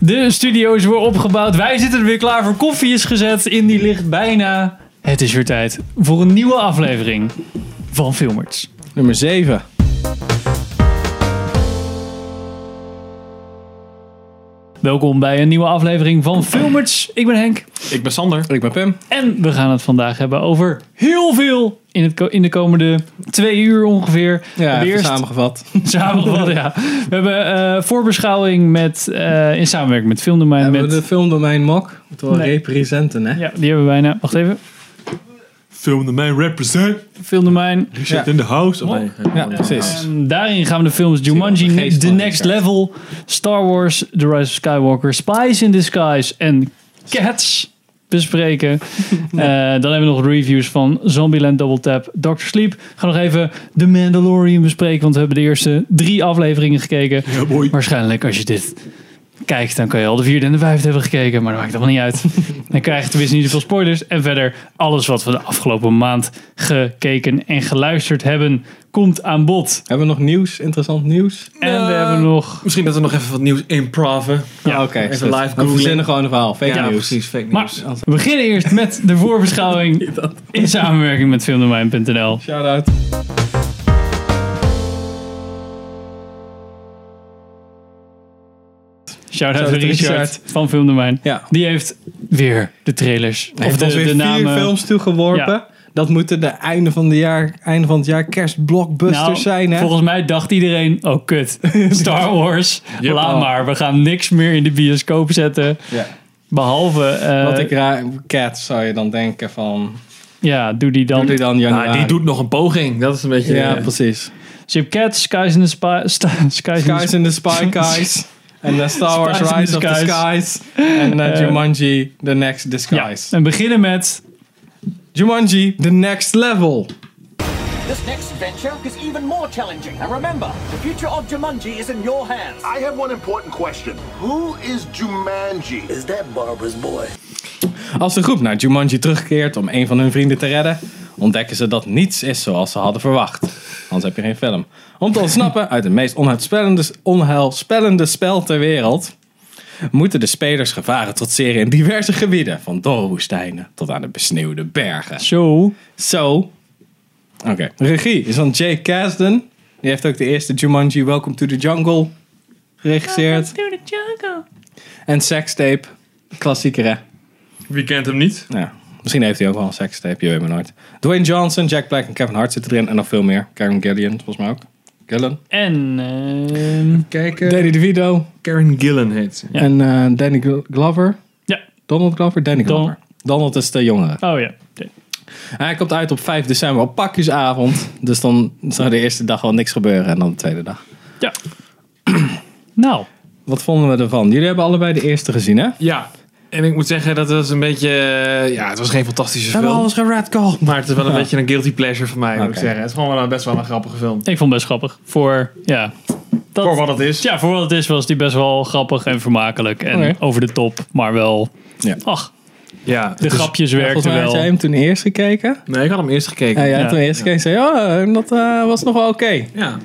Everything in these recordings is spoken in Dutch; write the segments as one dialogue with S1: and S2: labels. S1: De studio is weer opgebouwd. Wij zitten er weer klaar voor. Koffie is gezet. Indy ligt bijna. Het is weer tijd voor een nieuwe aflevering van Filmers.
S2: Nummer 7.
S1: Welkom bij een nieuwe aflevering van Filmers. Ik ben Henk.
S3: Ik ben Sander.
S2: Ik ben Pim.
S1: En we gaan het vandaag hebben over heel veel in, het, ko- in de komende twee uur ongeveer.
S2: Ja,
S1: De
S2: even
S1: eerste-
S2: samengevat.
S1: Samengevat, ja. We hebben eh, voorbeschouwing met, eh, in samenwerking met Filmdomein.
S2: Hebben
S1: met,
S2: we de filmdomein mok? Moeten we wel
S1: Nee.
S2: representen, hè?
S1: Ja, die hebben we bijna. Wacht even.
S3: Film de man represent.
S1: Filmdomein.
S3: Richard
S2: Ja.
S3: in the house. Oh.
S1: Mok.
S2: Ja, precies.
S1: En daarin gaan we de films
S2: Zie je wel, de
S1: Jumanji,
S2: geest
S1: The
S2: van
S1: Next
S2: elkaar.
S1: Level, Star Wars, The Rise of Skywalker, Spies in Disguise en Cats bespreken. Eh, dan hebben we nog reviews van Zombieland Double Tap, Doctor Sleep. We gaan nog even The Mandalorian bespreken, want we hebben de eerste drie afleveringen gekeken.
S3: Ja, boy.
S1: Waarschijnlijk als je dit kijkt, dan kan je al de vierde en de vijfde hebben gekeken. Maar dat maakt allemaal niet uit. Dan krijg je tenminste niet zoveel spoilers. En verder, alles wat we de afgelopen maand gekeken en geluisterd hebben, komt aan bod.
S2: Hebben we nog nieuws? Interessant nieuws?
S1: En we hebben nog...
S3: Misschien dat we nog even wat nieuws improven.
S1: Ja,
S2: Ah, oké.
S3: even
S2: shit.
S3: live
S2: Dan
S3: googlen.
S2: verzinnen gewoon een verhaal. Fake
S1: Ja,
S2: nieuws.
S3: precies. Fake
S1: Maar
S3: nieuws.
S1: we beginnen eerst met de voorbeschouwing in samenwerking met filmdomein.nl.
S2: Shout-out.
S1: Shout-out
S2: Shout-out
S1: naar Richard
S2: Richard.
S1: van Filmdomein.
S2: Ja.
S1: Die heeft weer de trailers.
S2: Hij heeft ons weer vier films toegeworpen.
S1: Ja.
S2: Dat moeten de einde van, de jaar, einde van het jaar kerstblockbusters
S1: Nou,
S2: zijn, hè?
S1: Volgens mij dacht iedereen, oh kut, Star Wars, laat maar. We gaan niks meer in de bioscoop zetten.
S2: Ja.
S1: Behalve, eh,
S2: Wat ik raar... Cats zou je dan denken van...
S1: ja, doe die dan.
S2: Doe die dan januari?
S3: Nou, die doet nog een poging. Dat is een beetje...
S2: Ja,
S3: eh,
S2: precies.
S1: Zip Cats, Skies in the Spy, Sta- Skies, in the
S2: Skies in the Spy Guys. En de Star Wars
S1: Spies in
S2: Rise
S1: the
S2: of the Skies. En eh,
S1: Eh.
S2: Jumanji The Next Disguise.
S1: Ja, en beginnen met,
S2: Jumanji The Next Level.
S4: This next adventure is even more challenging. And remember, the future of Jumanji is in your hands.
S5: I have one important question. Who is Jumanji?
S6: Is that Barbara's boy?
S2: Als de groep naar Jumanji terugkeert om een van hun vrienden te redden, ontdekken ze dat niets is zoals ze hadden verwacht. Anders heb je geen film. Om te ontsnappen uit het meest onheilspellende, onheilspellende spel ter wereld, moeten de spelers gevaren trotseren in diverse gebieden. Van doorwoestijnen tot aan de besneeuwde bergen.
S1: zo,
S2: Zo. Oké. Regie is van Jay Kasdan. Die heeft ook de eerste Jumanji Welcome to the Jungle geregisseerd. En Sextape. Klassieker hè.
S3: Wie kent hem niet?
S2: Ja. Misschien heeft hij ook wel een sextape, je weet maar nooit. Dwayne Johnson, Jack Black en Kevin Hart zitten erin. En nog veel meer. Karen Gillian, volgens mij ook. Gillian.
S1: en ehm,
S3: Kijk,
S2: Danny DeVito.
S3: Karen Gillen heet ze.
S2: En eh, Danny Gl- Glover.
S1: ja,
S2: Donald Glover? Danny
S1: Don-
S2: Glover. Donald is de jongere.
S1: oh ja.
S2: Hij komt uit op 5 december op pakjesavond. Dus dan zou de eerste dag wel niks gebeuren. En dan de tweede dag.
S1: ja. nou,
S2: Wat vonden we ervan? Jullie hebben allebei de eerste gezien, hè?
S3: Ja. En ik moet zeggen, dat was een beetje... eh, Ja, het was geen fantastische film.
S2: geradcalled.
S3: Maar het is wel een beetje een guilty pleasure voor mij, moet
S2: Oké.
S3: ik zeggen. Het is gewoon wel een, best wel een grappige film.
S1: ik vond het best grappig. Voor, ja, dat,
S3: Voor wat het is.
S1: ja, voor wat het is was die best wel grappig en vermakelijk. En
S2: Oké.
S1: over de top, maar wel,
S2: Ja.
S1: ach,
S3: Ja,
S1: de grapjes
S2: Volgens
S1: werkten
S2: mij had jij
S1: wel.
S2: hem toen eerst gekeken.
S3: Nee, ik had hem eerst gekeken.
S2: Ja,
S3: Ja.
S2: jij
S1: Ja.
S2: had toen eerst gekeken en zei, ja, dat eh, was nog wel oké.
S1: Ja.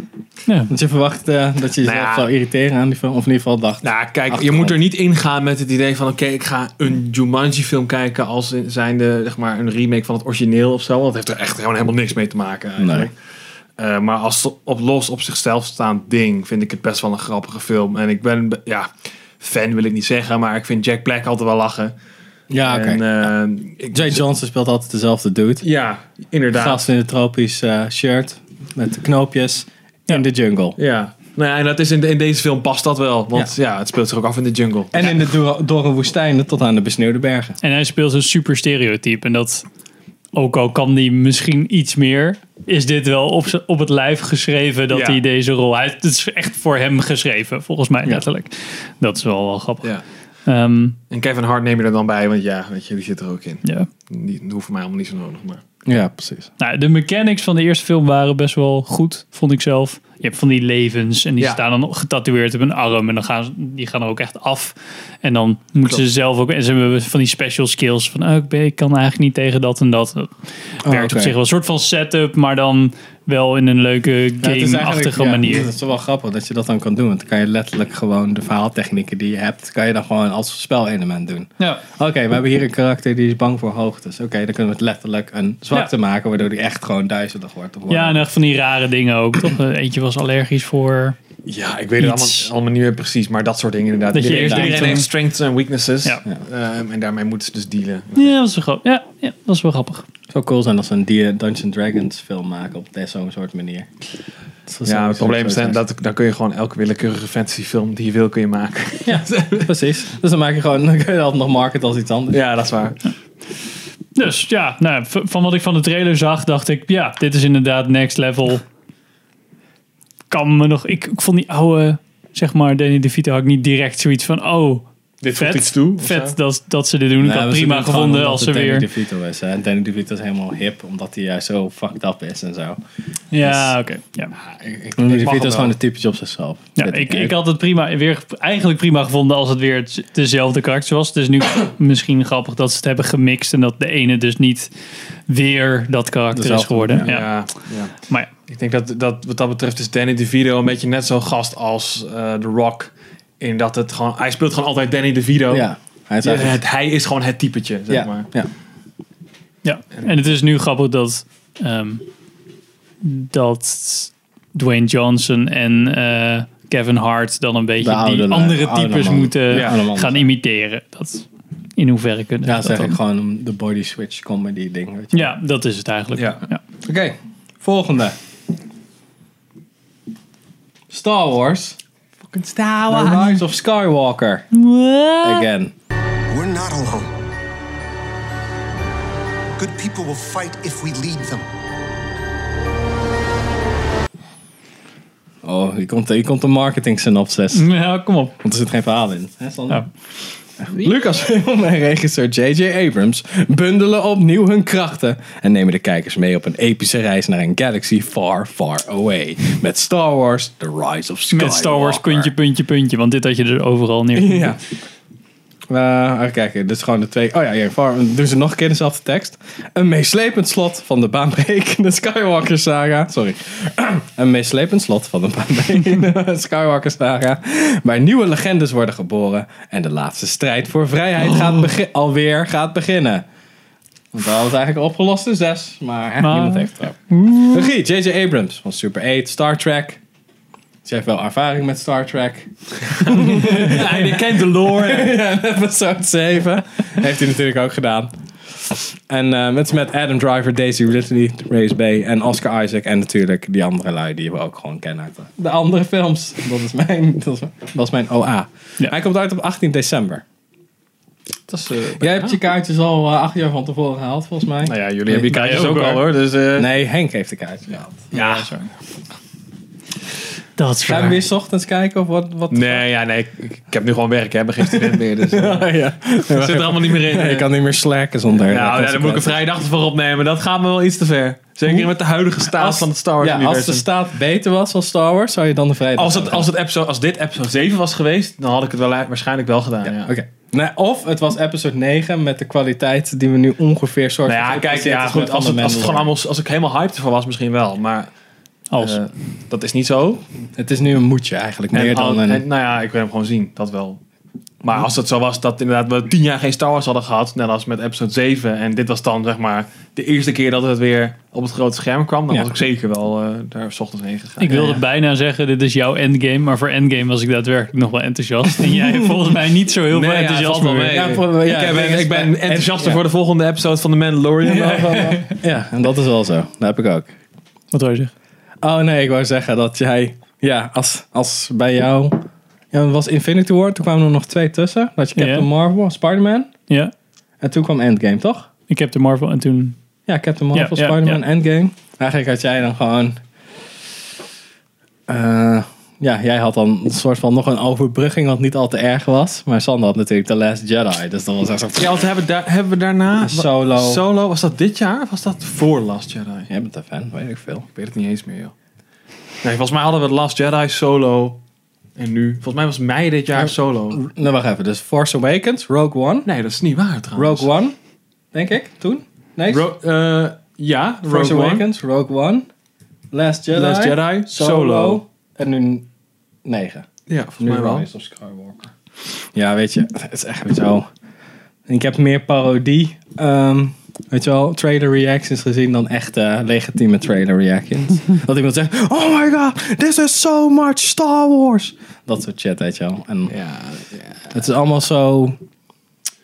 S2: Want je verwacht eh, dat je jezelf
S3: Nou ja.
S2: zou irriteren aan die film. Of in ieder geval dacht.
S3: Nou, kijk, je
S2: Achtergrond.
S3: moet er niet ingaan met het idee van... Oké, ik ga een Jumanji-film kijken als in- zijnde zeg maar, een remake van het origineel of zo. Want dat heeft er echt gewoon helemaal niks mee te maken eigenlijk. Eh, maar als zo- op los op zichzelf staand ding vind ik het best wel een grappige film. En ik ben, be- ja, fan wil ik niet zeggen, maar ik vind Jack Black altijd wel lachen.
S2: ja, Ah, oké.
S3: En, eh, ik-
S2: Jay Johnson speelt altijd dezelfde dude.
S3: Ja, inderdaad.
S2: Gast in een tropisch eh, shirt. Met de knoopjes. In de jungle.
S3: Ja. Nou ja, en dat is in, de- in deze film past dat wel. Want ja. het speelt zich ook af in de jungle.
S2: En in de dor- dorre woestijnen tot aan de besneeuwde bergen.
S1: En hij speelt een super stereotype. En dat, ook al kan die misschien iets meer, is dit wel op, z'n- op het lijf geschreven dat
S3: Ja.
S1: hij deze rol... Hij, het is echt voor hem geschreven, volgens mij letterlijk. Dat is wel, wel grappig.
S3: Ja.
S1: Ehm,
S3: En Kevin Hart neem je er dan bij, want ja, weet je, die zit er ook in.
S1: ja.
S3: Die, die hoeft voor mij allemaal niet zo nodig, maar...
S2: Ja, precies.
S1: Nou, de mechanics van de eerste film waren best wel goed, vond ik zelf. je hebt van die levens en die
S3: Ja.
S1: staan dan getatoeëerd op hun arm en dan gaan ze, die gaan er ook echt af. En dan moeten ze zelf ook, en ze hebben van die special skills van, oh, ik, ben, ik kan eigenlijk niet tegen dat en dat. Dat werkt op
S2: Oh, oké.
S1: zich wel een soort van setup, maar dan wel in een leuke
S2: Ja, het is
S1: game-achtige
S2: eigenlijk-
S1: manier.
S2: Ja, dat is wel grappig dat je dat dan kan doen. Want dan kan je letterlijk gewoon de verhaaltechnieken die je hebt, kan je dan gewoon als spelelement doen.
S1: Ja.
S2: Oké, we hebben hier een karakter die is bang voor hoogtes. Oké, dan kunnen we het letterlijk een zwakte
S1: Ja.
S2: maken, waardoor die echt gewoon duizelig wordt. of
S1: Ja, en
S2: whatever.
S1: echt van die rare dingen ook. Toch? Eh, Eentje was allergisch voor.
S3: Ja, ik weet het allemaal,
S1: Iets.
S3: allemaal niet meer precies, maar dat soort dingen inderdaad.
S1: Dat je eerst
S3: iedereen
S1: denkt
S3: iedereen
S1: van-
S3: heeft strengths en weaknesses.
S1: Ja.
S3: Ehm, en daarmee moeten ze dus dealen.
S1: Ja, dat was wel grappig. Ja, ja, dat was wel grappig.
S2: Het zou cool zijn als ze een Die- Dungeons Dragons film maken op de- zo'n soort manier. Dat zou
S3: Ja,
S2: sowieso
S3: het probleem is
S2: zo zijn.
S3: dat dan kun je gewoon elke willekeurige fantasyfilm die je wil kun je maken.
S2: Ja, precies. Dus dan maak je gewoon, dan kun je dat nog market als iets anders.
S3: ja, dat is waar.
S1: Dus ja, nou, ja, v- van wat ik van de trailer zag, dacht ik, ja, dit is inderdaad next level. Kan me nog. Ik, ik vond die oude, zeg maar, Danny DeVito had ik niet direct zoiets van, oh,
S3: Dit
S1: vet,
S3: voegt iets toe. of zo.
S1: vet dat, dat ze dit doen. ik
S2: Nou,
S1: had
S2: we
S1: prima
S2: doen het gewoon
S1: gevonden
S2: omdat
S1: als ze
S2: het
S1: weer.
S2: Danny DeVito is. hè. En Danny DeVito is helemaal hip, omdat hij juist zo fucked up is
S1: Mm.
S2: en zo.
S1: Ja, oké. Ja.
S2: Danny
S3: mag hem
S2: DeVito is
S3: wel.
S2: gewoon een typetje op zichzelf.
S1: Ja,
S2: Weet
S1: ik, ik had het prima, weer, eigenlijk prima gevonden als het weer het- dezelfde karakter was. Het is nu misschien grappig dat ze het hebben gemixt en dat de ene dus niet weer dat karakter
S2: Dezelfde,
S1: is geworden. Ja.
S3: Ja, ja.
S1: Maar ja,
S3: Ik denk dat, dat wat dat betreft is Danny DeVito een beetje net zo'n gast als eh, The Rock. In dat het gewoon, hij speelt gewoon altijd Danny DeVito.
S2: Ja, hij is
S3: Ja,
S2: eigenlijk-
S3: het, hij is gewoon het typetje, zeg
S2: ja,
S3: maar.
S2: ja.
S1: ja. en het is nu grappig dat, ehm, dat Dwayne Johnson en eh, Kevin Hart dan een beetje
S2: De oude
S1: die
S2: lui,
S1: andere
S2: oude
S1: types
S2: man.
S1: moeten
S2: Ja, oude man.
S1: gaan imiteren. Dat, in hoeverre kunnen
S2: Ja,
S1: ze
S2: dat
S1: dat
S2: is eigenlijk
S1: dan?
S2: gewoon de body switch comedy ding. Weet je.
S1: Ja, dat is het eigenlijk.
S3: Ja.
S1: Ja.
S2: Oké, volgende. Star Wars. Fucking Star Wars. The Rise of Skywalker. Again.
S7: We're not alone. Good people will fight if we lead them.
S2: Oh, hier komt, hier komt de marketing synopsis.
S1: Nou, kom op.
S2: Want er zit geen verhaal in. Hè, Sander?
S1: Ja.
S2: Lucasfilm en regisseur J.J. Abrams bundelen opnieuw hun krachten en nemen de kijkers mee op een epische reis naar een galaxy far, far away. Met Star Wars The Rise of Skywalker.
S1: Met Star Wars puntje, puntje, puntje. Want dit had je er overal neer.
S2: Ja. Eh, even kijken, dit is gewoon de twee. Oh ja, hier, far, doen ze nog een keer dezelfde tekst. Een meeslepend slot van de baanbrekende Skywalker saga. Sorry. een meeslepend slot van de baanbrekende Skywalker saga. Waar nieuwe legendes worden geboren. En de laatste strijd voor vrijheid gaat begi- alweer gaat beginnen. Want we hadden het eigenlijk opgelost in zes. Maar Mm. hè, niemand heeft het erop. Regie, J.J. Abrams van Super 8, Star Trek. Ze heeft wel ervaring met Star Trek.
S1: Hij kent de lore.
S2: Ja, episode 7. Heeft hij natuurlijk ook gedaan. En eh het is met Adam Driver, Daisy Ridley, Race Bay en Oscar Isaac. En natuurlijk die andere lui die we ook gewoon kennen uit de, de andere films. Dat is mijn, dat is, dat is mijn OA.
S1: Ja.
S2: Hij komt uit op 18 december.
S3: Dat is, eh,
S2: Jij hebt je kaartjes al eh, acht jaar van tevoren gehaald, volgens mij.
S3: nou ja, jullie hebben je
S1: Wij
S3: kaartjes
S1: ook,
S3: ook al
S1: hoor.
S3: hoor. Dus, eh,
S2: Nee, Henk heeft de kaartjes gehaald.
S3: ja.
S1: Dat is
S2: Gaan we
S1: waar.
S2: weer 's ochtends kijken of wat? wat
S3: Nee, ja, nee ik, ik heb nu gewoon werk, hè. Ik ben geen student meer. Dus, eh,
S2: Oh, ja.
S3: dat zit er allemaal niet meer in.
S2: Nee, ik kan niet meer slacken zonder. eh,
S3: nou, ja, daar moet ik een
S2: consequenties.
S3: vrije dag voor opnemen. Dat gaat me wel iets te ver. Zeker met de huidige staat
S2: Als-
S3: van het Star Wars
S2: ja, als de
S3: universum.
S2: staat beter was dan Star Wars, zou je dan de vrijdag
S3: Als, het, als, het episode, als dit episode 7 was geweest, dan had ik het wel, e- waarschijnlijk wel gedaan. Ja,
S2: Oké. Nou, of het was episode 9 met de kwaliteit die we nu ongeveer soort
S3: Nou ja,
S2: van
S3: kijk, ja,
S2: Het is
S3: goed,
S2: met
S3: als,
S2: Van
S3: het,
S2: de
S3: als, het
S2: Mandalorian.
S3: gewoon allemaal, als ik helemaal hyped ervoor was, misschien wel. Maar
S1: Als.
S3: eh, dat is niet zo.
S2: Het is nu een moedje eigenlijk,
S3: En
S2: meer
S3: al-
S2: dan een...
S3: en, nou ja, ik wil hem gewoon zien, dat wel. Maar als het zo was dat inderdaad we tien jaar geen Star Wars hadden gehad, net als met episode 7. En dit was dan zeg maar de eerste keer dat het weer op het grote scherm kwam. Dan
S2: Ja.
S3: was ik zeker wel eh, daar 's ochtends heen gegaan.
S1: ik wilde bijna zeggen, dit is jouw endgame. Maar voor endgame was ik daadwerkelijk nog wel enthousiast. En jij volgens mij niet zo heel
S3: Nee,
S1: veel
S3: ja,
S1: enthousiast
S3: valt wel
S1: meer.
S3: mee.
S2: Ja, voor- ja,
S3: ik,
S2: ik
S3: ben,
S2: ben-
S3: ik ben
S2: en-
S3: enthousiaster
S2: ja.
S3: voor de volgende episode van The Mandalorian.
S2: Ja, en dat is wel zo. Dat heb ik ook.
S1: Wat wou je zeggen?
S2: Oh nee, ik wou zeggen dat jij... Ja, als, als bij jou... Ja, het was Infinity War, toen kwamen er nog twee tussen. Dat je
S1: Ja.
S2: Captain Marvel, Spider-Man.
S1: Ja,
S2: En toen kwam Endgame, toch?
S1: ik heb de Marvel en toen...
S2: Ja, Captain Marvel,
S1: Ja, ja,
S2: Spider-Man,
S1: ja.
S2: Endgame. Eigenlijk had jij dan gewoon... eh, ja, jij had dan een soort van nog een overbrugging wat niet al te erg was. Maar Sander had natuurlijk The Last Jedi. Dus dat was echt zo...
S3: Ja, want hebben, we daar, hebben we daarna...
S2: Solo.
S3: Solo, was dat dit jaar of was dat voor Last Jedi?
S2: Jij bent een fan, weet ik veel.
S3: Ik weet het niet eens meer, joh. Nee, volgens mij hadden we Last Jedi solo. En nu, volgens mij was mei dit jaar solo.
S2: Nou, wacht even. Dus Force Awakens, Rogue One.
S3: Nee, dat is niet waar trouwens.
S2: Rogue One, denk ik, toen. Nee,
S3: Nou, dus- Ro- eh, ja,
S2: Force
S3: Rogue One.
S2: Awakens, Rogue One, Last Jedi,
S3: Last Jedi,
S2: Solo,
S3: Solo.
S2: en nu 9.
S3: Ja, volgens
S2: Nu
S3: mij wel.
S2: Rise of Skywalker. Ja, weet je, het is echt zo. Ik heb meer parodie, ehm, weet je wel, trailer reactions gezien dan echte eh, legitieme trailer reactions. dat iemand zegt, oh my god, this is so much Star Wars. Dat soort shit, weet je wel. En
S3: Ja,
S2: het is allemaal zo...
S3: nou, de,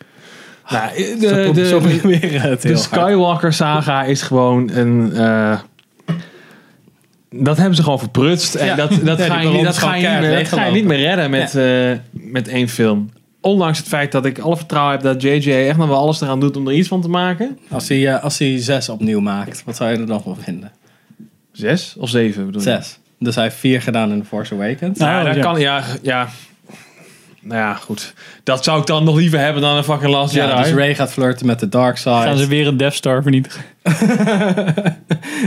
S2: Ah, zo,
S3: de,
S2: pro- zo
S3: de,
S2: proberen het heel hard.
S3: Skywalker saga is gewoon een... eh, dat hebben ze gewoon verprutst. En
S2: Ja.
S3: dat, dat,
S2: Ja, die
S3: ga, je, niet-
S2: ballon is
S3: dat,
S2: gewoon
S3: ga, je niet
S2: keihard
S3: meer, dat ga je niet meer redden met, eh, met één film. Ondanks het feit dat ik alle vertrouwen heb dat JJ echt nog wel alles eraan doet om er iets van te maken.
S2: Als hij, eh, als hij zes opnieuw maakt, wat zou je er dan van vinden?
S3: Zes of zeven bedoel je?
S2: Zes. Dus hij heeft vier gedaan in The Force Awakens.
S1: Nou,
S3: ja, dat
S1: ja.
S3: kan. Ja, ja. Nou ja, goed. Dat zou ik dan nog liever hebben dan een fucking Last
S2: ja,
S3: Jedi.
S2: dus Ray gaat flirten met de dark
S1: Gaan ze
S2: side.
S1: weer een Death Star vernietigen?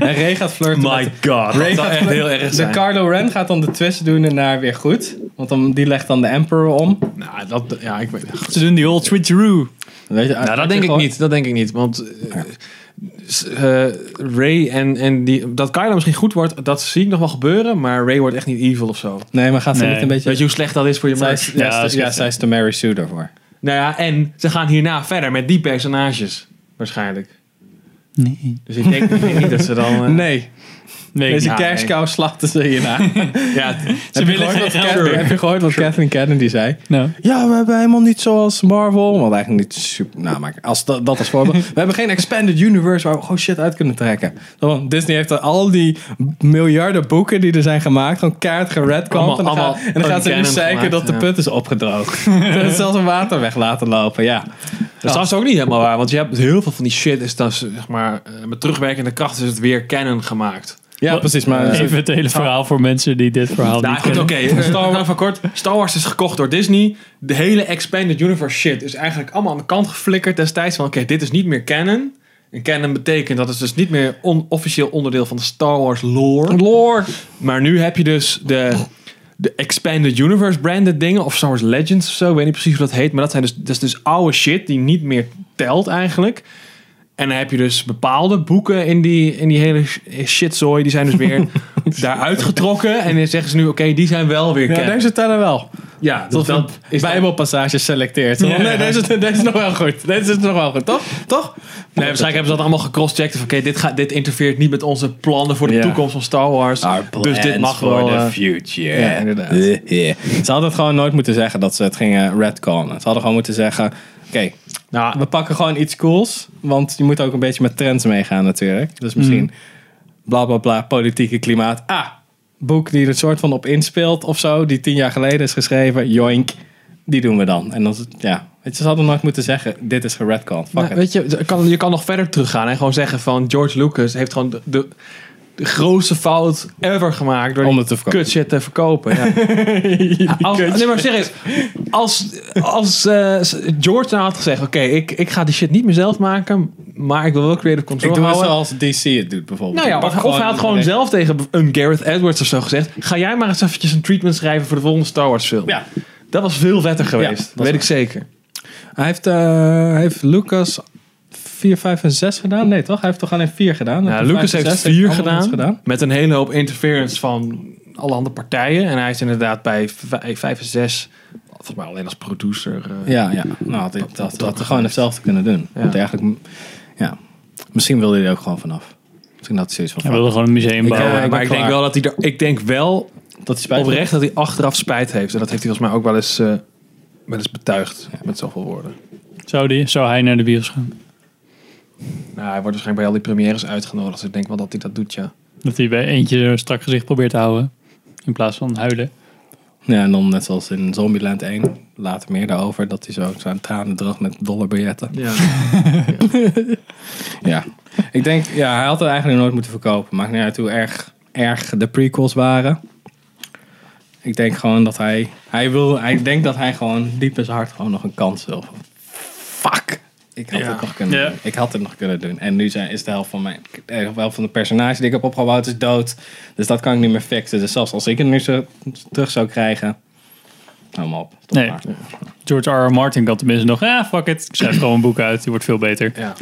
S2: En Ray gaat flirten met...
S3: My god.
S2: Ray
S3: Dat zou
S2: gaat
S3: echt
S2: flirten-
S3: heel erg
S2: De
S3: zijn.
S2: Carlo Ren gaat dan de twist doen en daar weer goed. Want dan, die legt dan de Emperor om.
S3: Nou, dat, ja, ik weet ja, goed.
S1: Ze doen die old switcheroo.
S2: Weet je,
S3: Nou, dat denk ik niet. Dat denk ik niet. Want eh, s- eh, Ray en, en die... Dat Kylo misschien goed wordt, dat zie ik nog wel gebeuren. Maar Ray wordt echt niet evil of zo.
S2: Nee, maar gaat ze
S1: Nee.
S2: niet een beetje...
S3: Weet je hoe slecht dat is voor je
S2: zij
S3: merch?
S2: is, ja,
S1: dat is
S2: ja,
S1: goed,
S2: zij is de Mary Sue daarvoor.
S3: Nou ja, en ze gaan hierna verder met die personages. Waarschijnlijk.
S1: Nee.
S3: Dus ik denk, ik denk niet dat ze dan... eh,
S2: Nee,
S1: Nee,
S2: deze
S3: Ja, nee.
S2: kerstkou slachten ze hierna. Heb
S3: Ja,
S1: ze
S2: je
S1: willen
S2: gehoord
S1: geen
S2: wat
S1: geld.
S2: Kat- Heb je gehoord wat Kathleen Kennedy zei?
S1: Nou,
S2: Ja, we hebben helemaal niet zoals Marvel. Want eigenlijk niet super. Nou, maar als dat, dat als voorbeeld. We hebben geen expanded universe waar we gewoon shit uit kunnen trekken. Want Disney heeft er al die miljarden boeken die er zijn gemaakt. Gewoon kaart geredcond.
S3: Allemaal-
S2: En dan, gaan,
S3: allemaal
S2: en dan gaan ze nu
S3: uncanon
S2: zeiken
S3: gemaakt,
S2: dat de
S3: ja.
S2: put is opgedroogd. Ze is zelfs een water weg laten lopen. Ja.
S3: Dat is trouwens ook niet helemaal waar, want je hebt heel veel van die shit is dat ze, zeg maar eh, met terugwerkende kracht is het weer canon gemaakt.
S2: Ja, precies. Maar
S1: even het hele verhaal voor mensen die dit verhaal
S3: Nou,
S1: niet
S3: goed,
S1: kennen.
S3: oké. eh, Star Wars van kort. Star Wars is gekocht door Disney. De hele expanded universe shit is eigenlijk allemaal aan de kant geflikkerd destijds van oké, dit is niet meer canon. En canon betekent dat het dus niet meer on- officieel onderdeel van de Star Wars lore.
S2: Lore.
S3: Maar nu heb je dus de, de Expanded Universe branded dingen. Of Star Wars Legends of zo. Ik weet niet precies hoe dat heet. Maar dat, zijn dus, dat is dus oude shit die niet meer telt eigenlijk. En dan heb je dus bepaalde boeken in die, in die hele sh- shitzooi. Die zijn dus weer daaruit getrokken. En dan zeggen ze nu, oké, die zijn wel weer
S2: Ja,
S3: canon.
S2: deze tellen wel.
S3: Ja,
S2: Tot
S3: dat
S2: dat
S3: is dan-
S2: Bijbelpassages selecteert.
S1: Ja.
S2: Nee, deze, deze is nog wel goed. Deze is nog wel goed, toch? Toch?
S3: Nee, waarschijnlijk hebben ze dat allemaal gecrosscheckt. Van oké, dit dit, dit interfereert niet met onze plannen voor de
S2: Ja.
S3: toekomst van Star Wars. Dus dit mag wel... eh,
S2: future.
S3: Ja, inderdaad.
S2: Ze hadden het gewoon nooit moeten zeggen dat ze het gingen redconen. Ze hadden gewoon moeten zeggen... Oké,
S3: nou,
S2: we pakken gewoon iets cools. Want je moet ook een beetje met trends meegaan natuurlijk. Dus misschien...
S3: Mm.
S2: Bla, bla, bla. Politieke klimaat. Ah, boek die er soort van op inspeelt of zo. Die tien jaar geleden is geschreven. Joink. Die doen we dan. En dan... is het- Ja. Weet je, ze hadden nooit moeten zeggen... Dit is geredconed. Fuck
S3: Nou,
S2: it.
S3: weet je, je kan, je kan nog verder teruggaan en gewoon zeggen van George Lucas heeft gewoon de, de, de grootste fout ever gemaakt door
S2: Om
S3: die
S2: het te verkopen.
S3: kut shit te verkopen. Ja. als, nee, maar serieus. Als, als eh, George nou had gezegd, oké, ik, ik ga die shit niet meer zelf maken, maar ik wil wel creative
S2: Ik
S3: control
S2: doe het
S3: houden.
S2: zoals DC het doet bijvoorbeeld.
S3: Nou ja,
S2: Ik pak
S3: of, of hij had gewoon zelf tegen een Gareth Edwards of zo gezegd, ga jij maar eens eventjes een treatment schrijven voor de volgende Star Wars film.
S2: Ja,
S3: Dat was veel vetter geweest,
S2: dat
S3: dat
S2: is
S3: weet ik zeker.
S2: Hij heeft, eh, hij heeft Lucas 4, 5 en 6 gedaan? Nee, toch? Hij heeft toch alleen 4 gedaan?
S3: Ja,
S2: En
S3: Lucas
S2: vijf en
S3: heeft
S2: zes
S3: vier
S2: allemaal
S3: gedaan,
S2: iets
S3: Met een hele hoop interference van alle andere partijen. En hij is inderdaad bij vij- vijf en zes. Volgens mij alleen als producer. eh,
S2: Ja, ja. Nou, had hij dat, dat, had hij gewoon hetzelfde kunnen doen.
S3: Ja.
S2: Want eigenlijk, ja. Misschien wilde hij er ook gewoon vanaf. Misschien had hij zoiets van.
S1: Hij
S2: fuck,
S1: wilde gewoon een museum
S2: Ja,
S1: bouwen.
S2: ik eh, ben
S3: maar ik denk
S2: klaar.
S3: wel dat hij er, ik denk wel
S2: dat hij spijt
S3: oprecht dat hij achteraf spijt heeft. En dat heeft hij volgens mij ook wel eens, eh, wel eens betuigd met zoveel woorden.
S1: Zou, die, zou hij naar de bios gaan?
S3: Nou, hij wordt waarschijnlijk bij al die premières uitgenodigd. Dus ik denk wel dat hij dat doet, ja.
S1: Dat hij bij eentje een strak gezicht probeert te houden. In plaats van huilen.
S2: Ja, en dan net zoals in Zombieland 1. Later meer daarover. Dat hij zo zijn tranen droog met dollarbiljetten.
S3: ja.
S2: Ja. Ik denk, ja, hij had het eigenlijk nooit moeten verkopen. Maakt niet uit hoe erg, erg de prequels waren. Ik denk gewoon dat hij, hij wil, hij denkt dat hij gewoon diep in zijn hart gewoon nog een kans wil. Fuck. Ik had
S8: Ja.
S2: het nog kunnen
S1: Ja.
S2: doen. Ik had het nog kunnen doen. En nu zijn, is de helft van mijn de helft van de personage die ik heb opgebouwd is dood. Dus dat kan ik niet meer fixen. Dus zelfs als ik het nu zo terug zou krijgen. Hou me op. Stop
S1: Nee.
S2: maar.
S1: George R. R. Martin kan tenminste nog, ah, fuck it, ik schrijf gewoon een boek uit, die wordt veel beter.
S8: Ja.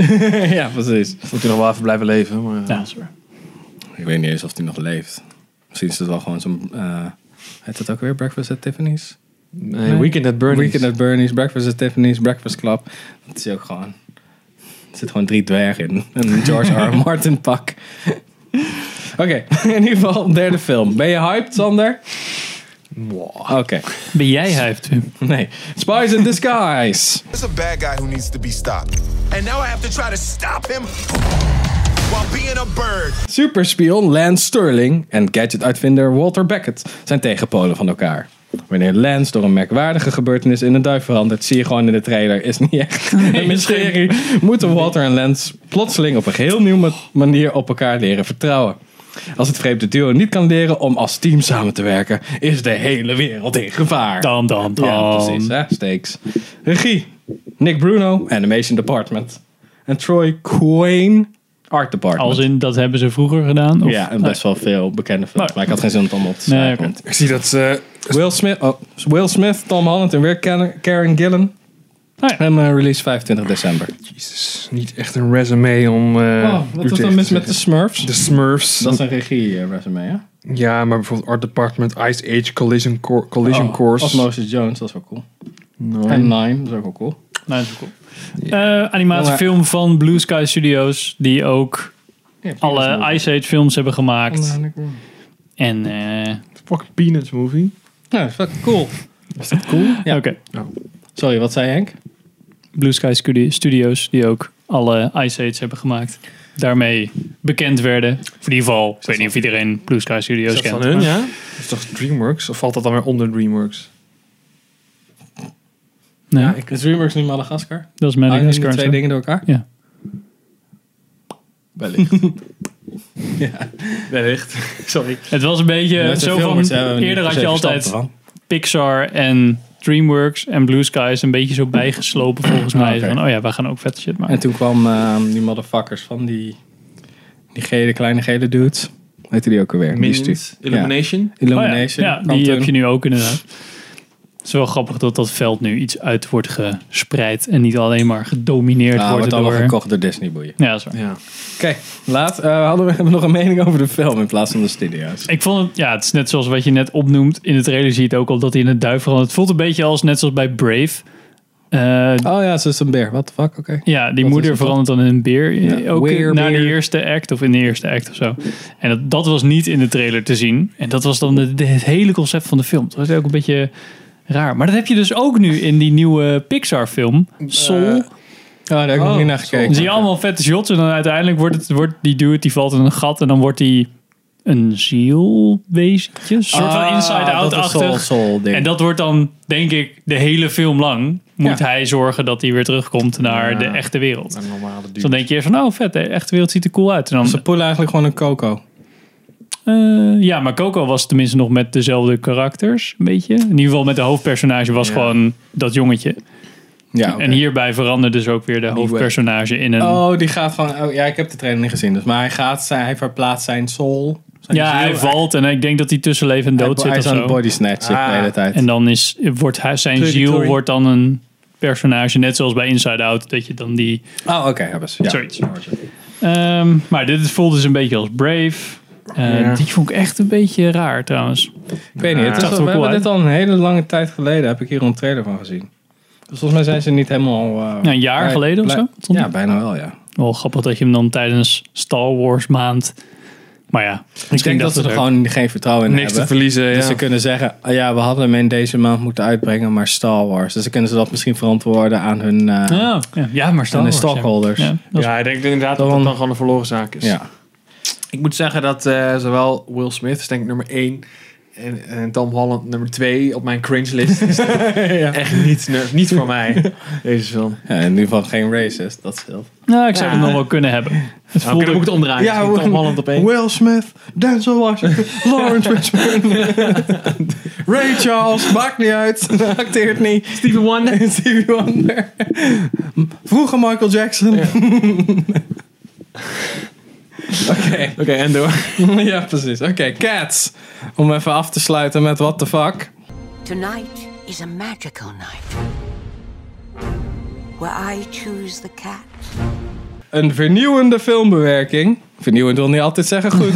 S2: ja, precies.
S8: Moet je nog wel even blijven leven. Maar,
S1: Ja, dat is waar.
S2: Ik weet niet eens of hij nog leeft. Misschien is het wel gewoon zo'n... eh heet dat ook weer? Breakfast at Tiffany's?
S8: Nee, Weekend at Bernie's.
S2: Weekend at Bernie's, Breakfast at Tiffany's, Breakfast Club. Dat is ook gewoon... Er zitten gewoon drie dwergen in. En een George R. R. Martin pak. Oké, in ieder geval derde film. Ben je hyped, Sander? Oké.
S1: Ben jij hyped? Wim?
S2: Nee. Spies in Disguise.
S7: There's a bad guy who needs to be stopped. And now I have to try to stop him while being a bird.
S2: Superspion Lance Sterling en gadgetuitvinder Walter Beckett zijn tegenpolen van elkaar. Wanneer Lance door een merkwaardige gebeurtenis in een duif verandert, zie je gewoon in de trailer, is niet echt een mysterie. Moeten Walter en Lance plotseling op een heel nieuwe ma- manier op elkaar leren vertrouwen. Als het vreemde duo niet kan leren om als team samen te werken, is de hele wereld in gevaar.
S1: Dan, dan, dan.
S2: Ja, precies. Hè? Steaks. Regie. Nick Bruno, Animation Department. En Troy Quayne, Art Department.
S1: Als in, dat hebben ze vroeger gedaan? Of?
S2: Ja, en best wel veel bekende films.
S1: Maar-
S2: Maar ik had geen zin om het allemaal op te
S1: Nee,
S2: schrijven.
S1: oké.
S8: Ik zie dat eh, ze...
S3: Dus-
S2: Will, Smith, oh, Will Smith, Tom Holland en weer Karen, Karen Gillan.
S1: Ah ja.
S2: En eh, release 25 december.
S8: Jezus, niet echt een resume om... eh,
S2: Oh, wat
S8: u
S2: was
S8: tegen
S2: dan
S8: te
S2: mis met de
S8: zeggen.
S2: Smurfs?
S8: De Smurfs.
S2: dat is een regie-resume, hè?
S8: Ja, maar bijvoorbeeld Art Department, Ice Age, Collision, Cor- collision
S2: Oh,
S8: Course.
S2: Of Moses Jones, dat is wel cool. En Nine, dat is ook wel cool.
S1: Nee, dat is wel cool. Eh, animatiefilm van Blue Sky Studios, die ook alle Ice Age films hebben gemaakt. En, eh,
S8: Fucking Peanuts movie.
S2: Ja, dat is wel cool. Is dat cool? Ja.
S1: oké.
S2: Sorry, wat zei Henk?
S1: Blue Sky Studi- Studios, die ook alle Ice Age hebben gemaakt. Daarmee bekend werden. Of in ieder geval, ik weet niet of iedereen Blue Sky Studios
S8: Is dat
S1: kent.
S8: van hun,
S1: maar-
S8: ja? Dat is toch DreamWorks? Of valt dat dan weer onder DreamWorks?
S1: Nee,
S2: Is DreamWorks nu Madagaskar?
S1: dat is
S2: Haal je Ah, die
S1: Madagascar.
S2: twee dingen door elkaar?
S1: Ja.
S8: Wellicht. Wellicht. Sorry.
S1: Het was een beetje
S2: Met de
S1: zo
S2: filmers
S1: van,
S2: hebben we niet
S1: eerder
S2: per
S1: had
S2: se
S1: je
S2: verstand
S1: altijd
S2: ervan.
S1: Pixar en DreamWorks en Blue Sky is een beetje zo bijgeslopen volgens mij.
S2: Ah, oké.
S1: Van, oh ja, wij gaan ook vette shit maken.
S2: En toen kwam ehm, die motherfuckers van die, die gele, kleine gele dudes. Heette die ook alweer? Die
S8: Minions.
S2: stu-
S8: Illumination.
S2: Ja. eh,
S1: Oh ja,
S2: Illumination.
S1: ja,
S2: kwam
S1: die
S2: toen.
S1: heb je nu ook inderdaad. Het is wel grappig dat dat veld nu iets uit wordt gespreid en niet alleen maar gedomineerd
S2: Ah,
S1: wordt
S2: wordt allemaal
S1: door...
S2: gekocht door Disney boeien.
S1: Ja, dat is waar.
S8: Ja.
S2: Oké, laat. eh, hadden we hebben we nog een mening over de film in plaats van de studio's.
S1: Ik vond het, ja, het is net zoals wat je net opnoemt. In de trailer zie je het ook al dat hij in het duif verandert. Het voelt een beetje als net zoals bij Brave. Eh,
S2: Oh ja, ze is een beer. What the fuck? Oké.
S1: ja, die
S2: is
S1: moeder
S2: het dan?
S1: verandert dan in een beer.
S2: Ja,
S1: Ook
S2: weer
S1: na de
S2: beer.
S1: eerste act of in de eerste act of zo. En dat, dat was niet in de trailer te zien. En dat was dan het, het hele concept van de film. Dat was ook een beetje raar. Maar dat heb je dus ook nu in die nieuwe Pixar film. Soul.
S2: Oh, daar heb ik nog niet naar gekeken.
S1: Dan zie je allemaal vette shots en dan uiteindelijk wordt, het, wordt die dude, die valt in een gat en dan wordt hij een zielwezentje. Een soort van
S2: Ah, dat is Soul-
S1: inside-out-achtig.
S2: Soul ding.
S1: En dat wordt dan, denk ik, de hele film lang moet
S2: Ja.
S1: hij zorgen dat hij weer terugkomt naar
S8: Ja.
S1: de echte wereld.
S8: Een normale
S1: Dus dan denk je eerst van, oh vet, de echte wereld ziet er cool uit. En dan,
S2: Ze poelen eigenlijk gewoon een coco.
S1: eh, ja, maar Coco was tenminste nog met dezelfde karakters, een beetje. In ieder geval met de hoofdpersonage was
S8: Ja.
S1: gewoon dat jongetje.
S2: Ja,
S1: En hierbij veranderde dus ook weer de hoofdpersonage in een...
S2: Oh, die gaat gewoon... Oh, ja, ik heb de trailer niet gezien. Dus, maar hij gaat... Zijn, hij verplaatst zijn soul. Zijn
S1: Ja,
S2: ziel.
S1: hij valt en ik denk dat hij tussen leven en
S2: Hij-
S1: dood
S2: Hij
S1: zit
S2: is
S1: of
S2: aan het
S1: zo. Ah.
S2: body snatchen de hele tijd.
S1: En dan is, wordt hij, zijn
S2: Trajectory.
S1: ziel wordt dan een personage, net zoals bij Inside Out, dat je dan die...
S2: oh, oké. ja, best. ja.
S1: Zoiets. Ehm, maar dit voelt dus een beetje als Brave. Eh,
S8: Ja.
S1: Die vond ik echt een beetje raar trouwens.
S2: Ik weet niet. Het is
S1: Zag er
S2: al-
S1: cool
S2: we hebben
S1: uit.
S2: dit al een hele lange tijd geleden. Heb ik hier een trailer van gezien. Dus volgens mij zijn ze niet helemaal... eh,
S1: Ja, een jaar
S2: blij-
S1: geleden of
S2: blij-
S1: zo? Stond
S2: Ja,
S1: die?
S2: bijna wel, ja.
S1: Wel grappig dat je hem dan tijdens Star Wars maand... Maar ja,
S2: Ik denk dat ze er gewoon geen vertrouwen in
S8: Niks te
S2: hebben.
S8: verliezen,
S2: Dus
S8: ja.
S2: ze kunnen zeggen, ah ja, we hadden hem in deze maand moeten uitbrengen, maar Star Wars. Dus dan kunnen ze dat misschien verantwoorden aan hun... eh,
S1: Ja, ja, ja, maar Star
S2: En de
S1: Wars, ja.
S2: stockholders.
S1: Ja, dat is-
S8: Ja, ik denk inderdaad dat
S2: Dan-
S8: dat dan gewoon een verloren zaak is.
S2: ja.
S8: Ik moet zeggen dat eh, zowel Will Smith, is denk ik nummer 1,
S3: en, en Tom Holland nummer 2 op mijn cringe list. Is Echt niet, ner- niet voor mij, deze film. Nou,
S2: Ja, in ieder geval geen racist, dat scheelt.
S1: Nou, ik zou
S3: Ja.
S1: het nog wel kunnen hebben. Het
S3: Nou,
S1: voelde
S3: dan moet ik het omdraaien.
S2: Ja,
S3: Ja, Tom
S2: we-
S3: Holland op één.
S2: Will Smith, Denzel Washington, Lawrence Richmond, Ray Charles, maakt niet uit, acteert niet. Stevie Wonder. Stevie Wonder. Vroeger Michael Jackson. Oké,
S3: Oké, en door.
S2: ja precies. Oké, Cats. Om even af te sluiten met what the fuck.
S9: Tonight is a magical night where I choose the cat.
S2: Een vernieuwende filmbewerking. Vernieuwend wil niet altijd zeggen goed.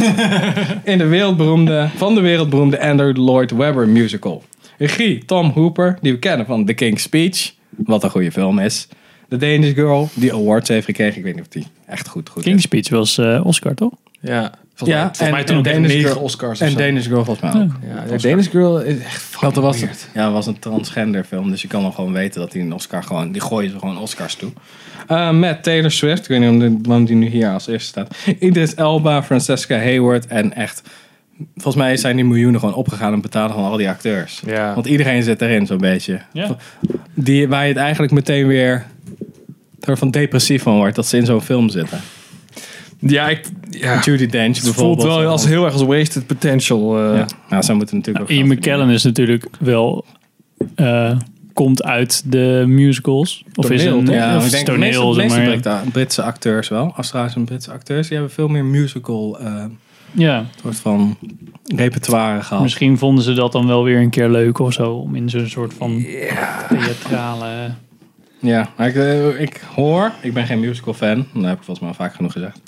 S2: In de wereldberoemde, van de wereldberoemde Andrew Lloyd Webber musical. Regie Tom Hooper, die we kennen van The King's Speech. Wat een goede film is. The Danish Girl, die awards heeft gekregen. Ik weet niet of die echt goed, goed
S1: King's
S2: is.
S1: Speech was eh, Oscar, toch?
S3: Ja, volgens
S2: Ja,
S3: mij, volgens mij
S2: en-
S3: toen
S2: en
S3: ook echt
S2: Danish
S3: negen
S2: Girl.
S3: Oscars of
S2: En
S3: zo.
S2: Danish Girl volgens mij ook.
S3: Ja, de Danish Girl is echt
S2: Want er
S3: fucking
S2: was,
S3: weird.
S2: ja, er was een transgender film, dus je kan wel gewoon weten dat hij een Oscar gewoon... Die gooien ze gewoon Oscars toe. Eh, met Taylor Swift, ik weet niet om de- waarom die nu hier als eerste staat. Idris Elba, Francesca Hayward en echt... Volgens mij zijn die miljoenen gewoon opgegaan en betalen van al die acteurs.
S3: Ja.
S2: Want iedereen zit erin zo'n beetje.
S1: Ja.
S2: Die, waar je het eigenlijk meteen weer soort van depressief van wordt, dat ze in zo'n film zitten.
S3: Ja, ik, ja. het
S2: Judy Dench bijvoorbeeld.
S3: voelt wel als,
S2: heel...
S3: heel erg als wasted potential. eh.
S2: Ja, nou, zij moeten natuurlijk ook
S1: Ian
S2: geld
S1: McKellen is natuurlijk wel... eh, komt uit de musicals. Of is een
S2: ja,
S1: of
S2: ik
S1: is
S2: denk toneel,
S1: toneel,
S2: meeste,
S1: zeg
S2: meeste
S1: maar.
S2: Brit- Britse acteurs wel. Australische en Britse acteurs. Die hebben veel meer musical eh,
S1: Ja,
S2: soort van repertoire gehad.
S1: misschien vonden ze dat dan wel weer een keer leuk of zo. Om in zo'n soort van theatrale...
S2: Ja, maar ik, eh, ik hoor, ik ben geen musical fan. Dat heb ik volgens mij al vaak genoeg gezegd.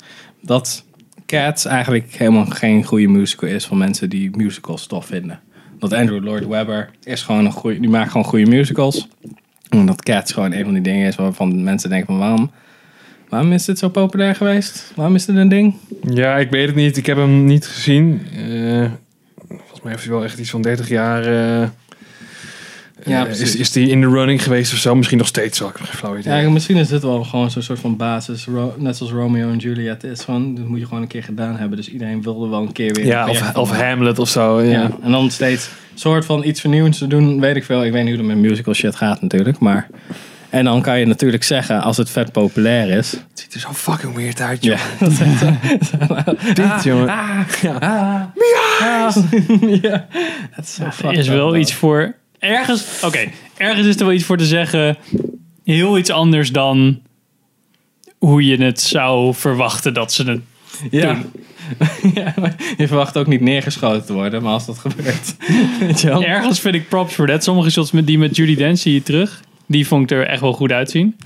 S2: Dat Cats eigenlijk helemaal geen goede musical is van mensen die musicals tof vinden. Dat Andrew Lloyd Webber is gewoon een goede, die maakt gewoon goede musicals. En dat Cats gewoon een van die dingen is waarvan mensen denken van waarom, waarom is dit zo populair geweest? Waarom is dit een ding?
S3: Ja, ik weet het niet. Ik heb hem niet gezien. Eh, volgens mij heeft hij wel echt iets van 30 jaar. eh,
S2: Ja,
S3: eh,
S2: precies.
S3: is, is die in de running geweest of zo? Misschien nog steeds wel. Ik heb geen flauw idee.
S2: Ja, misschien is dit wel gewoon zo'n soort van basis, Ro- net zoals Romeo en Juliet is. Gewoon, dat moet je gewoon een keer gedaan hebben. Dus iedereen wilde wel een keer weer.
S3: Ja,
S2: een
S3: of,
S2: project
S3: of
S2: van maken.
S3: Hamlet of zo. Ja.
S2: Ja, en dan steeds soort van iets vernieuwends te doen, weet ik veel. Ik weet niet hoe het met musical shit gaat natuurlijk, maar... En dan kan je natuurlijk zeggen, als het vet populair is...
S3: Het ziet er zo fucking weird uit, joh.
S2: Ja, dat is echt zo. Ah,
S3: Dit, jongen.
S2: ja, dat is zo fucked
S1: is
S2: up,
S1: wel
S2: man.
S1: iets voor. Ergens, oké, ergens is er wel iets voor te zeggen. Heel iets anders dan hoe je het zou verwachten dat ze het.
S2: Ja. ja, maar je verwacht ook niet neergeschoten te worden, maar als dat gebeurt... Weet je wel?
S1: Ergens vind ik props voor dat. Sommige shots met die met Judy Dench zie je terug. Die vond ik er echt wel goed uitzien.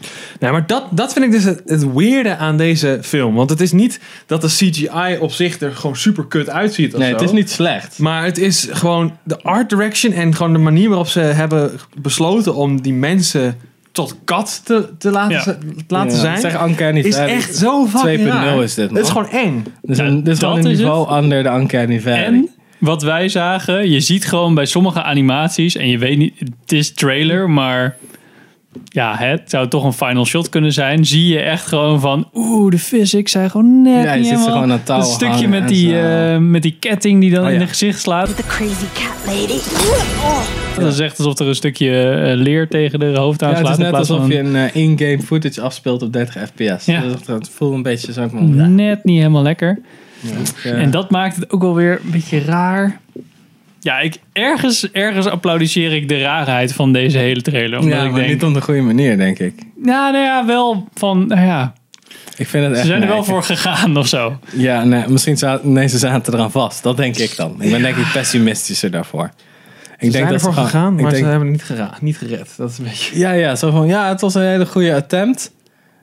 S3: Nou, maar dat, dat vind ik dus het, het weirde aan deze film. Want het is niet dat de CGI op zich er gewoon super kut uitziet. Of
S2: Nee,
S3: zo.
S2: het is niet slecht.
S3: Maar het is gewoon de art direction en gewoon de manier waarop ze hebben besloten om die mensen tot kat te, te laten,
S1: Ja.
S3: ze- te laten zijn.
S2: Zeg Uncanny
S3: is
S2: Valley.
S3: echt zo fucking
S2: 2.0
S3: raar.
S2: is dit, man.
S3: Het is gewoon eng.
S2: Dit is
S1: Nou,
S2: een, dit is
S1: dat
S2: gewoon een
S1: is
S2: niveau under de Uncanny Valley.
S1: En wat wij zagen, je ziet gewoon bij sommige animaties. En je weet niet, het is trailer, maar. Ja, het zou toch een final shot kunnen zijn. Zie je echt gewoon van, oeh, de physics zijn gewoon net
S2: Ja, je
S1: niet
S2: ziet ze
S1: helemaal-
S2: gewoon aan touw
S1: Dat stukje
S2: hangen en
S1: met die,
S2: zo. Oh,
S1: eh, met die ketting die dan
S2: ja.
S1: in het gezicht slaat.
S9: The crazy cat lady.
S1: Dat is echt alsof er een stukje eh, leer tegen de hoofd aan
S2: Ja, het
S1: slaat. in
S2: is net
S1: plaats
S2: alsof
S1: van
S2: je een eh, in-game footage afspeelt op 30 fps.
S1: Ja.
S2: Dat, is echt- dat voelt een beetje zo van...
S1: een- net niet helemaal lekker.
S2: Ja.
S1: En dat maakt het ook wel weer een beetje raar. Ja, ik, ergens, ergens applaudisseer ik de raarheid van deze hele trailer. Omdat
S2: ja,
S1: ik
S2: maar
S1: denk,
S2: niet op de goede manier, denk ik.
S1: nou, nou ja, wel van, nou ja,
S2: Ik vind het echt...
S1: ze zijn er
S2: nee,
S1: wel
S2: ik-
S1: voor gegaan of zo.
S2: Ja, nee, misschien zaten, nee, ze zaten eraan vast. Dat denk ik dan. Ik ben denk ik pessimistischer daarvoor. Ik
S3: Ze zijn ervoor
S2: gewoon-
S3: gegaan,
S2: ah, ik
S3: maar
S2: denk-
S3: ze hebben het niet, gera- niet gered. Dat is een beetje...
S2: Ja, ja, zo van, ja, het was een hele goede attempt.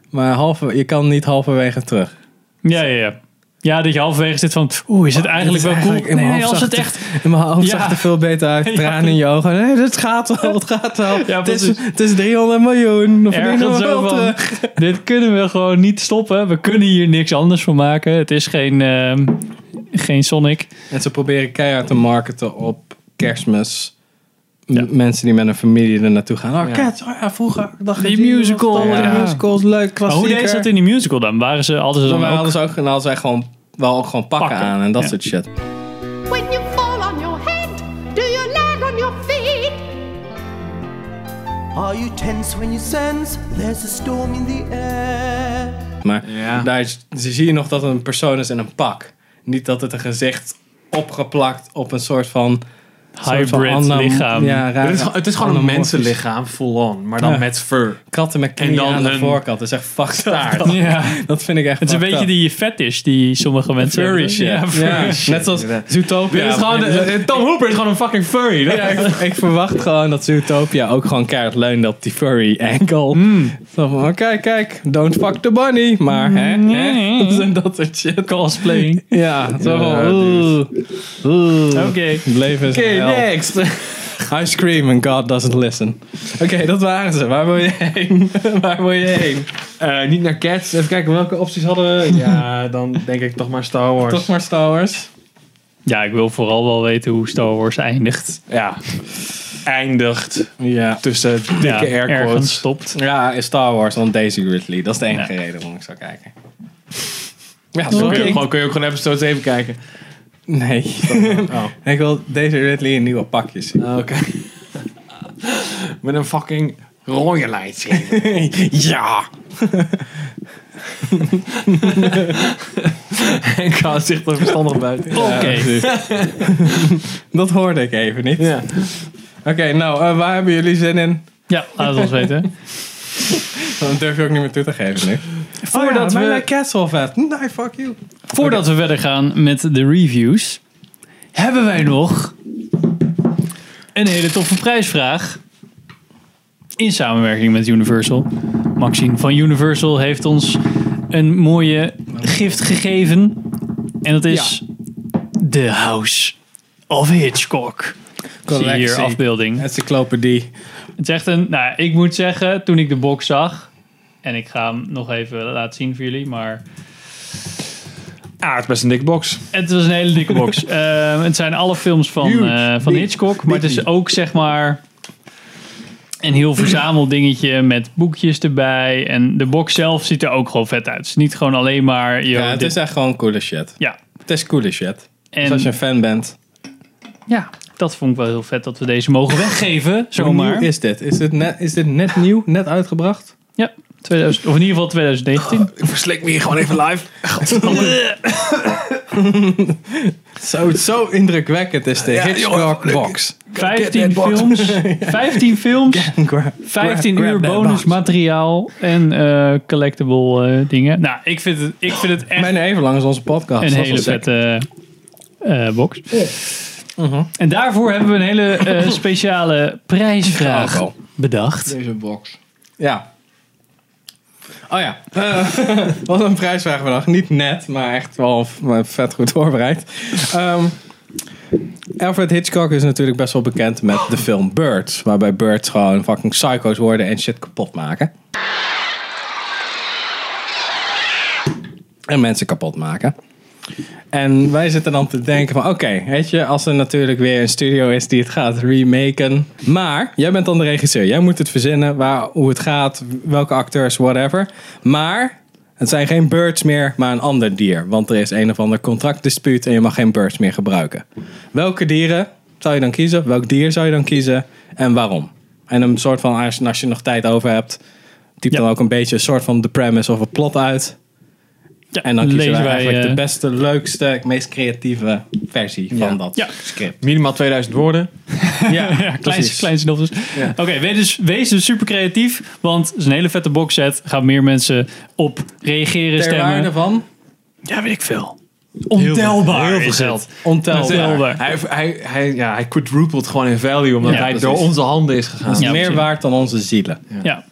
S2: Maar halver, je kan niet halverwege terug.
S1: Ja, ja, ja. Ja, dat je halverwege zit van, oeh,
S2: Oh,
S1: is het eigenlijk wel cool?
S2: in mijn
S1: Nee,
S2: hoofd
S1: als
S2: zag
S1: het echt
S2: In mijn hoofd
S1: Ja.
S2: zag het er veel beter uit. Tranen in je ogen. Nee, het gaat wel, het gaat wel.
S1: Ja,
S2: het, is,
S1: precies.
S2: het is 300 miljoen. We verdienen
S1: Ergens
S2: we wel
S1: zo van,
S2: terug.
S1: dit kunnen we gewoon niet stoppen. We kunnen hier niks anders van maken. Het is geen, ehm, geen Sonic.
S2: En ze proberen keihard te marketen op kerstmis. M-
S1: Ja.
S2: Mensen die met een familie er naartoe gaan. Oh,
S3: Ja.
S2: Cats, oh ja, vroeger dacht ik...
S1: Die
S2: die was
S1: musical,
S2: tof, die
S1: ja.
S2: musicals, leuk, klassieker.
S1: hoe deed ze dat in die musical dan? Waren ze, hadden ze
S2: Dan
S1: dan ook...
S2: hadden ze ook, dan hadden ze echt gewoon, wel ook gewoon pakken,
S1: Pakken.
S2: aan en dat
S1: Ja.
S2: soort shit.
S10: When you fall on your head,
S4: Are you tense when you sense there's a storm in the air?
S2: Maar
S8: Ja.
S2: daar is- zie je nog dat het een persoon is in een pak. Niet dat het een gezicht opgeplakt op een soort van... soort van
S1: Hybrid
S2: anam-
S1: lichaam.
S2: Ja, raar,
S8: Het is, het is gewoon een
S2: anamorfisch.
S8: mensenlichaam, full on. Maar dan
S2: Ja.
S8: met fur.
S2: Katten met
S8: En
S2: knieën
S8: dan
S2: aan de
S8: een
S2: voorkant. Dat is echt fucked
S8: staart.
S2: up.
S1: Ja.
S2: Dat vind ik echt
S1: Het is een
S2: fucked
S1: beetje
S2: up.
S1: die fetish die sommige mensen
S2: furry shit.
S1: Ja, furry
S2: Ja,
S1: shit.
S2: Net zoals
S8: inderdaad.
S2: Zootopia.
S8: Dit is gewoon, eh, Tom Hooper is gewoon een fucking furry.
S2: eh, Ja, ik, ik verwacht gewoon dat Zootopia ook gewoon keihard leunt op die furry ankle. Zo van, oké, kijk, don't fuck the bunny. Maar, hè, hè, dat zijn dat soort shit.
S1: Cosplaying.
S2: Ja, zo van, oeh,
S1: Oké.
S2: het leven is een hel.
S8: next.
S2: I scream and God doesn't listen. Oké, dat waren ze. Waar wil je heen? Waar wil je heen?
S8: Eh, niet naar Cats. Even kijken welke opties hadden we. Ja, dan denk ik toch maar Star Wars.
S2: Toch maar Star Wars.
S1: Ja, ik wil vooral wel weten hoe Star Wars eindigt.
S8: Ja. Eindigt
S2: Ja.
S8: tussen dikke
S1: Ja,
S8: air
S1: ergens
S8: quotes.
S1: stopt.
S2: Ja, is Star Wars, want Daisy Ridley. Dat is de enige reden waarom ik zou kijken. Ja, sorry.
S8: Dan kun je, ook
S2: Ik-
S8: gewoon, kun je ook gewoon episode 7 kijken.
S2: Nee.
S8: Oh.
S2: Ik wil Daisy Ridley in nieuwe pakjes. zien.
S3: Ah,
S8: Oké. Met een fucking rode light.
S2: ja.
S8: en kan zich er verstandig buiten.
S1: Oké.
S2: Dat hoorde ik even niet.
S8: Ja.
S2: Oké, nou, eh, waar hebben jullie zin in?
S1: Ja, laat het ons
S8: Oh
S1: weten.
S2: Dat durf je ook niet meer toe te geven nu.
S1: Voordat we-
S2: Castle vet. Nee, fuck you.
S1: Voordat we verder gaan met de reviews, hebben wij nog een hele toffe prijsvraag. In samenwerking met Universal. Maxine van Universal heeft ons een mooie gift gegeven. En dat is The House of Hitchcock. Zie je hier
S2: Collectie.
S1: afbeelding.
S2: Encyclopedie.
S1: Het is echt een, nou, ik moet zeggen, toen ik de box zag. En ik ga hem nog even laten zien voor jullie. Maar
S8: Ja, het is best een dikke box.
S1: het was een hele dikke box. Ehm, het zijn alle films van,
S2: Huge.
S1: eh, van
S2: Big.
S1: Hitchcock. Maar het is ook zeg maar een heel verzameldingetje met boekjes erbij. En de box zelf ziet er ook gewoon vet uit. Het is niet gewoon alleen maar. yo,
S2: Ja, het
S1: dit-
S2: is echt gewoon coole shit.
S1: ja.
S2: Het is coole shit. Dus
S1: En
S2: als je een fan bent.
S1: ja, dat vond ik wel heel vet dat we deze mogen weggeven.
S2: Hoe
S1: Zomaar.
S2: nieuw is dit? Is dit, net, is dit net nieuw? Net uitgebracht?
S1: Ja, 2000, of in ieder geval 2019.
S8: Ik verslik me hier gewoon even live.
S2: Zo, zo indrukwekkend is de Hitchcock box.
S1: 15 films. 15 films. 15 uur bonusmateriaal en eh, collectible eh, dingen. Nou, ik vind het, ik vind het echt
S2: Mijn even lang is onze podcast.
S1: een
S2: Dat
S1: hele
S2: is wel sick.
S1: vette eh, box.
S2: Mhm.
S1: En daarvoor hebben we een hele eh, speciale prijsvraag
S2: Oh, oh.
S1: bedacht.
S8: Deze box.
S2: Ja. Oh ja, Eh, wat een prijsvraag vandaag. Niet net, maar echt wel v- maar vet goed voorbereid. Ehm, Alfred Hitchcock is natuurlijk best wel bekend met de film Birds. Waarbij birds gewoon fucking psycho's worden en shit kapot maken. En mensen kapot maken. En wij zitten dan te denken van, oké, weet je, als er natuurlijk weer een studio is die het gaat remaken. Maar, jij bent dan de regisseur. Jij moet het verzinnen, waar, hoe het gaat, welke acteurs, whatever. Maar, het zijn geen birds meer, maar een ander dier. Want er is een of ander contractdispuut en je mag geen birds meer gebruiken. Welke dieren zou je dan kiezen? Welk dier zou je dan kiezen? En waarom? En een soort van, als, als je nog tijd over hebt, typ
S1: Ja.
S2: dan ook een beetje een soort van de premise of het plot uit.
S1: Ja,
S2: En dan kiezen
S1: lezen
S2: wij eigenlijk
S1: eh,
S2: de beste, leukste, meest creatieve versie van dat
S1: Ja.
S2: script.
S8: Minimaal 2000 woorden.
S2: Ja,
S1: Ja, klein,
S2: precies.
S1: klein synopsis. Oké, wees, dus, wees dus super creatief, want het is een hele vette box set. Gaan meer mensen op reageren,
S2: Ter
S1: stemmen.
S2: waarde van?
S1: Ja, weet ik veel. Ontelbaar
S8: heel veel
S1: is het.
S8: geld.
S2: Ontelbaar.
S1: Ontelbaar.
S8: Hij, hij, hij, ja, hij quadrupled gewoon in value omdat
S1: Ja,
S8: hij
S2: precies.
S8: door onze handen is gegaan.
S1: Ja,
S2: Meer
S1: precies.
S2: waard dan onze zielen.
S1: Ja.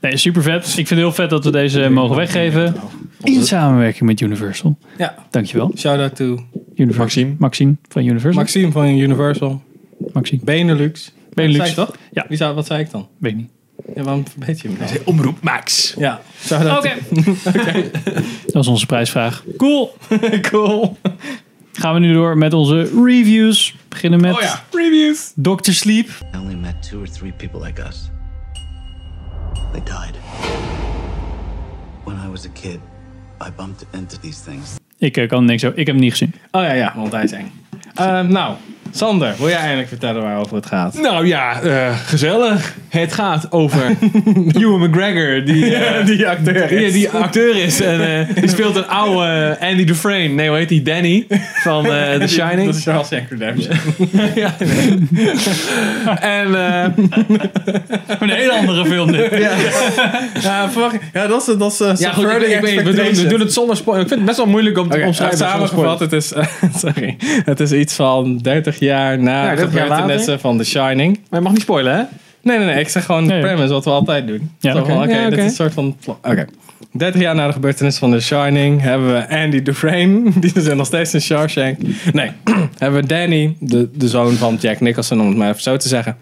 S1: Nee, super vet. Ik vind het heel vet dat we deze mogen weggeven. In samenwerking met Universal.
S2: Ja.
S1: Dankjewel.
S2: Shout out to
S1: Universal.
S8: Maxime.
S1: Maxime van Universal.
S2: Maxime van Universal,
S1: Maxime.
S2: Benelux.
S1: Benelux.
S2: Dat zei ik toch?
S1: Ja.
S2: Wie zou, wat zei ik dan?
S1: Weet ik niet.
S2: Ja, waarom verbeet je hem dan?
S8: Omroep Max.
S2: Ja. Shout out
S1: Oké. Dat was onze prijsvraag. Cool. cool. Gaan we nu door met onze reviews. Beginnen met
S2: Reviews.
S1: Dr. Sleep.
S4: I only met two or three people like us. They died. When I was a kid, I bumped into these things.
S1: Ik eh, kan niks over. Ik heb hem niet gezien.
S2: Oh ja, ja, want hij is eng. Ehm, nou, Sander, wil jij eindelijk vertellen waarover het gaat?
S8: Nou ja, eh, gezellig.
S3: Het gaat over Ewan McGregor, die, eh,
S2: Die acteur
S3: die,
S2: is.
S3: die acteur is. En eh, die speelt een oude eh, Andy Dufresne. Nee, hoe heet die? Danny van eh, The Shining.
S2: Dat is Charles Jack Redemption.
S3: Ja, nee. en eh,
S1: Een hele andere film dit.
S2: Ja, verwacht- ja, dat is... Dat is eh,
S3: ja, goed, ik,
S2: subverting
S3: ik weet, we, doen, we
S2: expectations.
S3: doen het zonder spoiler. Ik vind het best wel moeilijk om te
S2: Oké,
S3: omschrijven. zonder
S2: samengevat, het is, eh, sorry, het is iets van 30 jaar na
S3: Ja,
S2: de
S3: 30 jaar
S2: gebeurtenissen van The Shining.
S3: spoiler. Maar je mag niet spoilen, hè?
S2: Nee, nee, nee. Ik zeg gewoon
S1: Nee.
S2: de premise, wat we altijd doen.
S1: Ja,
S2: Zo van,
S1: oké.
S2: oké.
S3: Ja, oké.
S2: Dit is een soort van... pla- Oké. 30 jaar na de gebeurtenissen van The Shining hebben we Andy Dufresne. Die is nog steeds in Shawshank. Nee, hebben we Danny, de, de zoon van Jack Nicholson, om het maar even zo te zeggen.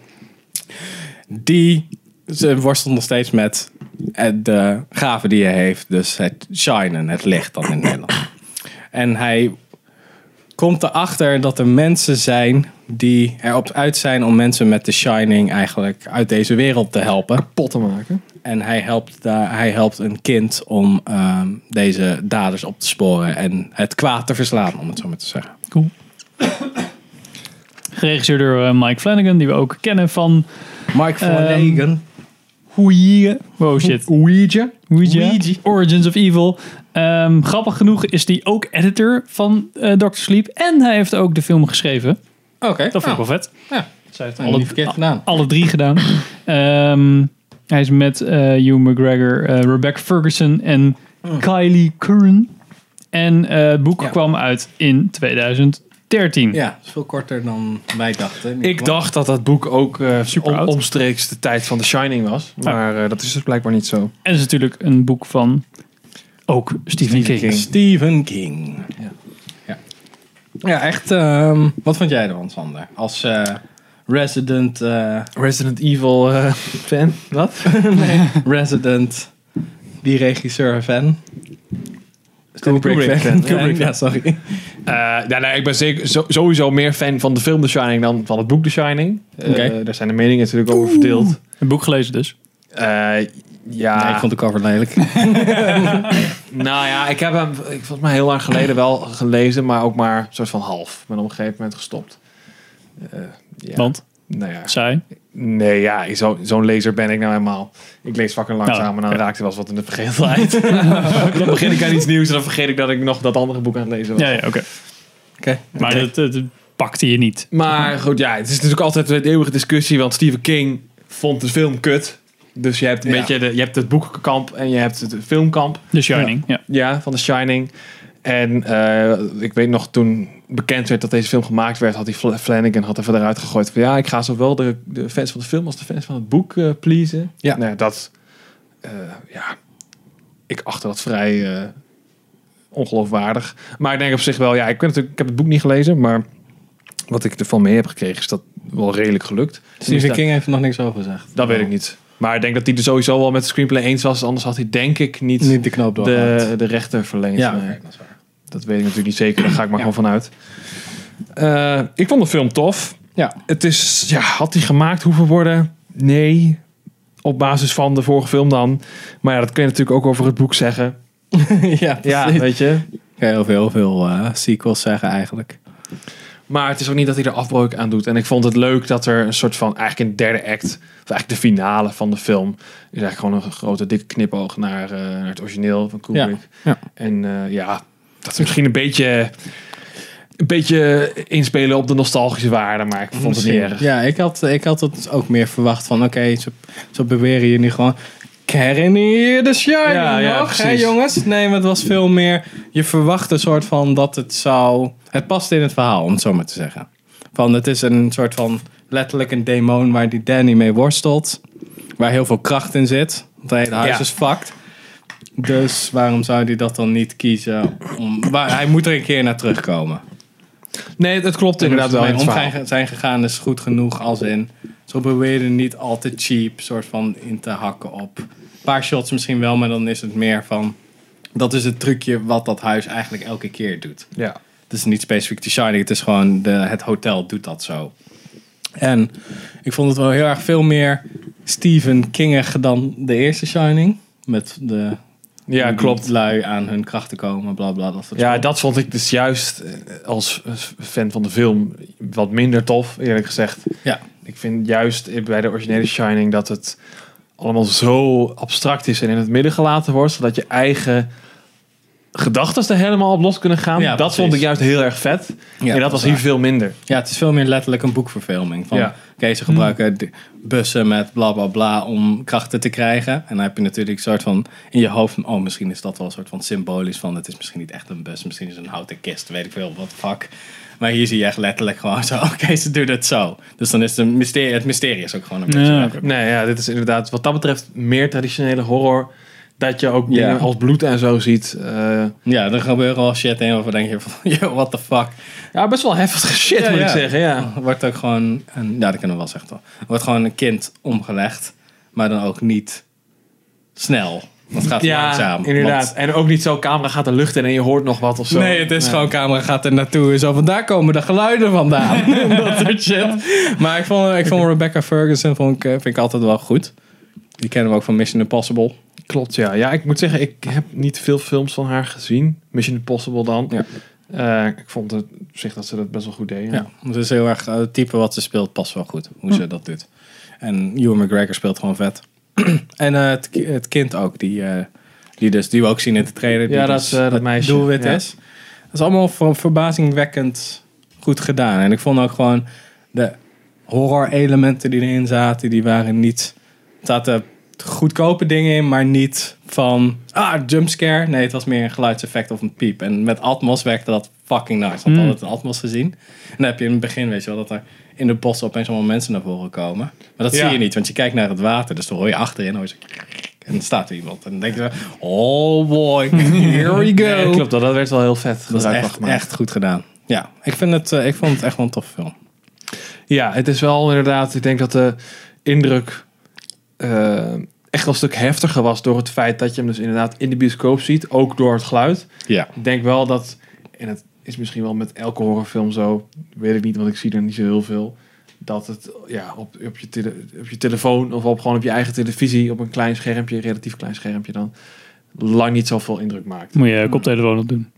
S2: Die ze worstelt nog steeds met eh, de gave die hij heeft. Dus het shinen, het licht dan in Nederland. En hij komt erachter dat er mensen zijn die erop uit zijn om mensen met The Shining eigenlijk uit deze wereld te helpen.
S3: Pot te maken.
S2: En hij helpt, daar, hij helpt een kind om ehm, deze daders op te sporen en het kwaad te verslaan, om het zo maar te zeggen.
S1: Cool. Geregisseerd door eh, Mike Flanagan, die we ook kennen van
S2: Mike
S1: Flanagan. Oh shit. Ouija. Origins of Evil. Ehm, grappig genoeg is die ook editor van eh Doctor Sleep. En hij heeft ook de film geschreven.
S2: Oké,
S1: Dat vind
S2: nou,
S1: ik wel vet.
S2: ja.
S1: Zij heeft
S2: Nou, niet verkeerd gedaan.
S1: alle drie gedaan. Ehm, hij is met eh Hugh McGregor, eh, Rebecca Ferguson en Kylie Curran. En eh, het boek
S2: Ja.
S1: kwam uit in 2013.
S2: Ja, dat is veel korter dan wij dachten.
S3: Ik dacht dat dat boek ook eh, om-
S1: oud.
S3: omstreeks de tijd van The Shining was. Maar eh, dat is dus blijkbaar niet zo.
S1: En het is natuurlijk een boek van ook Stephen, King.
S2: Stephen King. Ja, ja. ja echt. ehm, wat vond jij ervan, Sander? Als eh, resident... eh,
S3: Resident Evil eh, fan. Wat?
S2: resident, die regisseur fan. Stanley
S3: Kubrick fan.
S2: Kubrick,
S3: Ja.
S2: ja, sorry.
S3: Eh, ja, nou, ik ben zeker, zo- sowieso meer fan van de film The Shining dan van het boek The Shining. Eh,
S2: Oké.
S3: daar zijn de meningen natuurlijk over verdeeld.
S1: Een boek gelezen dus.
S3: Eh, ja,
S2: Nee, ik vond de cover lelijk.
S3: nou ja, ik heb hem ik, volgens mij heel lang geleden wel gelezen, maar ook maar een soort van half. Ik ben op een gegeven moment gestopt. Eh, ja.
S1: Want,
S3: Nou ja.
S1: zij.
S3: Nee, ja, ik- zo- zo'n lezer ben ik nou helemaal. Ik lees fucking langzaam
S1: Oh,
S3: en dan raakt er wel eens wat in de vergetelheid. dan begin ik aan iets nieuws en dan vergeet ik dat ik nog dat andere boek aan het lezen was.
S1: Ja, ja oké.
S2: Oké.
S1: Maar dat, eh, dat- dat pakte je niet.
S3: Maar goed, ja, het is natuurlijk altijd een eeuwige discussie, want Stephen King vond de film kut. Dus je hebt een
S2: Ja.
S3: beetje de, je hebt het boekenkamp en je hebt het filmkamp.
S1: The Shining, ja.
S3: Ja, van The Shining. En eh, ik weet nog, toen bekend werd dat deze film gemaakt werd, had die Fla- Flanagan had even eruit gegooid van ja, ik ga zowel de, de fans van de film als de fans van het boek eh pleasen.
S2: Ja.
S3: Nou, dat, eh, ja, ik achter dat vrij eh, ongeloofwaardig. Maar ik denk op zich wel, ja, ik, ben natuurlijk, ik heb het boek niet gelezen, maar wat ik ervan mee heb gekregen is dat wel redelijk gelukt. Dus
S2: Stephen King heeft er nog niks over gezegd.
S3: Dat weet ik niet. Maar ik denk dat hij er sowieso wel met de screenplay eens was, anders had hij denk ik niet,
S2: Niet de knoop doorgehakt.
S3: Oh. de, de rechter verlengd.
S2: Ja,
S3: Nee.
S2: oké, dat is waar.
S3: Dat weet ik natuurlijk niet zeker, daar ga ik maar gewoon vanuit. Eh, ik vond de film tof.
S2: Ja.
S3: Het is, ja, had die gemaakt hoeven worden? Nee. Op basis van de vorige film dan. Maar ja, dat kun je natuurlijk ook over het boek zeggen.
S2: ja,
S3: Ja,
S2: precies.
S3: weet je.
S2: Kan je heel veel, heel veel eh, sequels zeggen eigenlijk.
S3: Maar het is ook niet dat hij er afbreuk aan doet. En ik vond het leuk dat er een soort van, eigenlijk een derde act, of eigenlijk de finale van de film, is eigenlijk gewoon een grote dikke knipoog naar, eh, naar het origineel van Kubrick.
S2: ja.
S3: En eh, ja, dat is misschien een beetje, een beetje inspelen op de nostalgische waarde, maar ik vond het niet erg.
S2: Ja, ik had, ik had het ook meer verwacht van, oké, ze, ze beweren hier nu gewoon... Karen hier de Shining
S3: Ja, ja,
S2: nog, hè
S3: precies.
S2: jongens? Nee, maar het was veel meer... Je verwacht een soort van dat het zou... Het past in het verhaal, om het zo maar te zeggen. Van, het is een soort van letterlijk een demon waar die Danny mee worstelt. Waar heel veel kracht in zit. Want het hele huis
S3: Ja.
S2: is fucked. Dus waarom zou hij dat dan niet kiezen? Om, waar, hij moet er een keer naar terugkomen.
S3: Nee, dat klopt inderdaad wel. in
S2: Mijn
S3: het verhaal.
S2: omgaan zijn gegaan is goed genoeg als in. Ze proberen niet al te cheap soort van in te hakken op. Een paar shots misschien wel, maar dan is het meer van. Dat is het trucje wat dat huis eigenlijk elke keer doet.
S3: Ja.
S2: Het is niet specifiek The Shining, het is gewoon de, het hotel doet dat zo. En ik vond het wel heel erg veel meer Stephen Kingig dan de eerste Shining. Met de
S3: ja, klopt.
S2: lui aan hun krachten komen, bla bla. Mm-hmm. Dat soort
S3: Ja,
S2: dingen.
S3: dat vond ik dus juist eh, als als fan van de film wat minder tof, eerlijk gezegd.
S2: ja.
S3: ik vind juist bij de originele Shining dat het allemaal zo abstract is en in het midden gelaten wordt, zodat je eigen gedachten er helemaal op los kunnen gaan.
S2: Ja,
S3: dat
S2: precies.
S3: vond ik juist heel erg vet.
S2: Ja,
S3: en dat
S2: dat
S3: was
S2: is
S3: hier
S2: waar.
S3: veel minder.
S2: Ja, het is veel meer letterlijk een boekverfilming. Van,
S3: Ja.
S2: Oké, ze gebruiken d- bussen met bla bla bla om krachten te krijgen. En dan heb je natuurlijk een soort van in je hoofd van... Oh, misschien is dat wel een soort van symbolisch van... Het is misschien niet echt een bus, misschien is het een houten kist. Weet ik veel, wat fuck. Maar hier zie je echt letterlijk gewoon zo... Oké, ze doen het zo. Dus dan is het, een mysterie, het mysterie is ook gewoon een beetje...
S1: Ja.
S2: weg.
S3: Nee, ja, dit is inderdaad wat dat betreft meer traditionele horror. Dat je ook
S2: Ja.
S3: dingen als bloed en zo ziet. Eh,
S2: Ja, er gebeuren al shit in waarvan denk je van... Yo, what the fuck.
S3: ja, best wel heftige shit
S2: Ja,
S3: moet ik
S2: ja.
S3: zeggen. Ja.
S2: Wordt ook gewoon... Een, ja, dat kunnen we wel zeggen toch. Wordt gewoon een kind omgelegd. Maar dan ook niet snel. Dat gaat
S3: Ja,
S2: langzaam.
S3: inderdaad.
S2: want-
S3: En ook niet zo, camera gaat de lucht in en je hoort nog wat of zo.
S2: Nee, het is
S3: Ja.
S2: gewoon camera gaat er naartoe en zo van daar komen de geluiden vandaan. dat soort shit. Maar ik vond, ik vond Rebecca Ferguson vond ik, eh, vind ik altijd wel goed. Die kennen we ook van Mission Impossible.
S3: Klopt, ja. Ja, ik moet zeggen, ik heb niet veel films van haar gezien. Mission Impossible dan.
S2: Ja.
S3: Eh, ik vond het op zich dat ze dat best wel goed deed. Ja. Hm.
S2: Ja, het is heel erg eh, het type wat ze speelt past wel goed hoe ze dat doet. En Ewan McGregor speelt gewoon vet. en eh, het, ki- het kind ook die, eh, die dus die we ook zien in de trailer. die
S3: Ja, dat
S2: dus
S3: is, eh, dat
S2: het
S3: meisje.
S2: Doelwit
S3: Ja.
S2: is. Dat is allemaal ver- verbazingwekkend goed gedaan. En ik vond ook gewoon de horror elementen die erin zaten, die waren niet er zaten goedkope dingen in, maar niet van ah jumpscare. Nee, het was meer een geluidseffect of een piep. En met Atmos werkte dat fucking nice. Want altijd een Atmos gezien. En dan heb je in het begin, weet je wel, dat er in de bossen opeens allemaal mensen naar voren komen. Maar dat
S3: Ja.
S2: zie je niet, want je kijkt naar het water. Dus dan hoor je achterin, hoor je zo krrrk. en dan staat er iemand. En dan denk je zo, oh boy, here we go.
S3: Nee, klopt, dat, dat werd wel heel vet.
S2: Dat is
S3: gebruik van
S2: echt,
S3: gemaakt.
S2: echt goed gedaan. Ja, ik, vind het, eh, ik vond het echt wel een toffe film.
S3: Ja, het is wel inderdaad. Ik denk dat de indruk eh, echt wel een stuk heftiger was door het feit dat je hem dus inderdaad in de bioscoop ziet, ook door het geluid.
S2: Ja.
S3: Ik denk wel dat, en het is misschien wel met elke horrorfilm zo, weet ik niet, want ik zie er niet zo heel veel. Dat het ja, op, op, je, tele- op je telefoon of op, gewoon op je eigen televisie, op een klein schermpje, relatief klein schermpje dan, lang niet zoveel indruk maakt.
S1: Moet je koptelefoon op doen.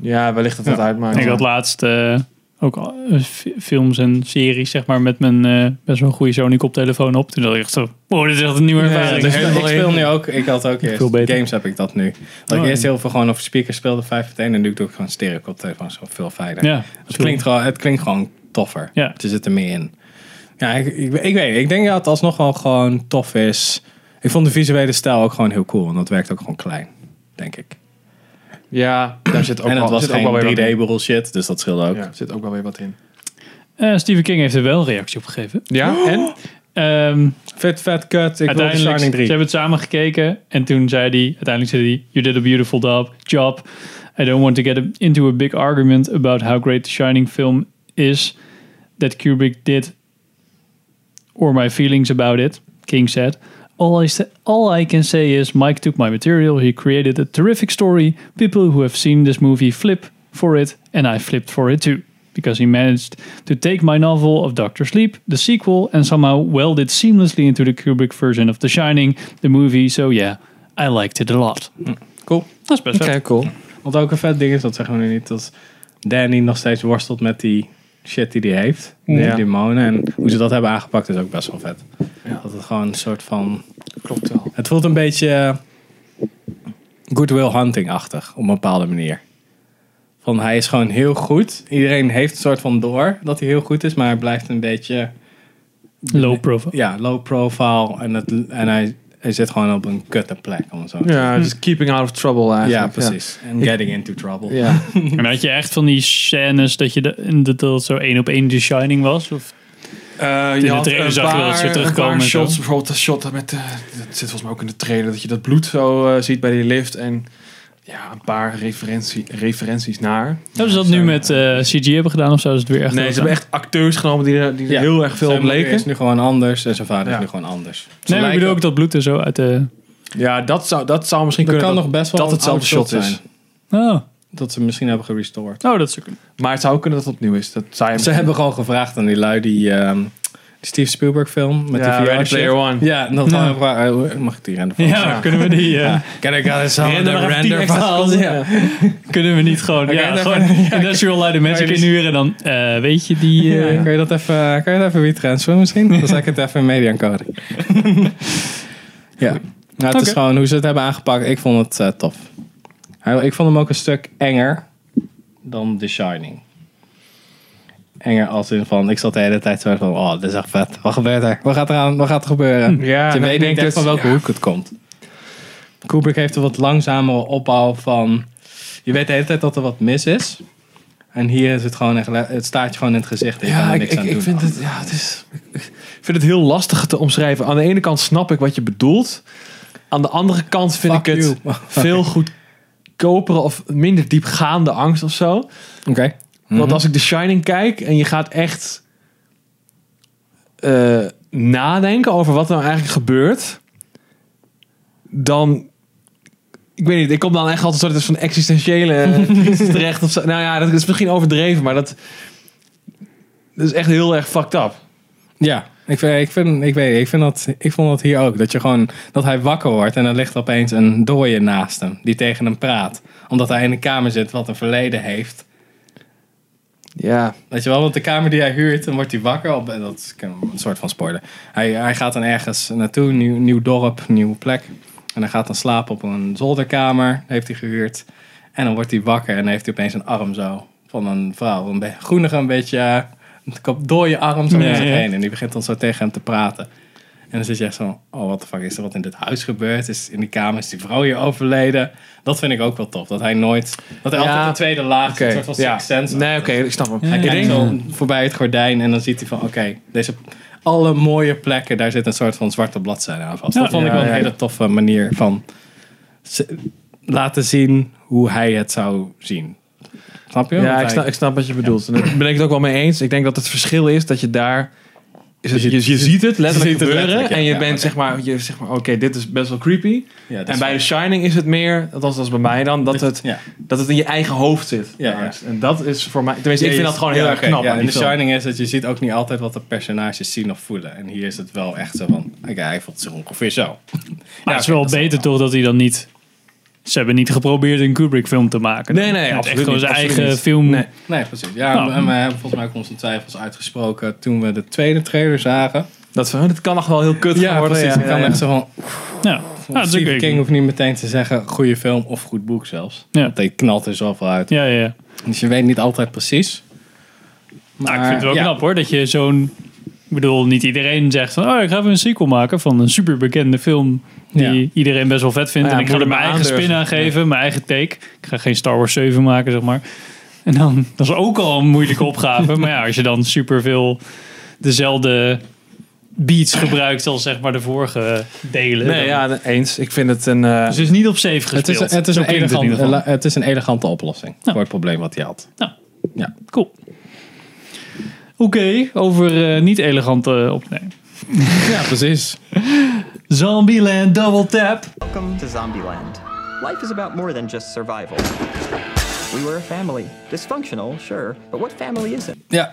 S3: Ja, wellicht dat dat uitmaakt.
S1: Ik had laatst eh, ook al, eh, fi- films en series, zeg maar, met mijn eh, best wel goede Sony koptelefoon op. Toen dacht ik echt zo, wow, dit is echt een nieuwe ervaring.
S2: ik, speel, ik speel nu ook, ik had ook eerst,
S1: Veel beter.
S2: games heb ik dat nu. Dat
S1: Oh,
S2: ik eerst
S1: ja.
S2: heel veel gewoon over speakers speelde, 5 op 1, en nu doe ik gewoon stereo op telefoon, zo veel fijner.
S1: ja,
S2: het, klinkt gewoon, het klinkt gewoon toffer.
S1: Ja.
S2: Het zit er meer in. Ja, ik, ik, ik weet ik denk dat het alsnog wel gewoon tof is. Ik vond de visuele stijl ook gewoon heel cool, en dat werkt ook gewoon klein, denk ik.
S3: Ja, daar zit ook
S2: en het
S3: wel,
S2: was
S3: zit ook wel
S2: geen
S3: weer wat in.
S2: 3D bullshit, dus dat scheelde ook.
S3: Ja, zit ook wel weer wat in.
S1: Eh, Stephen King heeft er wel een reactie op gegeven.
S3: Ja, en?
S1: Ehm,
S2: Vet, vet, kut. Ik wil de
S1: uiteindelijk,
S2: Shining 3.
S1: ze hebben het samen gekeken. En toen zei hij, uiteindelijk zei hij, you did a beautiful job. job. I don't want to get into a big argument about how great the Shining film is that Kubrick did or my feelings about it, King said. All I, sa- all I can say is Mike took my material, he created a terrific story. People who have seen this movie flip for it, and I flipped for it too. Because he managed to take my novel of Doctor Sleep, the sequel, and somehow weld it seamlessly into the Kubrick version of The Shining, the movie. So yeah, I liked it a lot.
S2: Cool.
S1: Dat is best wel.
S3: cool.
S2: Wat ook een vet ding is, dat zeggen we nu niet, dat Danny nog steeds worstelt met die shit die hij heeft.
S3: Ja.
S2: Die demonen. En hoe ze dat hebben aangepakt is ook best wel vet. Dat het gewoon een soort van...
S3: Klopt wel.
S2: Het voelt een beetje eh, Goodwill Hunting-achtig, op een bepaalde manier. Van hij is gewoon heel goed. Iedereen heeft een soort van door dat hij heel goed is, maar hij blijft een beetje
S1: Low profile.
S2: ja, low profile. En, het, en hij, hij zit gewoon op een kutte plek. Om het zo te
S3: Ja, dus keeping out of trouble
S2: zeggen. ja,
S3: eigenlijk.
S2: precies. En getting into trouble.
S3: Ja.
S1: En had je echt van die scènes dat je de, dat, dat zo één op één The Shining was? Of
S3: Eh,
S1: de
S3: had
S1: trailer
S3: een
S1: zag je wel
S3: paar-
S1: dat ze terugkomen
S3: Een
S1: en
S3: paar
S1: zo.
S3: shots, bijvoorbeeld dat shot dat met... eh, dat zit volgens mij ook in de trailer, dat je dat bloed zo eh, ziet bij die lift. En ja, een paar referentie, referenties naar.
S1: Hebben ze Nou, dat nu met eh, CG hebben gedaan of zouden ze het weer echt
S3: Nee, ze hebben echt acteurs genomen die er, die er
S2: Ja.
S3: heel erg veel
S2: Zijn
S3: op
S2: moeder
S3: leken.
S2: is nu gewoon anders en zijn vader
S3: Ja.
S2: is nu gewoon anders. Ze
S1: Nee, maar ik
S2: lijken-
S1: bedoel ook dat bloed er zo uit de...
S3: Ja, dat zou, dat zou misschien
S2: dat kan
S3: kunnen
S2: nog best wel
S3: dat
S2: een
S3: hetzelfde
S2: oud shot
S3: shot is.
S2: zijn.
S1: Oh,
S2: Dat ze misschien hebben gerestored.
S1: oh dat is ook...
S3: Maar het zou ook kunnen dat het opnieuw is. Dat zou je
S2: Ze hebben gewoon gevraagd aan die lui die ehm, Die Steve Spielberg film met
S3: Ja,
S2: die VR
S3: Ready Player
S2: shit.
S3: One.
S2: Ja, en dat
S3: Ja.
S2: waren we vragen, eh, hoe- Mag ik die render van?
S1: Ja, kunnen we die... eh,
S2: Can I get some of
S1: Render
S2: the
S1: maar even tien
S2: render
S1: extra
S2: files?
S1: seconden.
S2: Ja.
S1: Kunnen we niet gewoon... ja,
S2: dat
S1: gewoon
S2: even-
S1: Industrial Light Magic
S2: die-
S1: inhuren en dan... eh, weet je, die... eh,
S2: Ja, Kan je dat even, kan je dat even retransferen misschien? Dan zeg ik het even in mediancode. ja. Nou, het is
S1: Oké.
S2: gewoon hoe ze het hebben aangepakt. Ik vond het eh, tof. Hij- Ik vond hem ook een stuk enger dan The Shining. Enger als in van, ik zat de hele tijd zo van, oh, dit is echt vet. Wat gebeurt er? Wat gaat er aan? Wat gaat er gebeuren? Dus
S3: Ja,
S2: je
S3: nou,
S2: weet
S3: ik
S2: niet
S3: denk
S2: echt van
S3: dat-
S2: welke
S3: ja.
S2: hoek het komt. Kubrick heeft een wat langzamere opbouw van... Je weet de hele tijd dat er wat mis is. En hier is het gewoon echt, le- het staat je gewoon in het gezicht. en je kan
S3: Ja,
S2: er
S3: ik,
S2: niks
S3: ik,
S2: aan
S3: ik
S2: doen.
S3: vind het, ja, het is, ik vind het heel lastig te omschrijven. Aan de ene kant snap ik wat je bedoelt. Aan de andere kant vind
S2: Fuck
S3: ik het
S2: you.
S3: veel goedkopere of minder diepgaande angst of zo.
S2: Oké.
S3: Want als ik The Shining kijk en je gaat echt eh, nadenken over wat nou eigenlijk gebeurt, dan. Ik weet niet, ik kom dan echt altijd een soort van existentiële eh, crisis terecht. Of zo. Nou ja, dat is misschien overdreven, maar dat, dat is echt heel erg fucked up.
S2: Ja, ik, vind, ik, vind, ik weet niet, ik, vind dat, ik vond dat hier ook. Dat, je gewoon, dat hij wakker wordt en er ligt opeens een dooie naast hem. Die tegen hem praat. Omdat hij in een kamer zit wat een verleden heeft.
S3: Ja.
S2: Weet je wel, want de kamer die hij huurt, dan wordt hij wakker. Op, en dat is een soort van spoiler. Hij, hij gaat dan ergens naartoe, nieuw, nieuw dorp, nieuwe plek. En hij gaat dan slapen op een zolderkamer, heeft hij gehuurd. En dan wordt hij wakker en heeft hij opeens een arm zo van een vrouw. Een be- groenige, een beetje eh, een kop- dode arm zo om
S1: Ja,
S2: zich
S1: ja.
S2: heen. En die begint dan zo tegen hem te praten. En dan zit je echt zo, oh wat de fuck is er wat in dit huis gebeurd? Is in die kamer is die vrouw hier overleden? Dat vind ik ook wel tof. Dat hij nooit, dat hij
S3: Ja.
S2: altijd een tweede laag, een soort van
S3: ja.
S2: sixth sense
S3: Nee, oké, ik snap hem.
S2: hij
S3: Ik
S2: kijkt
S3: denk-
S2: zo voorbij het gordijn en dan ziet hij van... Oké, deze alle mooie plekken, daar zit een soort van zwarte bladzijde aan vast. dat vond ik
S3: Ja,
S2: wel een
S3: ja, ja.
S2: hele toffe manier van... ze- laten zien hoe hij het zou zien. Snap je? Want
S3: Ja,
S2: hij-
S3: ik snap, ik snap wat je bedoelt. En daar ben ik het ook wel mee eens. Ik denk dat het verschil is dat je daar... Is het, je, je ziet het letterlijk
S2: ziet het
S3: gebeuren.
S2: letterlijk, ja.
S3: en je
S2: Ja,
S3: bent
S2: oké.
S3: zeg maar, je zeg maar oké, dit is best wel creepy.
S2: Ja, dat is
S3: en bij
S2: wel-
S3: The Shining is het meer, althans dat is bij mij dan, dat het,
S2: Ja.
S3: dat het in je eigen hoofd zit.
S2: Ja,
S3: de
S2: ja.
S3: angst. En dat is voor mij, tenminste dus ik
S2: Ja,
S3: vind
S2: je-
S3: dat gewoon heel
S2: ja,
S3: erg
S2: oké,
S3: knap.
S2: Ja,
S3: aan
S2: en
S3: die
S2: The
S3: film.
S2: Shining is dat je ziet ook niet altijd wat de personages zien of voelen. En hier is het wel echt zo van... Oké, hij voelt zich ongeveer zo.
S1: Maar het is wel beter toch dat hij dan niet... Ze hebben niet geprobeerd een Kubrick film te maken.
S3: Nee, nee,
S1: Het is
S3: absoluut
S1: Echt gewoon
S3: niet,
S1: zijn
S3: absoluut
S1: eigen
S3: niet.
S1: film.
S3: Nee.
S2: Nee, precies. Ja,
S1: Nou.
S2: en we hebben eh, volgens mij ook onze twijfels uitgesproken toen we de tweede trailer zagen.
S3: Dat, van, dat kan nog wel heel kut gaan
S2: Ja,
S3: worden.
S2: precies.
S3: ja,
S2: ik kan
S3: ja, ja.
S2: echt zo van...
S1: Ja. Ja, Nou, dat is
S2: Stephen
S1: ook-
S2: King hoeft niet meteen te zeggen goede film of goed boek zelfs.
S1: Ja.
S2: Want hij knalt er zoveel uit.
S1: Ja, ja, ja.
S2: Dus je weet niet altijd precies. Maar
S1: Nou, ik vind het wel
S2: ja.
S1: knap hoor, dat je zo'n... Ik bedoel, niet iedereen zegt van... Oh, ik ga even een sequel maken van een superbekende film... die
S2: Ja.
S1: iedereen best wel vet vindt.
S3: Nou ja,
S1: en ik ga
S3: moet
S1: er
S3: je
S1: mijn
S3: maar
S1: eigen spin aan
S3: aandurven.
S1: geven, mijn eigen take. Ik ga geen Star Wars 7 maken, zeg maar. En dan, dat is ook al een moeilijke opgave. maar ja, als je dan superveel dezelfde beats gebruikt als zeg maar de vorige delen.
S3: Nee,
S1: dan-
S3: ja, eens. Ik vind het een... eh,
S1: Dus het is niet op safe gespeeld.
S2: Het is, het, is
S1: Zo
S2: een
S1: klinkt in
S2: elegant,
S1: ieder geval.
S2: het is een elegante oplossing voor het probleem wat hij had.
S1: Nou,
S2: Ja.
S1: cool. Oké, over eh, niet elegante opnemen.
S2: ja, precies.
S1: Zombieland Double Tap.
S11: Welcome to Zombieland. Life is about more than just survival. We were a family. Dysfunctional, sure, but what family isn't?
S2: Ja,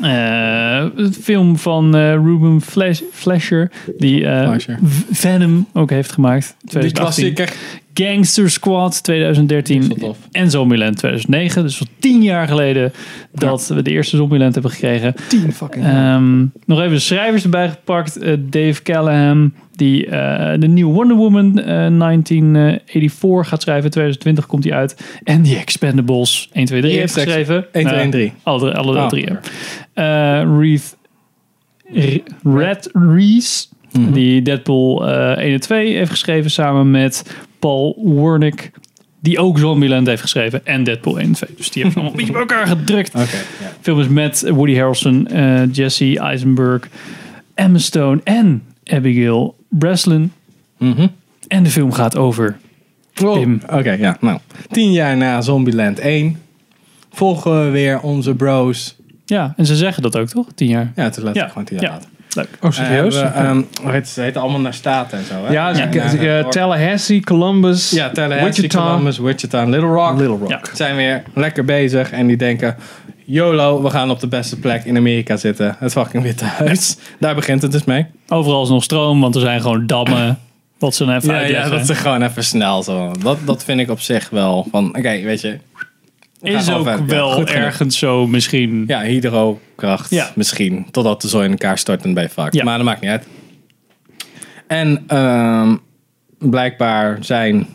S1: Eh, een film van eh, Ruben Fles- Flesher, die eh,
S2: Fleischer.
S1: V- Venom ook heeft gemaakt.
S2: die
S1: 2018.
S2: klassieker.
S1: Gangster Squad
S2: Dat is wel
S1: 2013
S2: tof.
S1: en Zombieland 2009. Dus al tien jaar geleden dat we de eerste Zombieland hebben gekregen.
S3: tien fucking...
S1: Ehm, nog even de schrijvers erbij gepakt. Eh, Dave Callahan, die eh, de nieuwe Wonder Woman eh, 1984 gaat schrijven. 2020 komt die uit. En die Expendables 1, 2, 3
S2: Die
S1: heeft
S2: heeft ex-
S1: geschreven.
S2: 1, 2,
S1: Eh,
S2: 1, 3.
S1: alle alle
S2: Oh.
S1: drie. hè. Eh, Reeve Re- Red Reese,
S2: Mhm.
S1: die Deadpool eh 1 en 2 heeft geschreven samen met Paul Wernick. Die ook Zombieland heeft geschreven en Deadpool 1 en 2. Dus die hebben ze allemaal een beetje bij elkaar gedrukt.
S2: Oké, ja.
S1: Film is met Woody Harrelson, eh, Jesse Eisenberg, Emma Stone en Abigail Breslin.
S2: Mhm.
S1: En de film gaat over. Pim.
S2: Oké, ja. Nou, tien jaar na Zombieland 1 volgen we weer onze bros.
S1: Ja, en ze zeggen dat ook toch? Tien jaar.
S2: Ja, het is letterlijk
S1: ja,
S2: gewoon tien jaar
S1: ja.
S2: later.
S1: Leuk.
S3: Oh,
S2: Eh,
S3: serieus?
S2: we, ehm, hoe heet het, ze heten allemaal naar staten en zo, hè?
S3: ja,
S1: Ja.
S3: dus, eh, eh, Tallahassee, Columbus,
S2: Ja, Tallahassee,
S3: Wichita.
S2: Columbus, Wichita en Little Rock.
S3: Little Rock.
S1: Ja.
S2: Zijn weer lekker bezig en die denken... YOLO, we gaan op de beste plek in Amerika zitten. Het fucking Witte Huis. Daar begint het dus mee.
S1: Overal is nog stroom, want er zijn gewoon dammen. Wat ze dan even
S2: ja, ja,
S1: uitleggen.
S2: dat eh, ze gewoon even snel zo. Dat, dat vind ik op zich wel van, oké, weet je. we gaan
S1: is
S2: gewoon
S1: ook
S2: verder. Ja,
S1: wel
S2: goed genoeg.
S1: ergens zo misschien.
S2: Ja, hydrokracht
S1: Ja.
S2: misschien. Totdat de zon in elkaar stort en bij vaak.
S1: Ja.
S2: Maar dat maakt niet uit. En ehm, blijkbaar zijn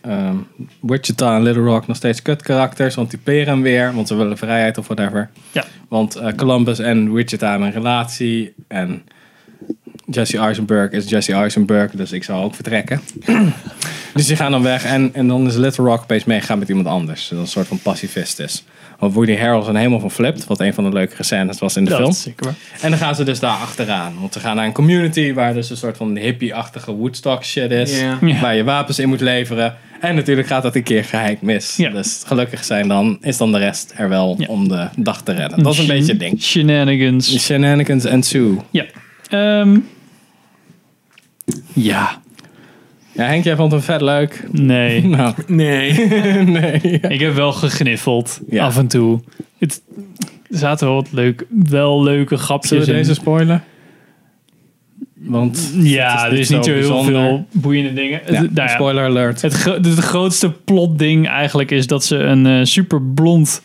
S2: ehm, Wichita en Little Rock nog steeds kut karakters. Want die peren hem weer. Want ze willen vrijheid of whatever.
S1: Ja.
S2: Want eh, Columbus en Wichita hebben een relatie. En Jesse Eisenberg is Jesse Eisenberg. Dus ik zou ook vertrekken. dus die gaan dan weg. En, en dan is Little Rock opeens meegegaan met iemand anders. Dat een soort van pacifist is. Want Woody Harrelson helemaal van flipt. Wat een van de leukere scènes was in de
S1: Dat
S2: film.
S1: is zeker waar.
S2: En dan gaan ze dus daar achteraan. Want ze gaan naar een community waar dus een soort van hippie-achtige Woodstock shit is.
S1: Ja. Ja.
S2: Waar je wapens in moet leveren. En natuurlijk gaat dat een keer geheim mis. Dus gelukkig zijn dan, is dan de rest er wel om de dag te redden. Dat is een
S1: Shen-
S2: beetje het ding.
S1: Shenanigans.
S2: Shenanigans en Sue.
S1: Ja. Ehm,
S2: Ja. Ja, Henk, jij vond hem vet leuk.
S1: nee.
S2: Nou.
S1: Nee. Ik heb wel gegniffeld. Af en toe. Het er zaten wel wat leuk, wel leuke grapjes
S2: Zullen we
S1: in.
S2: deze spoilen? Want
S1: Ja,
S2: het
S1: er is niet zo heel
S2: bijzonder.
S1: veel boeiende dingen.
S2: Ja,
S1: Het- nou ja,
S2: spoiler alert.
S1: Het, gro- het grootste plotding eigenlijk is dat ze een eh super blond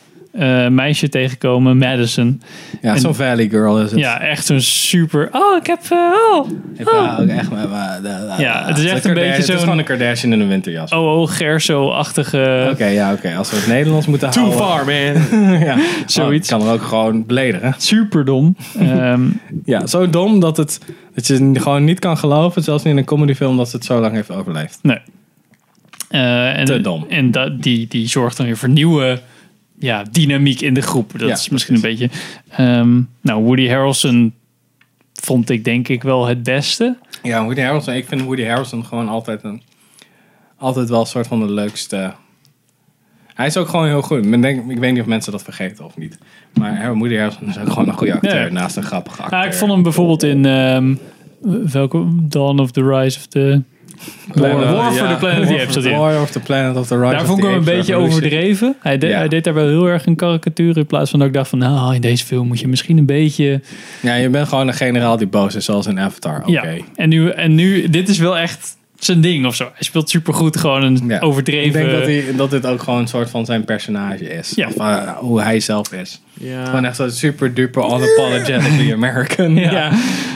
S1: meisje tegenkomen, Madison.
S2: Ja,
S1: En-
S2: zo'n Valley Girl is het.
S1: Ja, echt zo'n super... Oh, ik heb... eh, oh, oh.
S2: Ja, ook echt, maar, maar- maar- maar-
S1: Ja, het is echt
S2: Kardashian-
S1: een beetje
S2: Het is
S1: zo'n-
S2: gewoon een Kardashian in een winterjas.
S1: Oh, oh, Gerso-achtige... Oké,
S2: ja, oké. Als we het Nederlands moeten
S1: Too
S2: houden.
S1: far,
S2: man. ja, Oh,
S1: zoiets.
S2: kan er ook gewoon belederen.
S1: Super dom. Ehm,
S2: ja, zo dom dat, het, dat je het gewoon niet kan geloven, zelfs niet in een comedyfilm, dat ze het zo lang heeft overleefd.
S1: Nee. Eh, en,
S2: Te dom.
S1: En da- die, die zorgt dan weer voor nieuwe ja, dynamiek in de groep. Dat
S2: Ja,
S1: is misschien een beetje... ehm, nou, Woody Harrelson vond ik denk ik wel het beste.
S2: Ja, Woody Harrelson. Ik vind Woody Harrelson gewoon altijd een... Altijd wel een soort van de leukste... Hij is ook gewoon heel goed. Men denkt- ik weet niet of mensen dat vergeten of niet. Maar Har- Woody Harrelson is ook gewoon een goede acteur.
S1: Ja.
S2: Naast een grappige acteur.
S1: Nou, ik vond hem bijvoorbeeld in... ehm, welke? Dawn of the Rise of the... War,
S2: Planet-
S1: War for
S2: ja.
S1: the Planet of the Apes. zat hij in.
S2: War of the Planet of the Rise
S1: Daar
S2: of
S1: vond ik
S2: the
S1: hem een
S2: Apes
S1: beetje
S2: Revolution.
S1: overdreven. Hij, deed-
S2: Ja.
S1: hij deed daar wel heel erg een karikatuur in plaats van dat ik dacht van... Nou, in deze film moet je misschien een beetje...
S2: Ja, je bent gewoon een generaal die boos is, zoals in Avatar. Oké.
S1: Ja. En, nu, en nu, dit is wel echt zijn ding of zo. Hij speelt supergoed, gewoon een overdreven...
S2: Ik denk dat, hij, dat dit ook gewoon een soort van zijn personage is. Of eh, hoe hij zelf is. Gewoon echt zo super duper unapologetically American. Ja.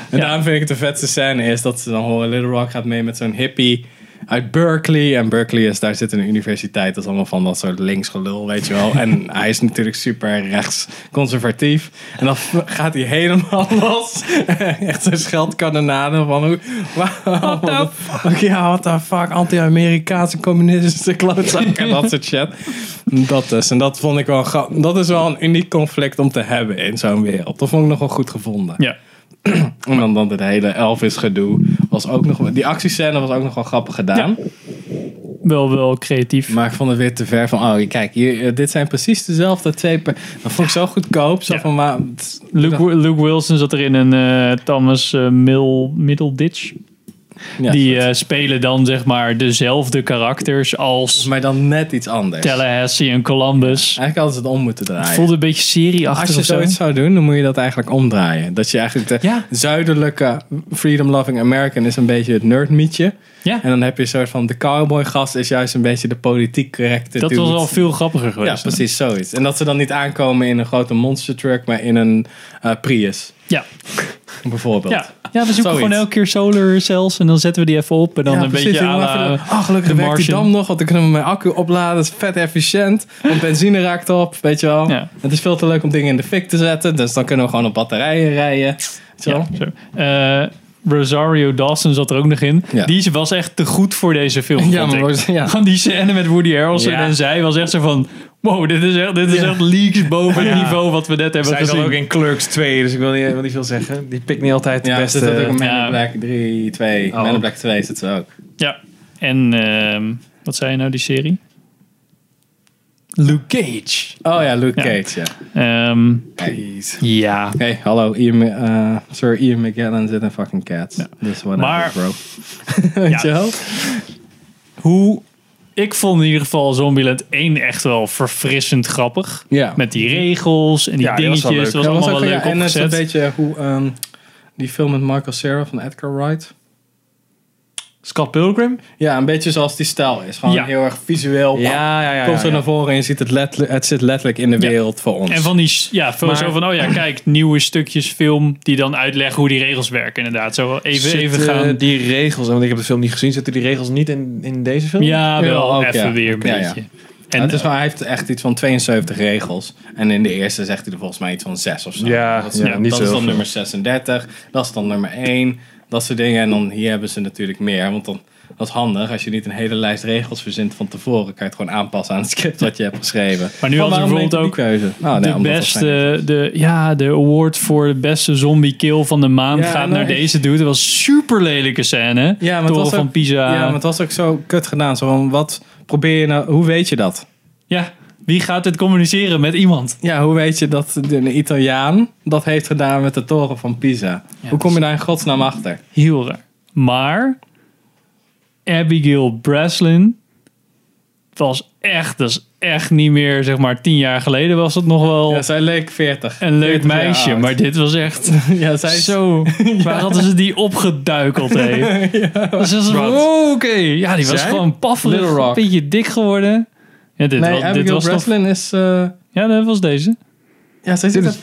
S2: En daarom vind ik het de vetste scène is dat ze dan horen Little Rock gaat mee met zo'n hippie uit Berkeley. En Berkeley is, daar zit een universiteit, dat is allemaal van dat soort links gelul, weet je wel. En hij is natuurlijk super rechts conservatief. En dan gaat hij helemaal los. echt zo'n scheldkanonaden van hoe... Wow, Ja, what the fuck, anti-Amerikaanse communistische klootzakken, dat soort shit. Dat is, en dat vond ik wel grap- Dat is wel een uniek conflict om te hebben in zo'n wereld. Dat vond ik nog wel goed gevonden.
S1: Ja.
S2: En dan, dan dit hele Elvis gedoe was ook nog... Die actiescène was ook nog wel grappig gedaan.
S1: Wel, wel creatief.
S2: Maar ik vond het weer te ver van... Oh, kijk, hier, eh, dit zijn precies dezelfde twee... per- Dat vond ik zo goedkoop. Zo van, maar,
S1: Luke, Wi- Luke Wilson zat er in een eh, Thomas eh, Mill, Middleditch. die eh, spelen dan zeg maar dezelfde karakters als...
S2: Maar dan net iets anders.
S1: Tallahassee en Columbus.
S2: Eigenlijk hadden ze het om moeten draaien.
S1: Het voelde een beetje serieachtig
S2: Als Ah, je
S1: of zo.
S2: zoiets zou doen, dan moet je dat eigenlijk omdraaien. Dat je eigenlijk de zuidelijke freedom-loving American is een beetje het nerdmietje.
S1: Ja.
S2: En dan heb je een soort van de cowboy-gast is juist een beetje de politiek correcte
S1: Dat
S2: dude.
S1: was al veel grappiger geweest.
S2: Ja, precies zoiets. En dat ze dan niet aankomen in een grote monster truck, maar in een eh, Prius.
S1: Ja.
S2: Bijvoorbeeld.
S1: Ja. ja, we zoeken
S2: Zoiets.
S1: gewoon elke keer solar cells en dan zetten we die even op en dan
S2: Ja,
S1: een
S2: precies.
S1: beetje
S2: Ik doe
S1: aan
S2: even
S1: la
S2: de- oh, gelukkig
S1: The
S2: werkt die
S1: Martian.
S2: dam nog, want dan kunnen we mijn accu opladen. Dat is vet efficiënt, want benzine raakt op, weet je wel. Het is veel te leuk om dingen in de fik te zetten, dus dan kunnen we gewoon op batterijen rijden. Zo.
S1: Eh, Rosario Dawson zat er ook nog in.
S2: Ja.
S1: Die was echt te goed voor deze film.
S2: Ja,
S1: vond
S2: maar
S1: ik.
S2: Ros- ja.
S1: Gewoon Die scène met Woody Harrelson
S2: Ja.
S1: en zij was echt zo van... Wow, dit is echt, dit is echt leaks boven het niveau wat we net hebben
S8: Zij
S1: gezien.
S8: zat ook in Clerks 2, dus ik wil niet, wil niet veel zeggen. Die pikt niet altijd de
S2: Ja,
S8: beste.
S3: dus
S2: ze zit ook in Man in Black 3, 2.
S1: Oh.
S2: Man in Black 2 zit ze ook.
S1: Ja. En ehm, wat zei je nou, die serie? Luke Cage.
S2: Oh ja, Luke Cage, ja.
S1: Ehm, ja.
S2: Oké, hallo. Ian, eh, Sir Ian McGallan zit in fucking Cats. Dus whatever,
S1: Maar-
S2: bro. Weet je wel? Hoe
S1: ik vond in ieder geval Zombieland 1 echt wel verfrissend grappig.
S2: Ja.
S1: Met die regels en die
S2: Ja, die was
S1: dingetjes.
S2: wel leuk.
S1: Dat was
S2: Ja, was
S1: allemaal
S2: ook-
S1: wel
S2: ja,
S1: leuk
S2: en het is
S1: opgezet.
S2: een beetje hoe ehm, die film met Michael Cera van Edgar Wright.
S1: Scott Pilgrim?
S2: Ja, een beetje zoals die stijl is. Gewoon
S1: Ja.
S2: heel erg visueel.
S1: Ja, ja, ja,
S2: Komt zo
S1: ja.
S2: naar voren en je ziet het, letterlijk, het zit letterlijk in de wereld voor ons.
S1: En van die, s- ja, van
S2: Maar-
S1: zo van, oh ja, kijk, nieuwe stukjes film die dan uitleggen hoe die regels werken inderdaad. Zo wel even, even
S8: Zitten
S2: eh,
S1: gaan.
S8: Die regels, want ik heb de film niet gezien, zitten die regels niet in, in deze film?
S1: Ja, wel,
S2: ook,
S1: even
S2: ja.
S1: weer een
S2: Ja, ja.
S1: beetje.
S2: En het is wel, hij heeft echt iets van 72 regels. En in de eerste zegt hij er volgens mij iets van 6 of zo.
S8: Ja,
S2: dat is,
S8: ja, niet
S2: dat
S8: zo
S2: is
S8: heel
S2: dan
S8: veel.
S2: nummer 36. Dat is dan nummer 1. Dat soort dingen. En dan hier hebben ze natuurlijk meer. Want dan, dat is handig. Als je niet een hele lijst regels verzint van tevoren, kan je het gewoon aanpassen aan het script wat je hebt geschreven.
S1: Maar nu
S2: Van,
S1: hadden ze
S2: waarom
S1: bijvoorbeeld ook
S2: maak je die keuze. Nou, nee,
S1: de
S2: omdat dat zijn-
S1: beste, de, ja, de award voor de beste zombie kill van de maand
S2: Ja,
S1: gaat
S2: nou,
S1: naar
S2: ik-
S1: deze dude. Dat was super lelijke scène.
S2: Ja, maar het
S1: Toren
S2: was ook-
S1: van Pisa.
S2: Ja, maar het was ook zo kut gedaan. Zo van, wat probeer je nou, hoe weet je dat?
S1: Ja, wie gaat dit communiceren met iemand?
S2: Ja, hoe weet je dat een Italiaan dat heeft gedaan met de toren van Pisa? hoe kom je
S1: dus-
S2: daar in godsnaam achter?
S1: Heel raar. Maar Abigail Breslin was echt, dat is echt niet meer, zeg maar, tien jaar geleden was het nog wel. Ja,
S2: zij leek 40.
S1: Een leuk
S2: 40 jaar
S1: meisje,
S2: oud.
S1: maar dit was echt
S2: ja, zij
S1: zo. Waar hadden ze die opgeduikeld, hé? Dus dat is
S2: wat?
S1: oh, oké. Ja, die was
S2: Zij?
S1: gewoon pafferig,
S2: Little Rock.
S1: een beetje dik geworden. Ja, dit,
S2: nee,
S1: was,
S2: Abigail
S1: dit was toch-
S2: Breslin is... eh,
S1: Ja, dat was deze.
S2: ja, zij ziet er...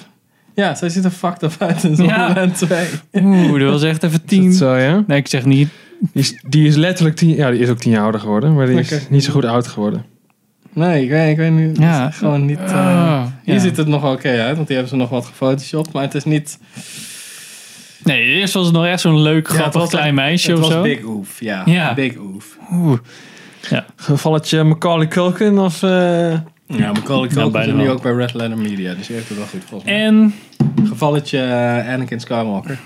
S2: Ja, zij ziet er fucked up uit in zo'n
S1: Ja.
S2: moment 2.
S1: Oeh, dat was echt even tien.
S3: Zo, ja?
S1: Nee, ik zeg niet.
S3: Die is, die is letterlijk tien... Ja, die is ook tien jaar ouder geworden. Maar die is
S2: Oké.
S3: niet zo goed oud geworden.
S2: Nee, ik weet, ik weet niet.
S1: Ja.
S2: het is gewoon niet... eh,
S1: Ah,
S2: hier
S1: ja.
S2: ziet het nog oké uit, want die hebben ze nog wat gefotoshopt. Maar het is niet...
S1: Nee, eerst was het nog echt zo'n leuk,
S2: Ja, het
S1: grappig
S2: was
S1: klein
S2: echt-
S1: meisje
S2: het
S1: of
S2: was
S1: zo.
S2: Big Oof, ja.
S1: Ja.
S2: Big Oof.
S1: Oeh.
S8: Gevalletje Macaulay Culkin of... eh,
S2: Ja, Macaulay
S8: Nou,
S2: Culkin
S8: bijna
S2: zit nu
S8: wel.
S2: ook bij Red Letter Media, dus die heeft het wel goed volgens mij.
S1: En...
S2: Gevalletje eh, Anakin Skywalker.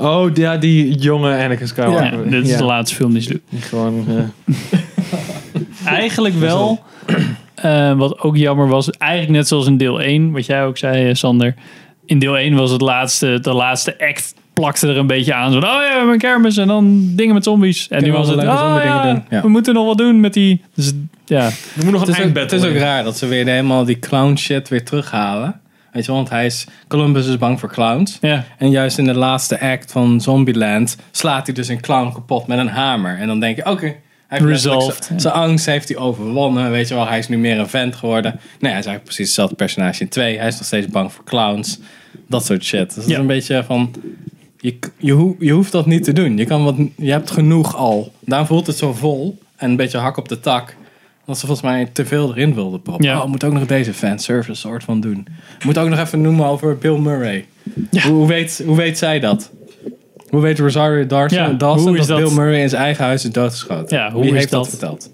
S8: Oh, ja, die jonge Anakin Skywalker.
S1: Ja, dit is de laatste film die ze doet.
S8: Gewoon... eh,
S1: Eigenlijk wel, eh, wat ook jammer was, eigenlijk net zoals in deel 1, wat jij ook zei, eh, Sander. In deel 1 was het laatste, de laatste act plakte er een beetje aan. Zo van, oh ja, mijn kermis en dan dingen met zombies. En nu
S2: Kunnen
S1: was
S2: we
S1: het,
S2: wel leuke
S1: oh
S2: zombiedingen
S1: ja,
S2: doen." Ja.
S1: we moeten nog wat doen met die... Dus, ja.
S8: Er moet nog
S2: Het is, ook, het is ook raar dat ze weer helemaal die clown shit weer terughalen. Weet je, wel, want hij is, Columbus is bang voor clowns.
S1: Ja.
S2: En juist in de laatste act van Zombieland slaat hij dus een clown kapot met een hamer. En dan denk je, oké, hij heeft letterlijk
S1: Resolved,
S2: zijn-
S1: ja.
S2: zijn angst heeft hij overwonnen. Weet je wel, hij is nu meer een vent geworden. Nee, hij is eigenlijk precies hetzelfde personage in 2. Hij is nog steeds bang voor clowns. Dat soort shit. Dus het is
S1: Ja.
S2: een beetje van, je, je, ho- je hoeft dat niet te doen. Je, kan wat, je hebt genoeg al. Daarom voelt het zo vol en een beetje hak op de tak. Dat ze volgens mij te veel erin wilden proppen.
S1: Ja.
S2: Oh, moet ook nog deze fanservice soort van doen. Moet ook nog even noemen over Bill Murray. Hoe, hoe weet, hoe weet zij dat? Hoe weet Rosario Dawson,
S1: Ja,
S2: Dawson
S1: hoe is
S2: dat,
S1: dat?
S2: Bill Murray in zijn eigen huis is doodgeschoten?
S1: Ja, hoe
S2: Wie
S1: is
S2: heeft dat,
S1: dat?
S2: verteld?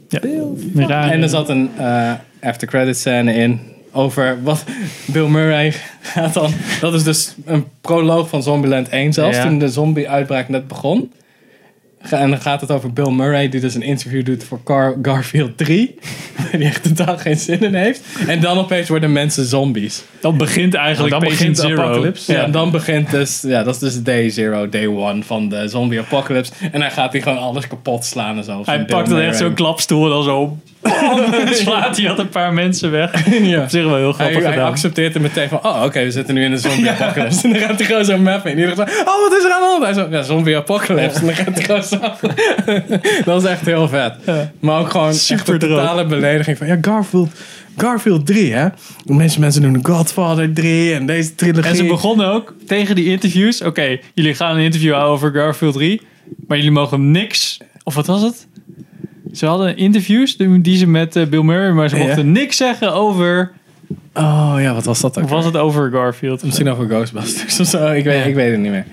S1: ja. Raar.
S2: En er zat een eh after credit scène in over wat Bill Murray gaat dan. Dat is dus een proloog van Zombieland 1 zelfs,
S1: Ja.
S2: toen de zombie-uitbraak net begon. Ga- En dan gaat het over Bill Murray, die dus een interview doet voor Gar- Garfield 3. Die echt totaal geen zin in heeft. En dan opeens worden mensen zombies.
S1: Dan begint eigenlijk
S2: dan
S1: Patient
S2: begint de
S1: Zero.
S2: apocalypse. Ja. en dan begint dus, ja, dat is dus day zero, day one van de zombie apocalypse. En dan gaat hij gewoon alles kapot slaan en zo.
S1: Hij
S2: Zo'n
S1: pakt
S2: Bill
S1: dan echt
S2: Murray.
S1: zo'n klapstoel en dan zo... bam, slaat hij had een paar mensen weg. Op zich wel heel grappig
S2: Hij, hij
S1: gedaan.
S2: accepteert het meteen van, oh oké, we zitten nu in een zombie apocalypse. En dan gaat hij gewoon zo mappen. En iedereen zo, oh wat is er aan de hand? Hij zo, ja, zombie apocalypse. En dan gaat hij gewoon zo. dat is echt heel vet. Maar ook gewoon
S1: Super
S2: Super echt een
S1: droog.
S2: totale belediging van, ja Garfield, Garfield 3 hè. De meeste mensen doen de Godfather 3 en deze trilogie.
S1: En ze begonnen ook tegen die interviews. Oké, jullie gaan een interview houden over Garfield 3. Maar jullie mogen niks. Of wat was het? Ze hadden interviews die die ze met eh, Bill Murray. Maar ze
S2: Ja.
S1: mochten niks zeggen over.
S2: Oh ja, wat was dat ook?
S1: Of was het over Garfield?
S2: Misschien over Ghostbusters of zo. Ik weet, ik weet het niet meer.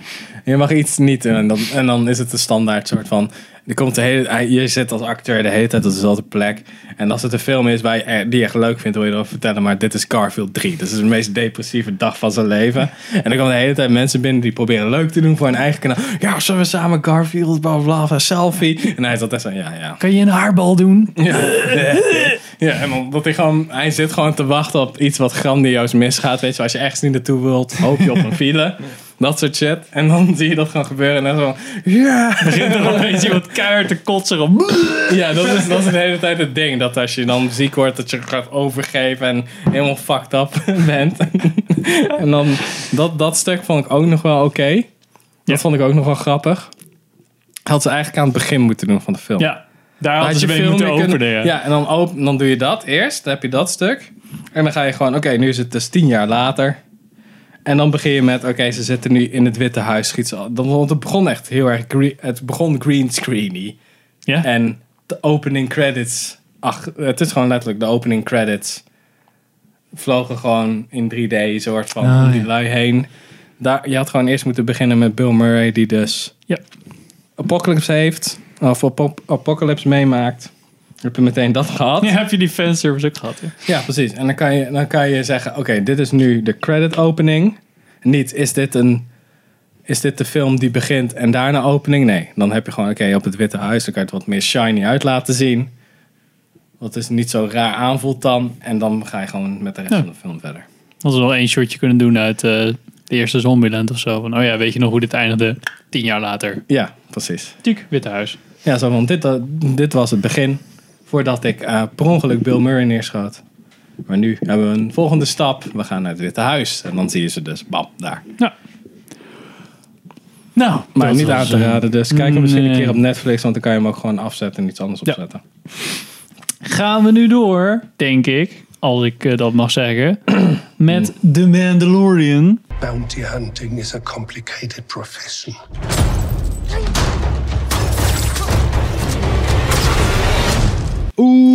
S2: Je mag iets niet doen. En dan, en dan is het de standaard soort van... Er komt de hele, hij- je zit als acteur de hele tijd op dezelfde plek. En als het een film is waar je, er- die je echt leuk vindt... wil je erover vertellen. Maar dit is Garfield 3. Dit is de meest depressieve dag van zijn leven. En dan komen de hele tijd mensen binnen... die proberen leuk te doen voor hun eigen kanaal. Ja, zullen we samen Garfield, bla bla bla, selfie. En hij zat echt zo, ja, ja.
S1: Kan je een haarbal doen?
S2: Ja, en omdat hij gewoon, hij zit gewoon te wachten op iets wat grandioos misgaat. Weet je, als je ergens niet naartoe wilt, hoop je op een file. Dat soort shit. En dan zie je dat gaan gebeuren. En dan zo. Ja!
S1: Begint er opeens iemand keihard te kotsen. Om.
S2: Ja, dat is, dat is de hele tijd het ding. Dat als je dan ziek wordt, dat je gaat overgeven en helemaal fucked up bent. en dan, dat, dat stuk vond ik ook nog wel oké. Dat vond ik ook nog wel grappig. Had ze eigenlijk aan het begin moeten doen van de film.
S1: Ja, daar hadden
S2: had
S1: ze
S2: je
S1: mee
S2: veel
S1: moeten
S2: meer kunnen-
S1: openen, ja.
S2: en dan, open, dan doe je dat eerst. Dan heb je dat stuk. En dan ga je gewoon, oké, nu is het dus tien jaar later. En dan begin je met, oké, ze zitten nu in het Witte Huis. Schiet ze al- dan, want het begon echt heel erg, gre- het begon green screeny.
S1: Ja.
S2: En de opening credits, ach, het is gewoon letterlijk de opening credits. Vlogen gewoon in 3D soort van
S1: Ah,
S2: om die
S1: ja.
S2: lui heen. Daar, je had gewoon eerst moeten beginnen met Bill Murray die dus
S1: Ja.
S2: Apocalypse heeft. Of Apo- Apocalypse meemaakt. Dan Heb je meteen dat gehad.
S1: Ja, heb je die fanservice ook gehad. Ja.
S2: Ja, precies. En dan kan je, dan kan je zeggen: oké, dit is nu de credit opening. Niet is dit een. Is dit de film die begint en daarna opening? Nee. Dan heb je gewoon, oké, op het Witte Huis, dan kan je het wat meer shiny uit laten zien. Wat is niet zo raar aanvoelt dan. En dan ga je gewoon met de rest
S1: Ja.
S2: van de film verder.
S1: Hadden ze nog één shotje kunnen doen uit eh, de eerste Zombieland of zo. Van, oh ja, weet je nog hoe dit eindigde? Tien jaar later.
S2: Ja, precies.
S1: Tuuk, Witte Huis.
S2: Ja, zo, want dit, eh, dit was het begin. Voordat ik eh, per ongeluk Bill Murray neerschoot. Maar nu hebben we een volgende stap. We gaan naar het Witte Huis. En dan zie je ze dus, bam, daar.
S1: Nou,
S2: Maar
S1: dat
S2: niet
S1: was,
S2: aan te
S1: eh,
S2: raden, dus kijk hem misschien een
S1: nee.
S2: keer op Netflix, want dan kan je hem ook gewoon afzetten en iets anders
S1: Ja.
S2: opzetten.
S1: Gaan we nu door, denk ik, als ik eh, dat mag zeggen, met The Mandalorian.
S5: Bounty hunting is a complicated profession.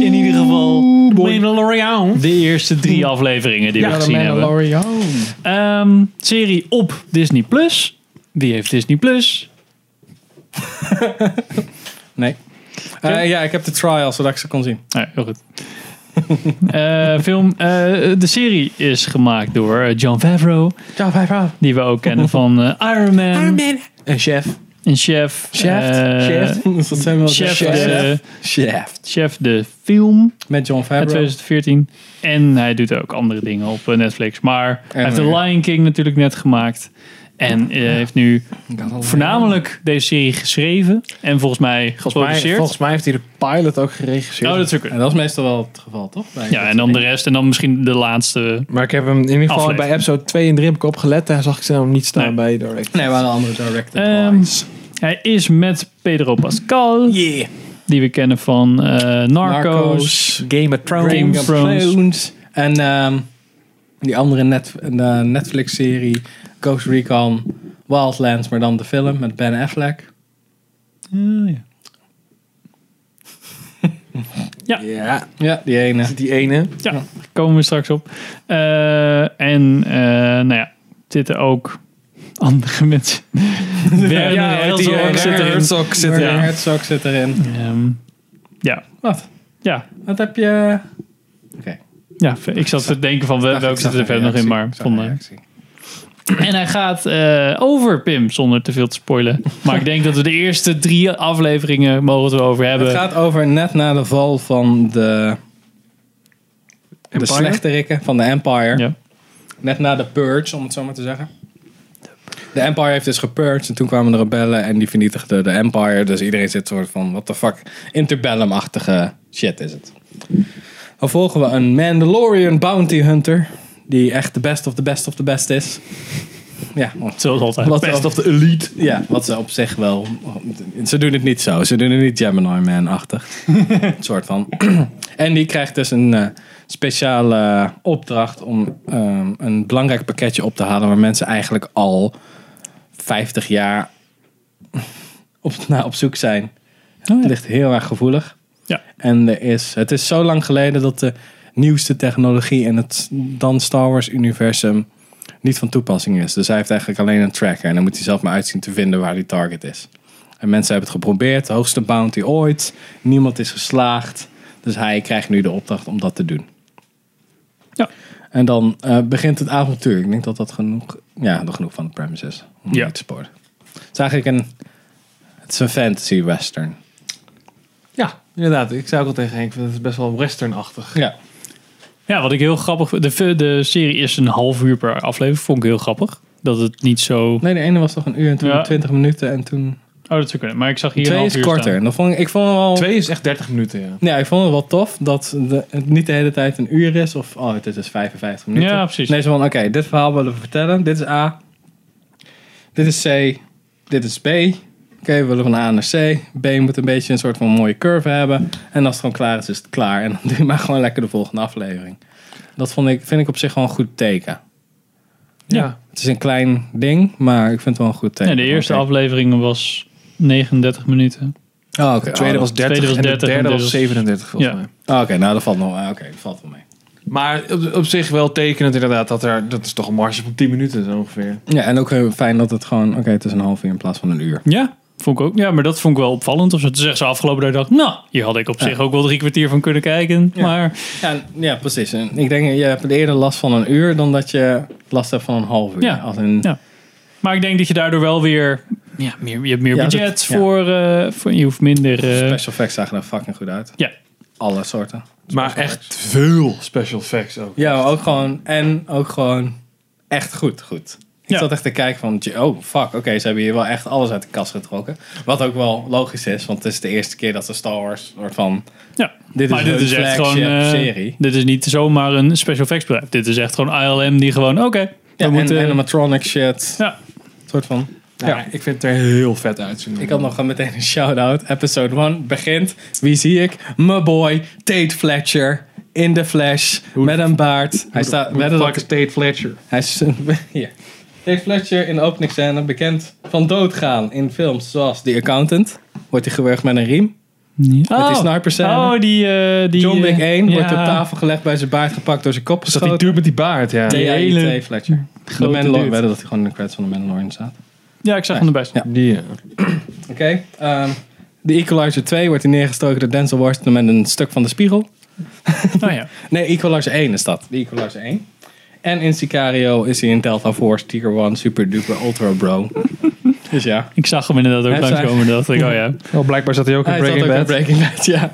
S1: In ieder geval Mandalorian. De eerste drie afleveringen die we gezien hebben. Ehm, serie op Disney Plus. Wie heeft Disney Plus?
S2: Nee. Eh, ja, ik heb de trial, zodat ik ze kon zien.
S1: Nee, heel goed. Eh, film, eh, de serie is gemaakt door eh, John Favreau. John Favreau. Die we ook kennen van eh, Iron Man. Iron Man.
S2: En chef.
S1: En Chef.
S2: Chef?
S1: eh,
S2: chef? Dat zijn wel
S1: Chef,
S2: chef.
S1: de,
S2: Chef.
S1: chef de film.
S2: Met John
S1: uit
S2: Favreau.
S1: 2014. En hij doet ook andere dingen op eh, Netflix. Maar hij heeft The
S3: eh,
S2: weer.
S1: Lion King natuurlijk net gemaakt. En eh, heeft nu voornamelijk deze serie geschreven. En volgens mij
S3: Volgens mij,
S1: geproduceerd.
S3: volgens mij heeft hij de pilot ook geregisseerd.
S1: Oh, dat is ook
S2: En dat is meestal wel het geval, toch? Bij
S1: Ja, en dan de rest. En dan misschien de laatste.
S3: Maar ik heb hem in ieder geval
S1: Aflevering.
S3: bij episode 2 en 3 heb ik opgelet. Daar zag ik ze nou niet staan
S1: Nee.
S3: bij Direct.
S2: Nee, maar een andere director.
S1: Ehm, hij is met Pedro Pascal. Die we kennen van eh, Narcos.
S2: Narcos.
S3: Game of Thrones.
S1: Game of Thrones.
S2: En ehm, die andere net, eh, Netflix-serie, Ghost Recon, Wildlands, maar dan de film met Ben Affleck.
S1: Eh, Ja, ja.
S3: Ja,
S2: Ja, die ene.
S3: die ene.
S1: Ja, daar komen we straks op. Eh, en eh, nou ja, zitten ook andere mensen. Werner
S2: Ja,
S1: Herzog
S2: die Werner
S1: zit erin.
S2: Herzog zit
S1: Ja.
S2: erin. Herzog zit erin.
S1: Ehm, ja,
S2: Wat?
S1: ja,
S2: Wat heb je? Oké.
S1: ja, ik zat te denken van wel-
S2: Dacht,
S1: welke
S2: ik zag
S1: zitten er
S2: een
S1: verder nog in,
S2: reactie.
S1: maar
S2: Ik zag
S1: vond
S2: een
S1: eh,
S2: reactie.
S1: En hij gaat eh, over Pim, zonder te veel te spoilen. Maar ik denk dat we de eerste drie afleveringen mogen we het over hebben.
S2: Het gaat over net na de val van de, de
S3: Empire?
S2: slechterikken van de Empire.
S1: Ja.
S2: Net na de purge, om het zo maar te zeggen. De Empire heeft dus gepurged en toen kwamen de rebellen en die vernietigden de Empire. Dus iedereen zit soort van, what the fuck, interbellum-achtige shit is het. Dan volgen we een Mandalorian bounty hunter. Die echt de best of the best of the best is. Ja, want
S1: Zoals altijd.
S2: Wat
S1: Best
S2: wel.
S1: of the elite.
S2: ja, wat ze op zich wel. Ze doen het niet zo. Ze doen het niet Gemini Man-achtig. Een soort van. en die krijgt dus een eh, speciale opdracht om ehm, een belangrijk pakketje op te halen. Waar mensen eigenlijk al 50 jaar op, naar op zoek
S1: Oh
S2: zijn. Het ligt heel erg gevoelig.
S1: Ja.
S2: En er is, het is zo lang geleden dat de nieuwste technologie in het dan Star Wars-universum niet van toepassing is. Dus hij heeft eigenlijk alleen een tracker. En dan moet hij zelf maar uitzien te vinden waar die target is. En mensen hebben het geprobeerd. De hoogste bounty ooit. Niemand is geslaagd. Dus hij krijgt nu de opdracht om dat te doen.
S1: Ja.
S2: En dan eh, begint het avontuur. Ik denk dat dat genoeg, ja, dat genoeg van de premise is. Om
S1: Ja.
S2: niet te spoilen. Het is eigenlijk een, het is een fantasy western.
S3: Ja, inderdaad. Ik zei ook al tegen Henk, dat is best wel westernachtig.
S2: Ja.
S1: Ja, wat ik heel grappig vind. De, de serie is een half uur per aflevering. Vond ik heel grappig. dat het niet zo...
S2: Nee, de ene was toch een uur en toen
S1: Ja.
S2: 20 minuten en toen...
S1: Oh, dat zou kunnen. Maar ik zag hier een
S2: Twee
S1: half
S2: is
S1: uur
S2: korter.
S1: staan.
S2: Dan vond ik, ik vond wel...
S1: Twee
S3: is echt 30 minuten, ja.
S2: Ja, ik vond het wel tof dat de- het niet de hele tijd een uur is. Of, oh, dit is 55 minuten.
S1: Ja, precies.
S2: Nee, zo van, oké, dit verhaal willen we vertellen. Dit is A. Dit is C. Dit is B. Oké, we willen van A naar C. B moet een beetje een soort van mooie curve hebben. En als het gewoon klaar is, is het klaar. En dan doe je maar gewoon lekker de volgende aflevering. Dat vond ik, vind ik op zich gewoon een goed teken.
S1: Ja.
S2: Het is een klein ding, maar ik vind het wel een goed teken.
S1: Nee, de eerste
S2: Oké.
S1: aflevering was 39 minuten.
S2: Oh, oké.
S1: De tweede
S2: Oh,
S1: was
S2: dat-
S1: 30 tweede was en de 30 en derde was dus- 37 volgens Ja. mij.
S2: Oh, oké, nou dat valt nog ah, Oké, dat valt wel mee.
S3: Maar op, op zich wel tekenend inderdaad. Dat, er, dat is toch een marge van 10 minuten zo ongeveer.
S2: Ja, en ook heel fijn dat het gewoon... Oké, het is een half uur in plaats van een uur.
S1: Ja, vond ik ook. Ja, maar dat vond ik wel opvallend. Of ze het zeggen ze afgelopen dag, dacht, nou, hier had ik op
S2: Ja.
S1: zich ook wel drie kwartier van kunnen kijken. Maar
S2: Ja, ja, precies. En ik denk, je hebt eerder last van een uur dan dat je last hebt van een half uur.
S1: Ja.
S2: Als een,
S1: Ja. Maar ik denk dat je daardoor wel weer... Ja, meer, je hebt meer
S2: Ja,
S1: budget
S2: dat- ja.
S1: voor, eh, voor... Je hoeft minder... eh,
S2: Special effects zagen er fucking goed uit.
S1: Ja.
S2: Alle soorten.
S3: Maar echt veel special effects ook.
S2: Ja, maar ook gewoon... En ook gewoon echt goed, goed. Ik zat echt te kijken van, oh fuck, oké, ze hebben hier wel echt alles uit de kast getrokken. Wat ook wel logisch is, want het is de eerste keer dat ze Star Wars soort van...
S1: Ja,
S2: dit is
S1: maar dit
S2: hun
S1: is echt
S2: flagship
S1: gewoon... eh,
S2: serie.
S1: Dit is niet zomaar een special effects bedrijf. Dit is echt gewoon ILM die gewoon, oké. we
S2: en
S1: moeten,
S2: animatronic shit.
S1: Ja.
S2: soort van.
S3: Ja, ik vind het er heel vet uitzien.
S2: Ik had nog gewoon meteen een shout-out. Episode 1 begint. Wie zie ik? My boy, Tate Fletcher. In de flash. met een baard. Hij staat.
S3: hoe de
S2: wedden
S3: fuck
S2: dat-
S3: is Tate Fletcher?
S2: Hij is. Hier. Tate Fletcher in de openingsscène bekend van doodgaan in films zoals The Accountant. Wordt hij gewurgd met een riem. Met die sniperscène.
S1: Oh, die... eh, die
S2: John Wick
S1: eh,
S2: 1 wordt
S1: ja.
S2: op tafel gelegd, bij zijn baard gepakt, door zijn kop
S3: Is dat die
S2: geschoten.
S3: duur met die baard, ja.
S2: Die hele... Tate Fletcher. De
S1: grote
S2: Mandalorian.
S1: dude.
S2: Wedden dat hij gewoon in de credits van de Mandalorian staat.
S1: Ja, ik zag hem erbij staan.
S3: Die,
S2: Oké. ehm, de Equalizer 2 wordt hier neergestoken door Denzel Washington met een stuk van de spiegel.
S1: Oh ja.
S2: Nee, Equalizer 1 is dat. De Equalizer 1. En in Sicario is hij in Delta Force, Tier 1, Super Duper, Ultra Bro. dus ja.
S1: Ik zag hem inderdaad ook
S2: Hij
S1: langskomen.
S2: zei-
S1: Dacht ik, oh ja.
S3: Oh, blijkbaar zat hij ook in
S2: Hij zat
S3: Breaking
S2: ook in
S3: Bad.
S2: Breaking Bad, ja.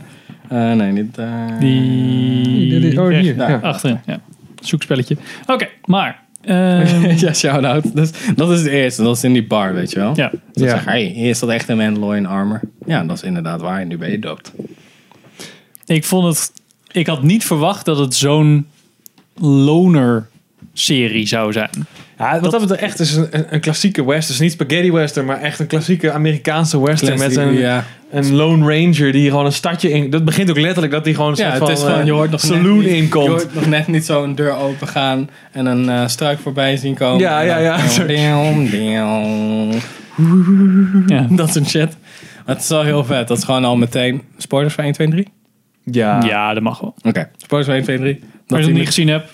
S2: Eh, nee, niet daar.
S1: Die...
S2: Oh, hier,
S1: rechts,
S2: ja.
S1: Achterin, ja. Zoekspelletje. Oké, maar... eh,
S2: ja, shout-out. Dus, dat is het eerste. Dat is in die bar, weet je wel.
S1: Ja.
S2: Dus
S1: Ja.
S2: ja. hey, is dat echt een Mandalorian armor? Ja, dat is inderdaad waar. En nu ben je dood.
S1: Ik vond het... Ik had niet verwacht dat het zo'n loner-serie zou zijn.
S3: Ja, wat dat, betreft echt is een, een- een klassieke western. Dus niet spaghetti western, maar echt een klassieke Amerikaanse western.
S2: Klassieke,
S3: met een,
S2: ja.
S3: een Lone Ranger die gewoon een stadje in... Dat begint ook letterlijk dat hij gewoon een
S2: Ja,
S3: soort
S2: het
S3: van,
S2: is gewoon,
S3: eh,
S2: je hoort nog
S3: saloon
S2: net niet,
S3: inkomt.
S2: Je hoort nog net niet zo'n deur open gaan en een eh, struik voorbij zien komen.
S3: Ja, ja, ja.
S2: Down, down.
S1: Ja.
S2: Dat soort shit. Maar het is wel heel vet. Dat is gewoon al meteen. Spoilers voor 1, 2, 3?
S3: Ja.
S1: Ja, dat mag wel.
S2: Oké, spoilers voor 1, 2, 3.
S1: Als je
S2: die
S1: het niet
S2: niet-
S1: gezien hebt,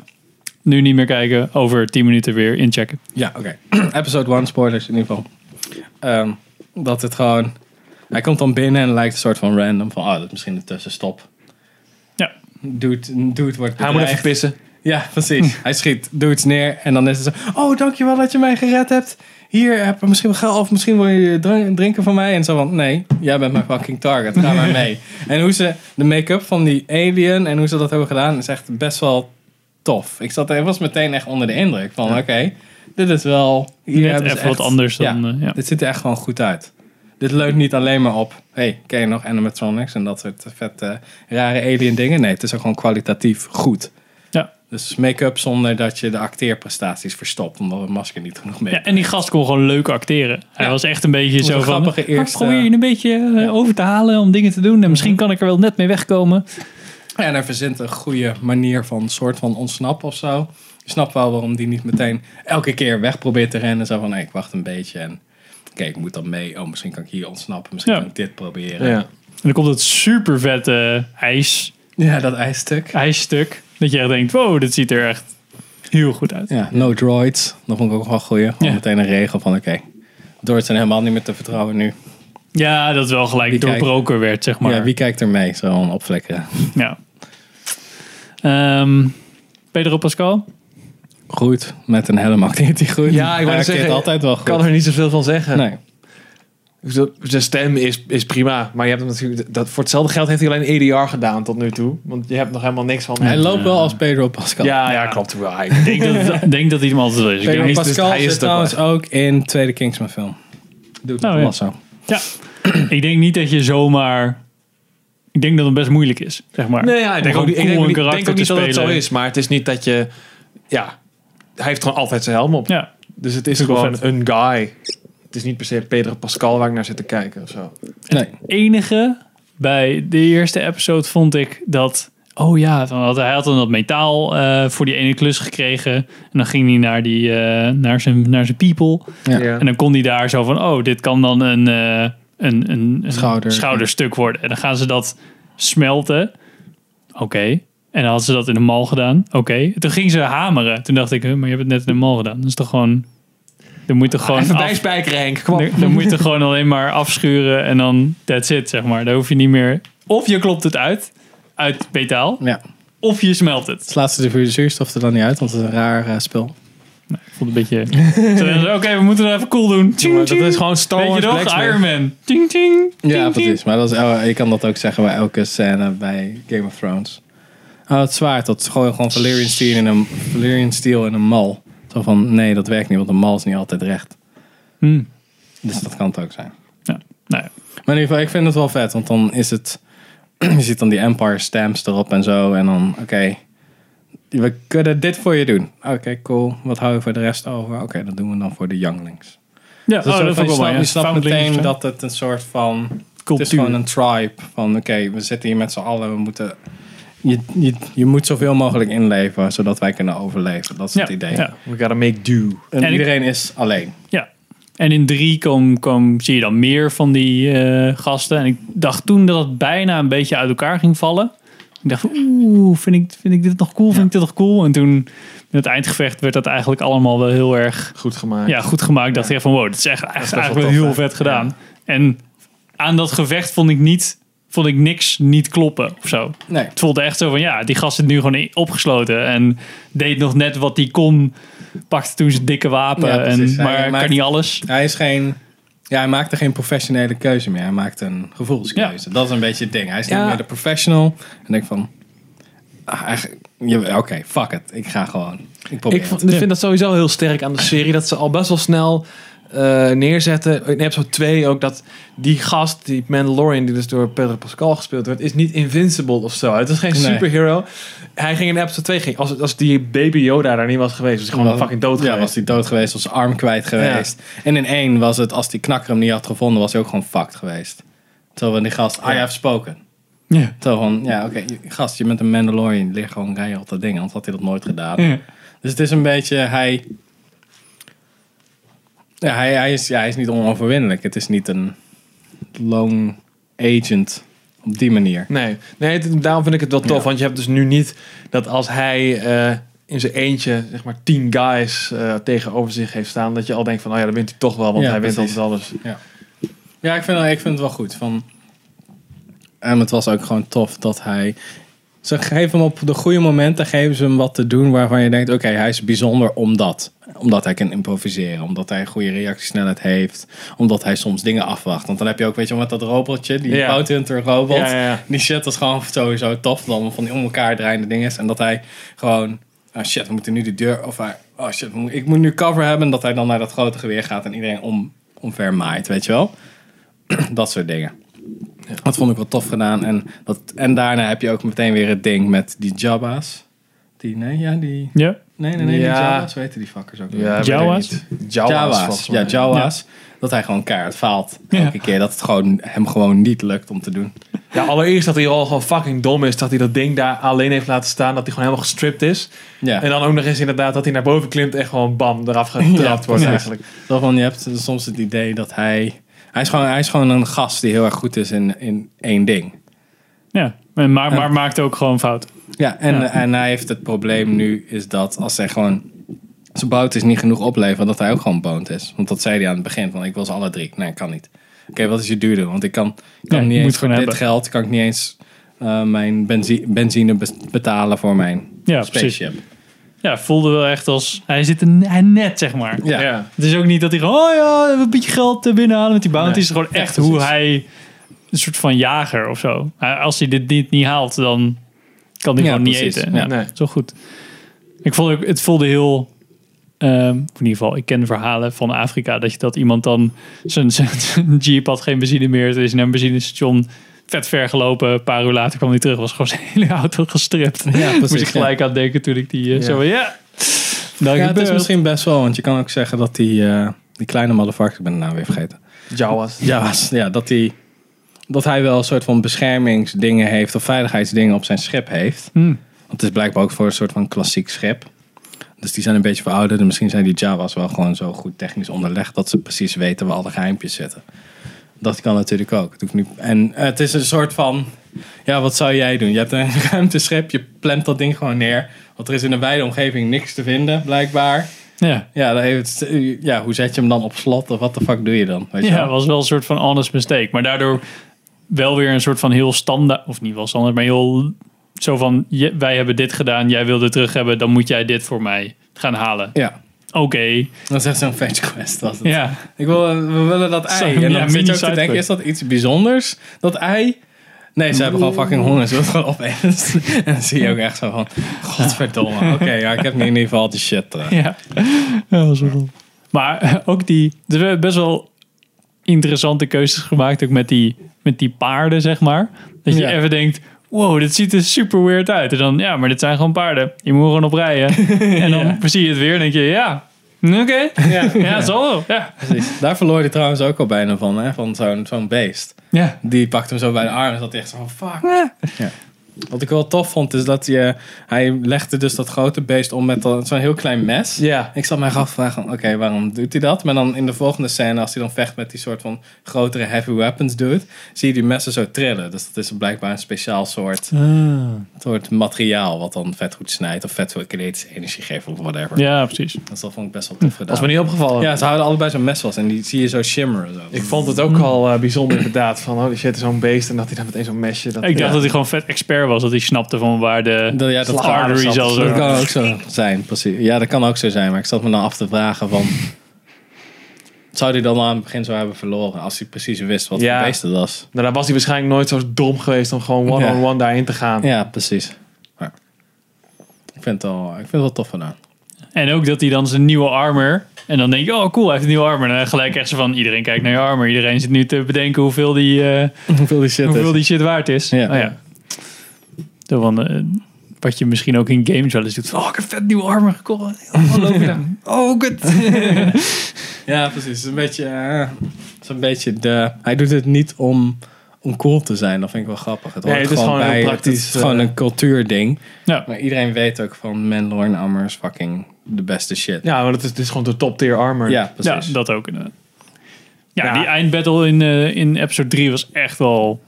S1: nu niet meer kijken. Over 10 minuten weer inchecken.
S2: Ja, oké. Episode 1, spoilers in ieder geval. Ehm, dat het gewoon... Hij komt dan binnen en lijkt een soort van random. Van, oh, dat is misschien een tussenstop.
S1: Ja.
S2: Dude, dude wordt
S3: Hij moet
S2: bedreigd.
S3: even pissen.
S2: Ja,
S1: Hm.
S2: precies. Hij schiet dudes neer en dan is het zo... Oh, dankjewel dat je mij gered hebt. Hier, heb je misschien wel geld of misschien wil je dr- drinken van mij. En zo van, nee, jij bent mijn fucking target. Ga maar mee. en hoe ze de make-up van die alien en hoe ze dat hebben gedaan... is echt best wel tof. Ik zat, ik was meteen echt onder de indruk van... Oké, dit is wel... hier
S1: Net
S2: hebben ze
S1: even wat
S2: echt-
S1: anders dan,
S2: ja,
S1: eh, ja.
S2: Dit ziet er echt gewoon goed uit. Dit leunt niet alleen maar op... hey, ken je nog animatronics en dat soort vette rare alien dingen? Nee, het is ook gewoon kwalitatief goed.
S1: Ja.
S2: Dus make-up zonder dat je de acteerprestaties verstopt, omdat een masker niet genoeg mee.
S1: ja. En die gast kon gewoon leuk acteren. Hij
S2: Ja.
S1: was echt een beetje
S2: Onze
S1: zo van...
S2: grappige
S1: "Ah,
S2: eerste-
S1: Probeer je een beetje eh, over te halen om dingen te doen. En misschien kan ik er wel net mee wegkomen.
S2: En er verzint een goede manier van soort van ontsnappen of zo. Ik snap wel waarom die niet meteen elke keer weg probeert te rennen. Zo van, hey, ik wacht een beetje en kijk, ik moet dan mee. Oh, misschien kan ik hier ontsnappen, misschien
S1: Ja.
S2: kan ik dit proberen.
S3: Ja.
S1: En dan komt dat super vette ijs,
S2: Ja, dat ijsstuk.
S1: ijsstuk. Dat je echt denkt, wow, dit ziet er echt heel goed uit.
S2: Ja, no droids. Dat vond ik ook wel een goeie. Gewoon meteen een regel van, oké, droids zijn helemaal niet meer te vertrouwen nu.
S1: Ja, dat wel gelijk
S2: Wie kijkt-
S1: doorbroken werd, zeg maar.
S2: Ja, wie kijkt er mee? Zo'n opflikkeren.
S1: Ja. Ehm, Pedro Pascal?
S2: Goed, met een helm acteert hij goed.
S3: Ja, ik wou
S2: Hij
S3: net zeggen,
S2: acteert altijd wel goed.
S3: kan er niet zoveel van zeggen.
S2: Nee.
S3: Dus Zijn stem is, is prima, maar je hebt hem natuurlijk, dat, voor hetzelfde geld heeft hij alleen EDR gedaan tot nu toe. Want je hebt nog helemaal niks van hem.
S2: Hij
S1: eh,
S2: loopt wel als Pedro Pascal.
S3: Ja, ja, klopt wel.
S1: Ik denk dat, ik denk dat hij hem altijd wel is. Ik
S2: Pedro
S1: denk niet-
S2: Pascal
S1: hij is
S2: zit
S1: het
S2: trouwens ook in de tweede Kingsman film. Doet
S1: Oh,
S2: het
S1: ja.
S2: wel zo.
S1: Ja. ik denk niet dat je zomaar... Ik denk dat het best moeilijk is, zeg maar.
S3: Nee, ja,
S1: Om
S3: ik denk ook
S1: gewoon
S3: niet, ik
S1: cool
S3: denk
S1: een
S3: ook niet- ik
S1: karakter
S3: denk ook
S1: te
S3: niet dat het zo
S1: spelen.
S3: is, maar het is niet dat je, ja, hij heeft gewoon altijd zijn helm op.
S1: Ja.
S3: Dus het is
S1: Vind ik wel
S3: gewoon een guy. Het is niet per se Pedro Pascal waar ik naar zit te kijken of zo.
S2: Nee.
S1: enige bij de eerste episode vond ik dat. Oh ja, dan had, hij had dan dat metaal eh, voor die ene klus gekregen. En dan ging hij naar, die, eh, naar, zijn, naar zijn people.
S2: Ja.
S1: En dan kon hij daar zo van: oh, dit kan dan een, eh, een, een, een
S2: Schouder.
S1: schouderstuk worden. En dan gaan ze dat smelten. Oké. En dan hadden ze dat in een mal gedaan. Oké. Toen gingen ze hameren. Toen dacht ik: huh, maar je hebt het net in een mal gedaan. Dat is toch gewoon. Dan moet er gewoon.
S3: Even
S1: af-
S3: bijspijkeren Henk, kom op.
S1: dan, dan moet je het gewoon alleen maar afschuren en dan that's it, zeg maar. Dan hoef je niet meer... Of je klopt het uit, uit metaal,
S2: Ja.
S1: of je smelt het.
S2: Het laatste de vuur zuurstof er dan niet uit, want het is een raar eh, spel.
S1: Voelt een beetje... Zo, dan zo, Oké, we moeten het even cool doen. Tjing,
S3: dat
S1: tjing.
S3: is gewoon Star
S1: Weet
S3: Wars
S1: je
S3: Black
S1: nog,
S3: Mirror.
S1: Iron Man. Ting, ting,
S2: Ja,
S1: ting, ting.
S2: precies. Maar dat is, el- je kan dat ook zeggen bij elke scène bij Game of Thrones. Oh, het zwaard, dat is gewoon, gewoon Valyrian, steel in een, Valyrian steel in een mal. Zo van, nee, dat werkt niet, want een mal is niet altijd recht.
S1: Hmm.
S2: Dus dat kan het ook zijn.
S1: Ja, nou ja.
S2: Maar in ieder geval, ik vind het wel vet, want dan is het... Je ziet dan die Empire stamps erop en zo. En dan, oké, we kunnen dit voor je doen. Oké, cool. Wat hou je voor de rest over? Oké, dat doen we dan voor de younglings.
S1: Ja,
S2: Dus
S1: oh,
S2: dat
S1: dat vond ik wel mooi.
S2: je snapt
S1: Foundlings of
S2: meteen
S1: zo.
S2: dat het een soort van... Het is
S1: Cultuur.
S2: gewoon een tribe. Van oké, we zitten hier met z'n allen. We moeten, je, je, je moet zoveel mogelijk inleven, zodat wij kunnen overleven. Dat is het
S1: Ja,
S2: idee.
S1: ja.
S3: We gotta make do.
S2: En,
S1: En ik-
S2: iedereen is alleen.
S1: Ja. En in drie kom, kom, zie je dan meer van die eh, gasten. En ik dacht toen dat het bijna een beetje uit elkaar ging vallen. Ik dacht, oeh, vind ik, vind ik dit nog cool? Vind ik dit nog cool? En toen, in het eindgevecht, werd dat eigenlijk allemaal wel heel erg
S3: Goed gemaakt.
S1: ja, goed gemaakt. Ik dacht ik van, wow, dat is echt, echt
S3: wel
S1: eigenlijk
S3: tof,
S1: heel
S3: hè?
S1: vet gedaan. En aan dat gevecht vond ik niet... Vond ik niks niet kloppen of zo.
S2: Nee.
S1: Het voelde echt zo van ja, die gast zit nu gewoon in- opgesloten en deed nog net wat hij kon. Pakte toen zijn dikke wapen,
S2: Ja,
S1: en,
S2: precies. Hij
S1: maar
S2: maakt-
S1: kan niet alles.
S2: Hij is geen. Ja, hij maakte geen professionele keuze meer. Hij maakte een gevoelskeuze. Dat is een beetje het ding. Hij is
S3: Ja.
S2: niet meer de professional. En ik van. ah, eigenlijk- ja, Oké, fuck it. Ik ga gewoon. Ik probeer.
S3: Ik
S2: het.
S3: vond- ik vind dat sowieso heel sterk aan de serie. Dat ze al best wel snel eh, neerzetten. In episode 2 ook dat die gast, die Mandalorian, die dus door Pedro Pascal gespeeld werd, is niet invincible of zo. Het is geen
S2: Nee.
S3: superhero. Hij ging in episode 2 ging. Als, als die baby Yoda daar niet was geweest, was hij gewoon
S2: Was-
S3: fucking dood
S2: Ja, was
S3: geweest.
S2: hij dood geweest, was zijn arm kwijt geweest. En in één was het, als die knakker hem niet had gevonden, was hij ook gewoon fucked geweest. Zo van die gast, I have spoken.
S1: Ja.
S2: Zo van, ja oké, je- gast, je bent een Mandalorian, ligt gewoon rij op dat ding, anders had hij dat nooit gedaan. Dus het is een beetje, hij... Ja, hij, hij, is, ja, hij is niet onoverwinnelijk. Het is niet een lone agent op die manier.
S3: Nee, nee het- daarom vind ik het wel tof. Want je hebt dus nu niet dat als hij eh, in zijn eentje, zeg maar, tien guys eh, tegenover zich heeft staan, dat je al denkt van, oh ja, dan wint hij toch wel, want
S2: Ja,
S3: hij wint
S2: precies.
S3: altijd alles.
S2: Ja, ik vind, ik vind het wel goed. Van, en het was ook gewoon tof dat hij... Ze geven hem op de goede momenten geven ze hem wat te doen waarvan je denkt... Oké, hij is bijzonder omdat. Omdat hij kan improviseren. Omdat hij een goede reactiesnelheid heeft. Omdat hij soms dingen afwacht. Want dan heb je ook, weet je, wel, met dat robotje. Die
S3: Ja.
S2: Bounty robot.
S3: Ja, ja, ja.
S2: Die shit was gewoon sowieso tof. Dan van die om elkaar draaiende dingen. En dat hij gewoon... Oh shit, we moeten nu de deur... Of hij, oh shit, we moeten- ik moet nu cover hebben. En dat hij dan naar dat grote geweer gaat en iedereen om, omver maait, weet je wel. Dat soort dingen. Dat vond ik wel tof gedaan. En, dat, en daarna heb je ook meteen weer het ding met die Jabba's. Die, nee, ja, die...
S1: Ja.
S2: Nee, nee, nee, die
S3: Ja.
S2: Jabba's. Hoe heten die fuckers ook? weer?
S3: Ja, weet ik
S1: Jawas?
S3: niet.
S2: Jawas,
S3: Jawas. volgens mij.
S2: ja, Jawas. Dat hij gewoon keihard faalt.
S1: Ja.
S2: Elke keer dat het gewoon, hem gewoon niet lukt om te doen.
S3: Ja, allereerst dat hij al gewoon fucking dom is. Dat hij dat ding daar alleen heeft laten staan. Dat hij gewoon helemaal gestript is.
S2: Ja.
S3: En dan ook nog eens inderdaad dat hij naar boven klimt en gewoon bam, eraf getrapt wordt
S2: precies.
S3: eigenlijk.
S2: Zo van, je hebt soms het idee dat hij... Hij is, gewoon, hij is gewoon een gast die heel erg goed is in, in één ding.
S1: Ja. En Maar, maar maakte ook gewoon fout.
S2: Ja, en, en hij heeft het probleem nu is dat als hij gewoon zijn bout is niet genoeg opleveren, dat hij ook gewoon bound is. Want dat zei hij aan het begin, van ik wil ze alle drie. Nee, kan niet. Oké, wat is je duurder? Want ik kan, kan
S1: Nee, moet
S2: niet
S1: het
S2: eens voor
S1: gewoon
S2: dit
S1: hebben.
S2: geld, kan ik niet eens eh, mijn benzi- benzine bes- betalen voor mijn
S1: Ja,
S2: spaceship.
S1: precies. ja, voelde wel echt als... Hij zit er ne- hij net, zeg maar.
S2: Ja. Ja.
S1: Het is ook niet dat hij gewoon... Oh ja, even een beetje geld eh, binnenhalen met die bounty.
S2: Nee.
S1: Het is gewoon
S2: Ja,
S1: echt
S2: precies.
S1: hoe hij... Een soort van jager of zo. Hij- Als hij dit niet, niet haalt, dan kan hij
S2: Ja,
S1: gewoon niet
S2: precies.
S1: eten.
S2: Ja.
S1: Zo goed. Ik vond ook, het voelde heel... ehm, of in ieder geval, ik ken verhalen van Afrika... dat je dat iemand dan... Zijn, zijn, zijn jeep had geen benzine meer. Het is naar een benzinestation vet ver gelopen. Een paar uur later kwam hij terug. Was gewoon zijn hele auto gestript.
S2: Ja, precies,
S1: Moest ik
S2: ja.
S1: gelijk aan denken toen ik die... eh,
S2: Ja.
S1: Zo van, ja... Nou,
S2: ja, het is misschien best wel, want je kan ook zeggen dat die, eh, die kleine motherfucker, ik ben de naam weer vergeten.
S3: Jawas.
S2: Jawas, ja, dat, die, dat hij wel een soort van beschermingsdingen heeft of veiligheidsdingen op zijn schip heeft.
S1: Hmm.
S2: Want het is blijkbaar ook voor een soort van klassiek schip. Dus die zijn een beetje verouderd en misschien zijn die Jawas wel gewoon zo goed technisch onderlegd dat ze precies weten waar alle geheimpjes zitten. Dat kan natuurlijk ook. Het hoeft niet... En eh, het is een soort van, ja, wat zou jij doen? Je hebt een ruimteschip, je plant dat ding gewoon neer. Want er is in een wijde omgeving niks te vinden, blijkbaar.
S1: Ja.
S2: Ja, dan heeft het- ja, hoe zet je hem dan op slot? Of wat de fuck doe je dan? Weet je
S1: ja,
S2: wel?
S1: was wel een soort van honest mistake. Maar daardoor wel weer een soort van heel standaard, of niet wel standaard, maar heel zo van: je- wij hebben dit gedaan, jij wilde terug hebben, dan moet jij dit voor mij gaan halen.
S2: Ja.
S1: Oké.
S2: Dat is echt zo'n fetch quest. Was het.
S1: Ja.
S2: Ik wil, eh, we willen dat ei.
S1: Zo'n,
S2: en
S1: ja,
S2: dan zit je ook te
S1: mini-sidequest.
S2: denken, is dat iets bijzonders? Dat ei? Nee, ze hebben gewoon fucking honger. Ze willen het gewoon opeten. En dan zie je ook echt zo van, godverdomme. Oké, ja, ik heb nu in ieder geval die shit. eh.
S1: Ja, dat was wel cool. Maar eh, ook die, er werden best wel interessante keuzes gemaakt, ook met die, met die paarden, zeg maar. Dat je
S2: Ja.
S1: even denkt, wow, dit ziet er super weird uit. En dan, ja, maar dit zijn gewoon paarden. Je moet er gewoon op rijden. en dan zie je het weer en denk je, ja, oké. Ja, ja, zal wel. Ja.
S2: Precies. Daar verloor hij trouwens ook al bijna van, hè? van zo'n zo'n beest.
S1: Ja.
S2: Die pakte hem zo bij de arm en zat hij echt zo van, fuck. Wat ik wel tof vond, is dat je, hij legde dus dat grote beest om met dat- zo'n heel klein mes. Ja. Ik zat mij afvragen, oké, waarom doet hij dat? Maar dan in de volgende scène, als hij dan vecht met die soort van grotere heavy weapons dude, zie je die messen zo trillen. Dus dat is blijkbaar een speciaal soort,
S3: Ah.
S2: soort materiaal wat dan vet goed snijdt of vet veel kinetische energie geeft of whatever.
S1: Ja, precies.
S2: Dus dat vond ik best wel tof gedaan.
S3: was me niet opgevallen.
S2: Ja, ze houden allebei zo'n mes vast en die zie je zo shimmeren. Zo.
S3: Ik vond het ook al eh, bijzonder inderdaad. Van, oh, die shit, zo'n beest. En dat hij dan meteen zo'n mesje... Dat,
S1: Ik dacht dat hij gewoon vet expert was. Dat hij snapte van waar de
S2: Dat, ja, dat
S1: arteries al
S2: Dat kan
S1: zo...
S2: ook zo zijn, precies. Ja, dat kan ook zo zijn. Maar ik zat me dan af te vragen van... Zou hij dan aan het begin zo hebben verloren? Als hij precies wist wat
S3: Ja.
S2: voor beest het was.
S3: Nou, dan was hij waarschijnlijk nooit zo dom geweest om gewoon one-on-one
S2: Ja.
S3: daarin te gaan.
S2: Ja, precies. Ja. Ik vind het wel, ik vind het wel tof gedaan.
S1: En ook dat hij dan zijn nieuwe armor... En dan denk je, oh cool, hij heeft een nieuwe armor. En dan gelijk echt zo van, iedereen kijkt naar je armor. Iedereen zit nu te bedenken hoeveel die, eh,
S2: Hoeveel die shit
S1: hoeveel
S2: is.
S1: die shit waard is.
S2: Ja.
S1: Nou ja. Zo van, eh, wat je misschien ook in games wel eens doet. Van, oh, ik heb vet nieuwe armor gekocht. Oh, loop je dan? Oh, kut.
S2: Ja, precies. Het is een beetje, eh, het is een beetje de... Hij doet het niet om, om cool te zijn. Dat vind ik wel grappig. Het
S3: Nee,
S2: hoort
S3: het is gewoon heel
S2: bij,
S3: praktisch,
S2: Het is gewoon
S3: eh,
S2: een cultuurding.
S1: Ja.
S2: Maar iedereen weet ook van... Mandalorian armor is fucking de beste shit.
S3: Ja, maar dat is, dit is gewoon de top tier armor.
S2: Ja,
S1: Ja,
S2: precies.
S1: dat ook. inderdaad. Ja, die eindbattle in, eh, in episode 3 was echt wel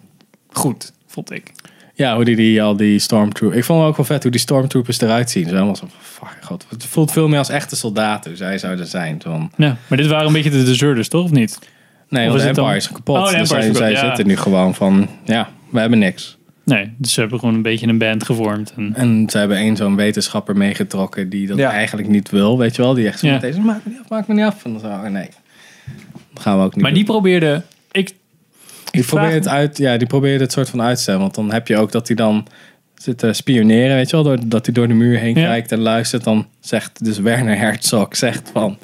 S1: goed, vond ik.
S2: Ja, hoe die, die al die stormtroopers... Ik vond het ook wel vet hoe die stormtroopers eruit zien. Zo helemaal zo van, fuck god. Het voelt veel meer als echte soldaten. hoe Zij zouden zijn. Zo van,
S1: Ja, maar dit waren een beetje de deserters, toch? Of niet?
S2: nee,
S1: Of
S2: want
S1: is
S2: de
S1: het dan-
S2: Empire is kapot.
S1: Oh, de
S2: dus
S1: Empire is
S2: zij,
S1: kapot,
S2: zij
S1: ja.
S2: zitten nu gewoon van... Ja, we hebben niks.
S1: Nee, dus ze hebben gewoon een beetje een band gevormd. En,
S2: En ze hebben één zo'n wetenschapper meegetrokken... die dat
S3: Ja.
S2: eigenlijk niet wil, weet je wel. Die echt zo
S1: Ja.
S2: meteen zo, maakt me niet af, maakt me niet af. En dan zo, oh, nee. Dat gaan we ook niet
S1: maar die probeerde... Ik,
S2: Die
S1: vraag
S2: probeert, het uit, ja, die probeert het soort van uit te stellen. Want dan heb je ook dat hij dan zit te spioneren, weet je wel. door- Dat hij door de muur heen
S1: Ja.
S2: kijkt en luistert. Dan zegt dus Werner Herzog, zegt van...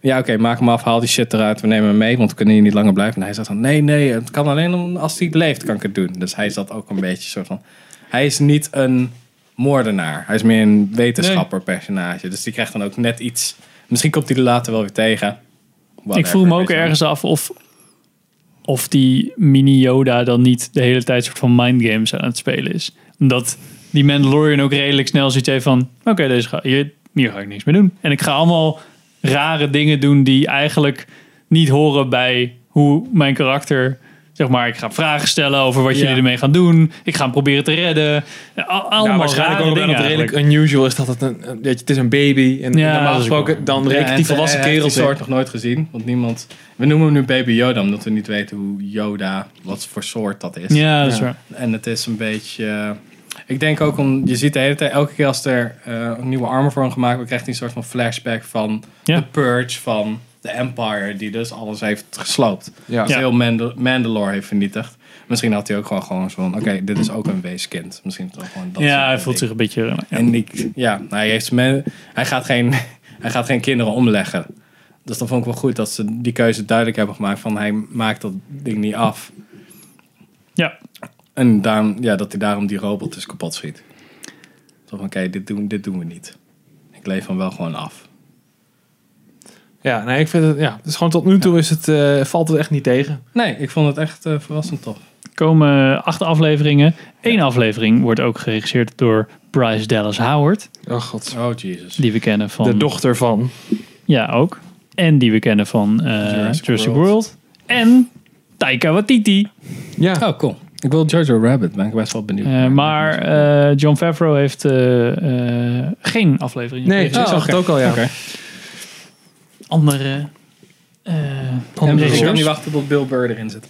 S2: Ja, oké, maak hem af, haal die shit eruit, we nemen hem mee, want we kunnen hier niet langer blijven. En hij zegt dan, nee, nee, het kan alleen om- als hij leeft, kan ik het doen. Dus hij is dat ook een beetje soort van... Hij is niet een moordenaar, hij is meer een wetenschapper personage. Dus die krijgt dan ook net iets... Misschien komt hij er later wel weer tegen.
S1: ik
S2: Whatever,
S1: vroeg me ook
S2: weet je wel.
S1: ergens af of, of die mini Yoda dan niet de hele tijd soort van mindgames aan het spelen is. Omdat die Mandalorian ook redelijk snel zoiets heeft van... Oké, deze ga, hier, hier ga ik niks meer doen. En ik ga allemaal rare dingen doen die eigenlijk niet horen bij hoe mijn karakter... Zeg maar, ik ga vragen stellen over wat
S2: Ja.
S1: jullie ermee gaan doen. Ik ga hem proberen te redden. Al- Allemaal
S3: Ja,
S1: rare
S3: waarschijnlijk ook omdat
S1: dingen
S3: het redelijk
S1: eigenlijk.
S3: unusual is dat het een, een- weet je, het is een baby en
S1: Ja,
S3: normaal
S1: dat is ook
S3: gesproken dan
S2: Ja,
S3: rekent
S2: en
S3: die
S2: het-
S3: volwassen
S2: hij heeft
S3: kerel
S2: die soort
S3: soort.
S2: nog nooit gezien, want niemand... We noemen hem nu Baby Yoda, omdat we niet weten hoe Yoda, wat voor soort dat is.
S1: Ja, dat is waar.
S2: En het is een beetje... eh, Ik denk ook om, je ziet de hele tijd, elke keer als er eh, een nieuwe armor voor hem gemaakt wordt, krijgt hij een soort van flashback van de Purge van de Empire, die dus alles heeft gesloopt.
S3: Ja.
S2: Dus
S3: Ja.
S2: heel Mandal- Mandalore heeft vernietigd. Misschien had hij ook gewoon, gewoon zo van, oké, dit is ook een weeskind. Misschien is het wel gewoon dat soort
S1: ja, hij
S2: dingen.
S1: voelt zich een beetje... eh, ja.
S2: En ik, ja, hij, heeft me, hij, gaat geen, hij gaat geen kinderen omleggen. Dus dan vond ik wel goed dat ze die keuze duidelijk hebben gemaakt van hij maakt dat ding niet af.
S1: Ja.
S2: En daarom, ja, dat hij daarom die robot dus kapot schiet. Zo van, oké, dit, doen, dit doen we niet. Ik leef hem wel gewoon af.
S3: Ja, nee, ik vind het, ja, dus gewoon tot nu toe is het, eh, valt het echt niet tegen.
S2: Nee, ik vond het echt eh, verrassend tof.
S1: komen acht afleveringen. Eén aflevering wordt ook geregisseerd door Bryce Dallas Howard.
S3: Oh god.
S2: Oh Jesus.
S1: Die we kennen van...
S3: De dochter van.
S1: Ja, ook. En die we kennen van eh, Jurassic, World. En Taika Waititi.
S3: Ja.
S2: Oh, cool. Ik wil Jojo Rabbit, ben ik best wel benieuwd.
S1: Eh, maar eh, John Favreau heeft eh, eh, geen aflevering.
S3: Nee, ik
S1: geregisseerd.
S3: zag het ook al, ja.
S1: Ah. Andere... eh
S2: En
S1: andere
S2: ik kan niet
S1: regisseurs.
S2: wachten tot Bill Burr erin zit.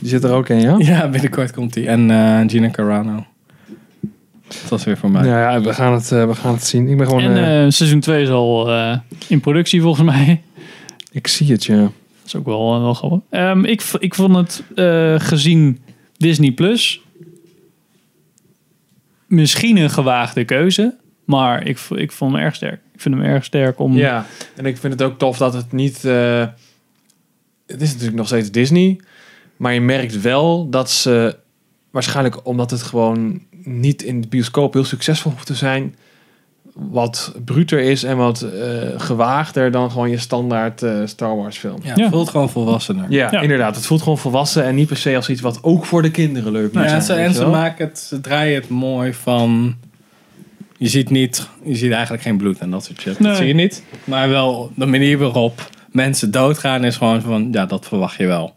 S3: Die zit er ook in, ja?
S2: Ja, binnenkort komt hij. En eh, Gina Carano. Dat was weer voor mij.
S3: Ja, ja, we, gaan het, eh, we gaan het zien. Ik ben gewoon...
S1: En
S3: eh,
S1: eh, seizoen 2 is al eh, in productie volgens mij.
S3: ik zie het, ja.
S1: Dat is ook wel, eh, wel grappig. Ehm, ik, v- ik vond het eh, gezien Disney Plus misschien een gewaagde keuze, maar ik, v- ik vond hem erg sterk. Ik vind hem erg sterk
S2: Mm.
S1: om.
S3: Ja, en ik vind het ook tof dat het niet... eh, het is natuurlijk nog steeds Disney. Maar je merkt wel dat ze... Waarschijnlijk omdat het gewoon niet in de bioscoop heel succesvol hoeft te zijn. Wat bruter is en wat eh, gewaagder dan gewoon je standaard eh, Star Wars film.
S2: Ja, voelt gewoon volwassener.
S3: Ja, inderdaad. Het voelt gewoon volwassen en niet per se als iets wat ook voor de kinderen leuk moet
S2: Nou ja,
S3: zijn.
S2: ze,
S3: weet
S2: en
S3: je
S2: ze,
S3: wel?
S2: maken het, ze draaien het mooi van... Je ziet, niet, je ziet eigenlijk geen bloed en dat soort shit.
S1: Nee.
S2: Dat zie je niet. Maar wel de manier waarop mensen doodgaan is gewoon van... Ja, dat verwacht je wel.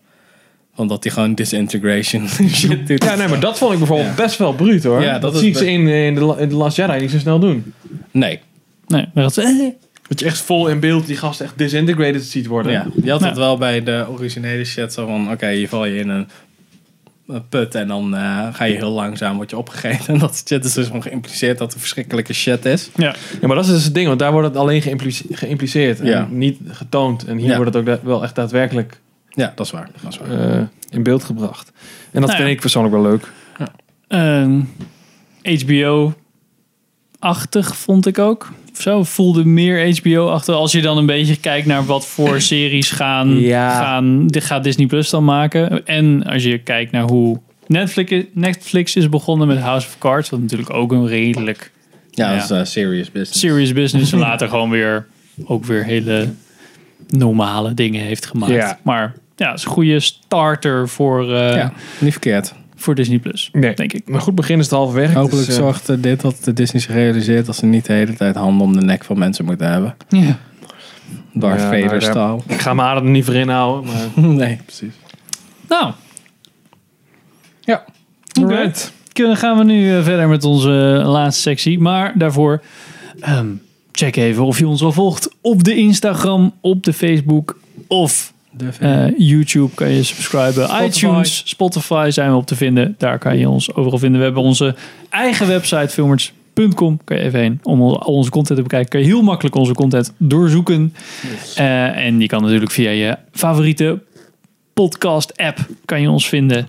S2: Want dat die gewoon disintegration shit doet.
S3: Ja, nee, maar dat vond ik bijvoorbeeld best wel bruut hoor.
S2: Ja,
S3: dat
S2: dat is
S3: zie ik
S2: be-
S3: ze in, eh, in, de, La- in de Last Jedi niet zo snel doen.
S2: Nee.
S1: Nee, maar dat, eh,
S3: Dat je echt vol in beeld die gast echt disintegrated ziet worden.
S2: Ja, je had
S1: Ja.
S2: het wel bij de originele shit zo van... Oké, je val je in een een put en dan eh, ga je heel langzaam word je opgegeten. En dat shit is dus gewoon geïmpliceerd dat het verschrikkelijke shit is.
S1: ja.
S3: Ja, maar dat is dus het ding, want daar wordt het alleen geïmplice- geïmpliceerd en
S2: Ja.
S3: niet getoond. En hier
S2: Ja.
S3: wordt het ook da- wel echt daadwerkelijk
S2: Ja, dat is waar. Dat is waar.
S3: eh, in beeld gebracht. En dat
S1: Nou ja.
S3: vind ik persoonlijk wel leuk.
S1: Ehm, HBO-achtig vond ik ook. Of zo voelde meer HBO-achtig. Als je dan een beetje kijkt naar wat voor series gaan,
S3: Ja.
S1: gaan dit gaat Disney Plus dan maken. En als je kijkt naar hoe Netflix, Netflix is begonnen met House of Cards, wat natuurlijk ook een redelijk
S2: ja,
S1: ja.
S2: dat is eh, serious business.
S1: serious business en later gewoon weer ook weer hele normale dingen heeft gemaakt.
S3: Ja.
S1: Maar ja, het is een goede starter voor, eh,
S2: ja, niet verkeerd.
S1: voor Disney Plus, denk ik.
S3: Maar goed, begin is het halverwege.
S2: Hopelijk
S3: dus, eh,
S2: zorgt eh, dit dat de Disney zich realiseert dat ze niet de hele tijd handen om de nek van mensen moeten hebben.
S1: Ja.
S2: Darth
S3: Ja, nou,
S2: Vader
S3: daar-
S2: staal.
S3: Ik ga mijn adem er niet voor inhouden. Maar...
S2: nee, precies.
S1: Nou,
S3: ja.
S1: Alright. Kunnen, gaan we nu eh, verder met onze eh, laatste sectie. Maar daarvoor ehm, check even of je ons al volgt op de Instagram, op de Facebook of eh, YouTube kan je subscriben. iTunes, Spotify zijn we op te vinden. Daar kan je ons overal vinden. We hebben onze eigen website filmers.com. Kan je even heen om al al onze content te bekijken. Kan je heel makkelijk onze content doorzoeken. Eh, en je kan natuurlijk via je favoriete podcast app kan je ons vinden.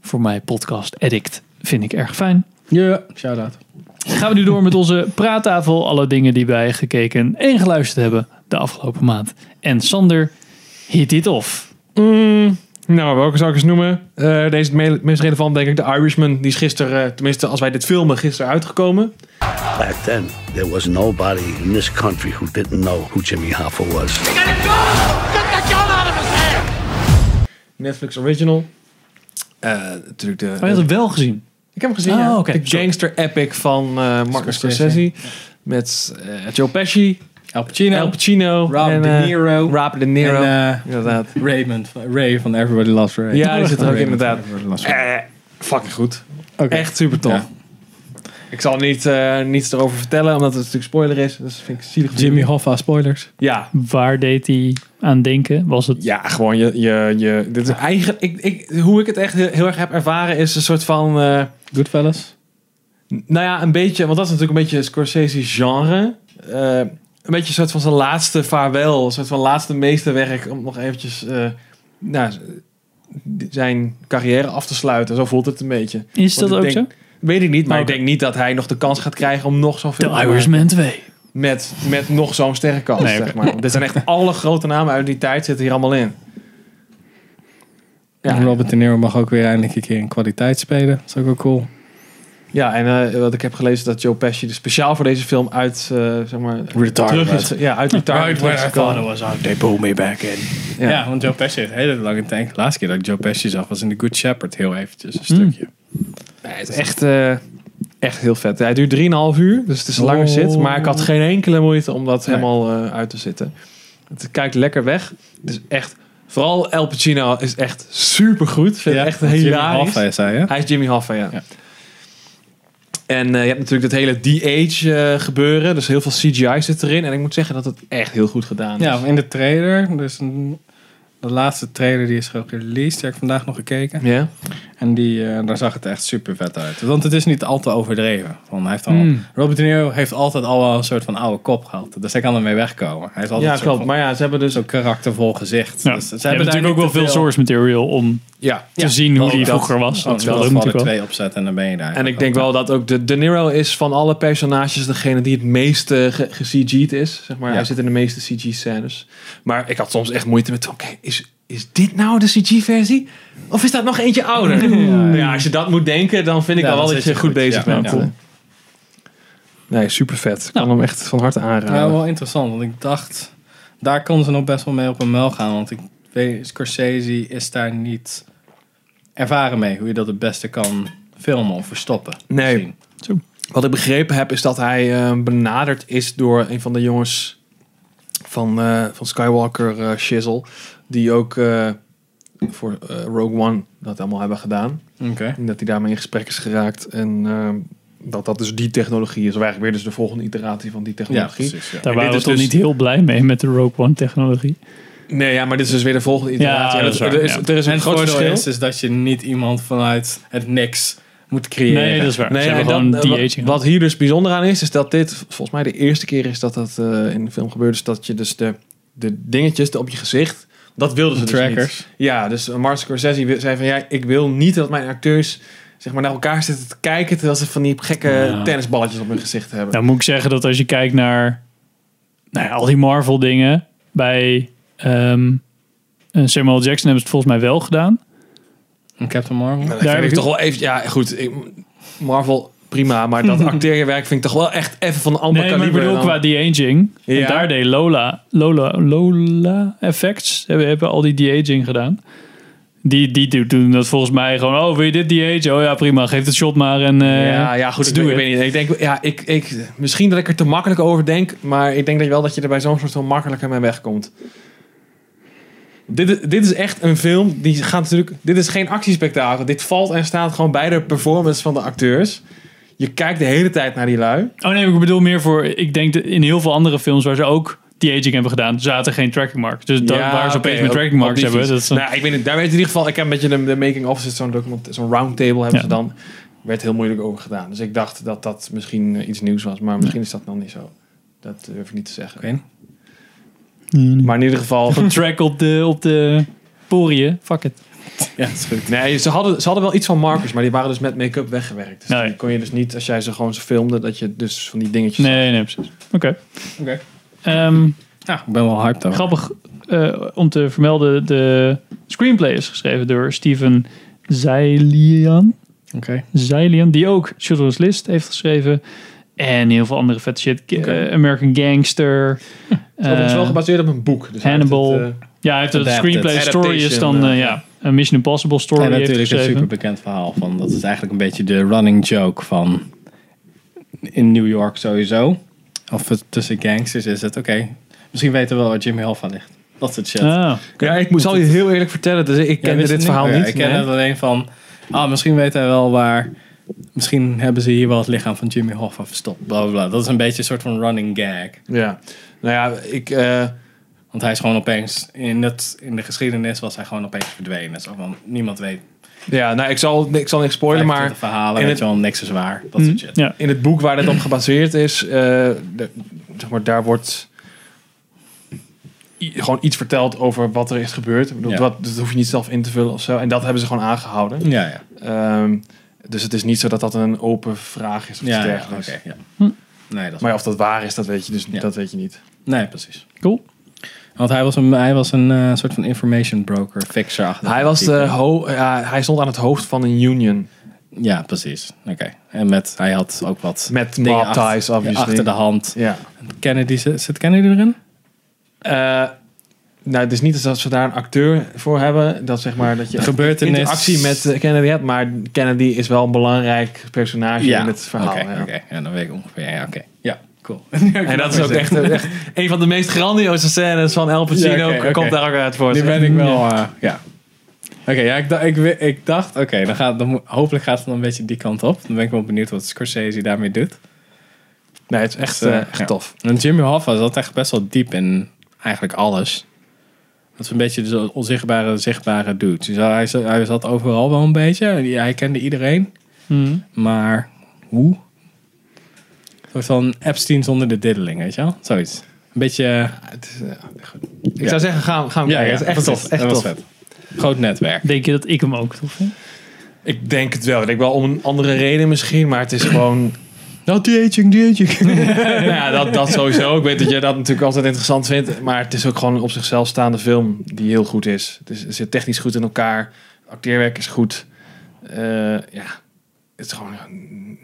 S1: Voor mij podcast addict vind ik erg fijn.
S2: Ja, shout-out.
S1: Gaan we nu door met onze praattafel. Alle dingen die wij gekeken en geluisterd hebben de afgelopen maand. En Sander, hit dit off.
S3: Mm, nou, welke zou ik eens noemen? Eh, deze is het me- meest relevant, denk ik. De Irishman, die is gisteren, eh, tenminste als wij dit filmen, gisteren uitgekomen.
S4: Back then, there was nobody in this country who didn't know who Jimmy Hoffa was.
S3: Netflix Original. Eh, natuurlijk de,
S1: Wij hadden wel gezien.
S3: Ik heb hem gezien,
S1: Oh,
S3: ja.
S1: oké.
S3: De
S1: Sorry.
S3: gangster epic van eh, Martin
S2: Scorsese.
S3: Scorsese. Met eh, Joe Pesci,
S2: Al Pacino.
S3: Al Pacino.
S2: Rob
S3: en,
S2: De
S3: eh,
S2: Niro.
S3: Rob De Niro.
S2: En, eh,
S3: inderdaad.
S2: Raymond. van- Ray van Everybody Loves Ray.
S3: Ja, die zit er ook
S2: Raymond
S3: inderdaad.
S2: van Everybody Loves Ray.
S3: Eh, fucking goed.
S2: Oké.
S3: Echt super tof.
S2: Ja.
S3: Ik zal niet, eh, niets erover vertellen, omdat het natuurlijk spoiler is. Dus vind ik zielig.
S2: Jimmy Hoffa, spoilers.
S3: Ja,
S1: Waar deed hij aan denken? Was het...
S3: Ja, gewoon je. je, je dit is eigen, ik, ik, hoe ik het echt heel, heel erg heb ervaren is een soort van. eh,
S2: Goodfellas.
S3: Nou ja, een beetje, want dat is natuurlijk een beetje Scorsese's genre. Eh, een beetje een soort van zijn laatste vaarwel, een soort van laatste meesterwerk om nog eventjes eh, nou, zijn carrière af te sluiten. Zo voelt het een beetje.
S1: Is
S3: Want
S1: dat
S3: ik
S1: ook
S3: denk-
S1: zo? Oh,
S3: Weet ik niet, maar
S1: Oké.
S3: ik denk niet dat hij nog de kans gaat krijgen om nog zo'n film
S1: The
S3: maken.
S1: Irishman 2.
S3: Met, met nog zo'n sterrenkans,
S1: Nee,
S3: zeg
S1: oké.
S3: maar. Want Er zijn echt alle grote namen uit die tijd zitten hier allemaal in.
S2: Ja. Robert De Niro mag ook weer eindelijk een keer in kwaliteit spelen. Dat is ook wel cool.
S3: Ja, en eh, wat ik heb gelezen is dat Joe Pesci dus speciaal voor deze film uit, eh, zeg maar...
S2: Retirement.
S3: Terug is, ja, uit retirement.
S2: Right where I
S3: terug is
S2: thought
S3: gekomen.
S2: it was out, they pulled me back in. Ja,
S3: Ja.
S2: want Joe Pesci heeft een hele lange tijd. De laatste keer dat ik Joe Pesci zag was in The Good Shepherd. Heel eventjes, een stukje.
S3: Nee, het is echt, eh, echt heel vet. Hij duurt 3,5 uur, dus het is een langer
S2: Oh.
S3: zit. Maar ik had geen enkele moeite om dat helemaal eh, uit te zitten. Het kijkt lekker weg. Het is echt... Vooral El Pacino is echt supergoed. Vind ik echt
S2: Jimmy
S3: hilarisch.
S2: Hoffa is hij, hè?
S3: Hij is Jimmy Hoffa, ja. En eh, je hebt natuurlijk dat hele de-age eh, gebeuren. Dus heel veel CGI zit erin. En ik moet zeggen dat het echt heel goed gedaan is.
S2: Ja, in de trailer. Dus een- de laatste trailer die is gereleased. Die heb ik vandaag nog gekeken.
S3: Ja.
S2: En die, eh, daar zag het echt super vet uit. Want het is niet al te overdreven. Want hij heeft al,
S3: Mm.
S2: Robert De Niro heeft altijd al wel een soort van oude kop gehad. Dus hij kan ermee wegkomen. Hij is altijd een
S3: Ja,
S2: soort
S3: klopt.
S2: van-
S3: Maar ja, ze hebben dus
S2: zo'n karaktervol gezicht.
S1: Ja.
S2: Dus ze
S1: Je hebt
S2: daar
S1: natuurlijk ook
S2: niet
S1: wel
S2: te
S1: veel source material om
S3: Ja.
S1: te zien hoe
S2: Oh,
S1: die
S2: dat-
S1: vroeger was.
S2: oh,
S1: Dat is wel
S2: dat is
S1: dat
S2: wel er
S1: natuurlijk wel.
S2: twee opzet en dan ben je daar.
S3: En ik denk wel dat ook de De Niro is van alle personages degene die het meest eh, ge- ge-CG'd is. Zeg maar.
S2: Ja.
S3: Hij zit in de meeste CG-scènes. Maar ik had soms echt moeite met, oké, is, is dit nou de CG-versie? Of is dat nog eentje ouder? Nou Ja, als je dat moet denken, dan vind ik
S2: Ja,
S3: al wel
S2: dan
S3: dat je
S2: zit
S3: goed,
S2: je goed.
S3: bezig
S2: Ja,
S3: bent.
S2: ja. Nou.
S3: Nee, super vet. kan hem echt van harte aanraden.
S2: Ja, wel interessant, want ik dacht, daar kon ze nog best wel mee op een muil gaan. Want ik weet, Scorsese is daar niet ervaren mee hoe je dat het beste kan filmen of verstoppen.
S3: Nee. Wat ik begrepen heb is dat hij eh, benaderd is door een van de jongens van, eh, van Skywalker eh Shizzle. Die ook eh, voor eh, Rogue One dat allemaal hebben gedaan.
S2: Oké.
S3: En dat hij daarmee in gesprek is geraakt. En ehm, dat dat dus die technologie is. Of eigenlijk weer dus de volgende iteratie van die technologie.
S2: Ja, precies, ja.
S3: En
S1: Daar
S3: dit
S1: waren we
S3: is
S1: toch
S3: dus-
S1: niet heel blij mee met de Rogue One technologie.
S3: Nee, ja, maar dit is dus weer de volgende iteratie. En
S1: dat is waar,
S3: er, is,
S1: ja.
S3: er is
S2: En
S3: een
S2: het
S3: groot
S2: voordeel
S3: verschil.
S2: is, is dat je niet iemand vanuit het niks moet creëren.
S1: Nee, dat is waar. Ze
S3: en
S1: hebben
S3: dat-
S1: gewoon
S3: eh,
S1: die
S3: wat-
S1: aging.
S3: Wat hier dus bijzonder aan is, is dat dit volgens mij de eerste keer is dat dat eh, in de film gebeurt. Is dat je dus de, de dingetjes op je gezicht, dat wilden ze dus
S2: Trackers.
S3: niet. Ja, dus Martin Scorsese wi- zei van ja, ik wil niet dat mijn acteurs zeg maar naar elkaar zitten te kijken terwijl ze van die gekke
S1: Ja.
S3: tennisballetjes op hun gezicht hebben.
S1: Nou moet ik zeggen dat als je kijkt naar nou ja, al die Marvel dingen. Bij ehm, eh, Samuel Jackson hebben ze het volgens mij wel gedaan.
S2: En Captain Marvel.
S3: Nou,
S1: daar
S3: dat vind
S1: heb
S3: ik
S1: ik-
S3: toch wel even, ja goed, ik- Marvel prima, maar dat acteerwerk vind ik toch wel echt even van een ander
S1: Nee, maar ik
S3: kaliber.
S1: bedoel qua
S3: dan-
S1: de-aging. want
S3: Ja.
S1: Daar deed Lola, Lola, Lola Effects. We hebben al die de-aging gedaan. Die, die do- doen dat volgens mij gewoon. Oh, wil je dit de-age? Oh ja, prima. Geef het shot maar. En, eh,
S3: ja, ja, goed.
S1: let's
S3: Ik,
S1: do
S3: weet, ik
S1: it.
S3: weet niet. Ik denk, ja, ik, ik, misschien dat ik er te makkelijk over denk, maar ik denk dat je wel dat je er bij zo'n soort van makkelijker mee wegkomt. Dit, is- dit is echt een film die gaat natuurlijk. Dit is geen actiespektakel. Dit valt en staat gewoon bij de performance van de acteurs. Je kijkt de hele tijd naar die lui.
S1: Oh nee, ik bedoel meer voor. Ik denk dat in heel veel andere films waar ze ook die aging hebben gedaan, zaten geen tracking marks. Dus dat,
S3: Ja,
S1: waar ze
S3: oké,
S1: opeens met
S3: op-
S1: tracking
S3: op
S1: marks
S3: die
S1: hebben.
S3: fiets.
S1: Dat is een-
S3: nou, ik weet niet, daar werd in ieder geval. Ik heb een beetje de, de making of zo'n document, zo'n roundtable hebben
S1: Ja.
S3: ze dan. Werd heel moeilijk over gedaan. Dus ik dacht dat dat misschien eh, iets nieuws was, maar misschien is dat nog niet zo. Dat durf ik niet te zeggen.
S2: Oké.
S3: Maar in ieder geval.
S1: een track op de, op de poriën. Fuck it.
S2: Ja, dat is goed.
S3: Nee, ze hadden, ze hadden wel iets van markers, maar die waren dus met make-up weggewerkt. Dus
S1: Nee.
S3: die kon je dus niet, als jij ze gewoon zo filmde, dat je dus van die dingetjes...
S1: Nee, nee, precies. Oké.
S2: Oké.
S1: Ehm,
S2: Ja, ik ben wel hyped over.
S1: grappig eh, om te vermelden: de screenplay is geschreven door Steven Zeilian.
S2: Oké.
S1: Zeilian, die ook Children's List heeft geschreven. En heel veel andere vette shit. Ki- eh, American Gangster.
S3: Het is overigens wel
S1: eh,
S3: gebaseerd op een boek. Dus
S1: Hannibal.
S3: hij heeft het,
S1: Ja, hij heeft een
S2: Adapted.
S1: screenplay story is dan
S3: Adaptation,
S1: eh,
S3: eh,
S1: ja, een Mission Impossible story
S2: En
S1: heeft
S2: natuurlijk een
S1: geschreven.
S2: super bekend verhaal van dat is eigenlijk een beetje de running joke van in New York sowieso. Of het tussen gangsters is het oké. Misschien weten we wel waar Jimmy Hoffa ligt. Dat soort shit.
S1: Ah,
S3: eh, ja, ik moet, zal je heel eerlijk vertellen, dus ik
S2: Ja,
S3: kende
S2: wist het
S3: dit verhaal
S2: meer.
S3: niet.
S2: Ik ken
S3: nee.
S2: het alleen van. Ah, misschien weet hij wel waar. Misschien hebben ze hier wel het lichaam van Jimmy Hoffa verstopt. Bla bla. bla. Dat is een beetje een soort van running gag.
S3: Ja, nou ja, ik... eh,
S2: Want hij is gewoon opeens in, het, in de geschiedenis was hij gewoon opeens verdwenen. Zo van niemand weet.
S3: Ja, nou, ik zal, ik zal niks spoilen, maar...
S2: verhalen,
S3: in
S2: weet
S3: het- Mhm,
S2: je wel, niks is waar. Dat soort
S1: hm,
S2: shit.
S3: In het boek waar het op gebaseerd is, eh, de- zeg maar, daar wordt i- gewoon iets verteld over wat er is gebeurd. Ik bedoel,
S2: Ja.
S3: dat, dat hoef je niet zelf in te vullen of zo. En dat hebben ze gewoon aangehouden.
S2: Ja, ja.
S3: Ehm, dus het is niet zo dat dat een open vraag is of
S2: Ja,
S3: iets
S2: ja,
S3: dergelijks.
S2: oké, ja.
S1: Hm.
S2: Nee, dat
S3: maar ja, of dat waar is, dat weet je dus dat weet je niet.
S2: Nee, precies.
S1: Cool.
S2: Want hij was een, hij was een eh, soort van information broker, fixer. achter
S3: Hij, was de
S2: computer.
S3: ho ja, hij stond aan het hoofd van een union.
S2: Ja, precies. Oké. En met, hij had ook wat
S3: Met
S2: dingen
S3: mob
S2: achter-
S3: ties, obviously.
S2: Achter de hand.
S3: Ja.
S2: Kennedy, zit zit Kennedy erin?
S3: Eh, nou, het is niet dat ze daar een acteur voor hebben. Dat zeg maar dat je
S2: De gebeurtenis-
S3: interactie met eh, Kennedy hebt. Maar Kennedy is wel een belangrijk personage in het verhaal.
S2: Oké,
S3: ja.
S2: oké. Ja, dan weet ik ongeveer. Ja, oké. Ja, cool.
S3: En dat is ook echt, echt een van de meest grandioze scènes van El Pacino.
S2: Ja, oké, oké.
S3: Komt daar ook uit voor.
S2: Nu ben ik wel, eh, ja. Oké, ja, ik, da- ik, wi- ik dacht, oké, dan gaat, dan, mo- hopelijk gaat het dan een beetje die kant op. Dan ben ik wel benieuwd wat Scorsese daarmee doet.
S3: Nee, het is echt,
S2: Dus, eh,
S3: eh, echt
S2: ja.
S3: tof.
S2: En Jimmy Hoffa zat echt best wel diep in eigenlijk alles. Dat is een beetje de onzichtbare, zichtbare dude. Dus hij, zat- hij zat overal wel een beetje. Hij- Hij kende iedereen.
S3: Hmm.
S2: Maar hoe? Een soort van Epstein zonder de diddeling, weet je wel? Zoiets. Een beetje...
S3: Ik zou zeggen, gaan, gaan kijken. het is echt tof. Echt tof.
S2: Groot netwerk.
S1: Denk je dat ik hem ook tof vind?
S3: Ik denk het wel. Ik denk wel om een andere reden misschien. Maar het is gewoon...
S2: Not the aging, the aging.
S3: nou ja, dat, dat sowieso. Ik weet dat jij dat natuurlijk altijd interessant vindt. Maar het is ook gewoon een op zichzelf staande film die heel goed is. Dus het zit technisch goed in elkaar. Acteerwerk is goed. Eh, ja, het is gewoon een-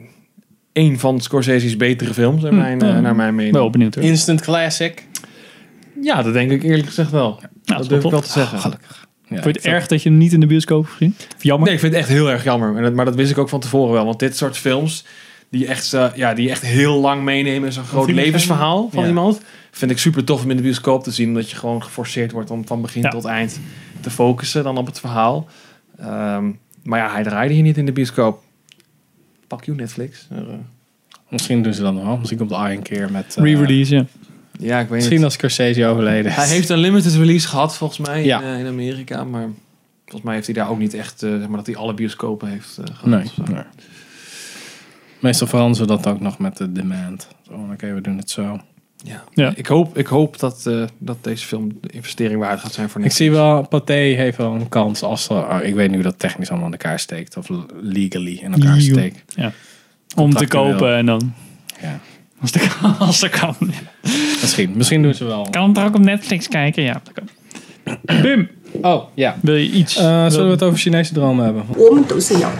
S3: een van Scorsese's betere films, naar mijn, eh, naar mijn mening.
S1: Wel benieuwd hoor.
S2: Hmm. Instant classic.
S3: Ja, dat denk ik eerlijk gezegd wel.
S1: dat
S3: dat
S1: Nou, is
S3: durf
S1: wel
S3: ik wel
S1: top. Ah,
S3: te zeggen.
S2: Ja,
S1: Vond je het erg dat je hem niet in de bioscoop hebt gezien? Of Jammer.
S3: Nee, ik vind het echt heel erg jammer. Maar dat, maar dat wist ik ook van tevoren wel. Want dit soort films, die echt, eh, ja, die echt heel lang meenemen in zo'n groot
S1: iemand-
S3: levensverhaal van
S2: Ja.
S3: iemand, vind ik super tof om in de bioscoop te zien. Omdat je gewoon geforceerd wordt om van begin
S1: Ja.
S3: tot eind te focussen dan op het verhaal. Ehm, maar ja, hij draaide hier niet in de bioscoop. Pak je Netflix. Maar, eh,
S2: Misschien doen ze dat nog wel. Misschien komt Iron een keer met... eh,
S1: Re-release, ja.
S3: ja, ik weet
S2: Misschien
S3: niet.
S2: als Scorsese overleden is.
S3: Hij heeft een limited release gehad volgens mij
S2: Ja.
S3: in, eh, in Amerika, maar volgens mij heeft hij daar ook niet echt, eh, zeg maar dat hij alle bioscopen heeft eh, gehad.
S2: Nee,
S3: of zo.
S2: nee. Meestal veranderen ze dat ook nog met de demand. Zo, Oké, we doen het zo.
S3: Ja.
S1: Ja.
S3: Ik hoop, ik hoop dat, eh, dat deze film de investering waard gaat zijn voor
S2: Ik
S3: niks.
S2: zie wel, Pathé heeft wel een kans als... ze- ah, ik weet niet hoe dat technisch allemaal in elkaar steekt. Of legally in elkaar
S1: Legal.
S2: steekt.
S1: ja. Om te
S2: Contractueel.
S1: kopen en dan.
S2: Ja.
S1: Als dat kan. Als dat kan.
S2: Misschien. Misschien doen ze wel.
S1: Kan er ook op Netflix kijken? Ja, dat kan. Bim,
S2: Oh, ja.
S1: wil je iets?
S2: Eh, zullen we het over Chinese dromen hebben?
S12: 我们都是一样，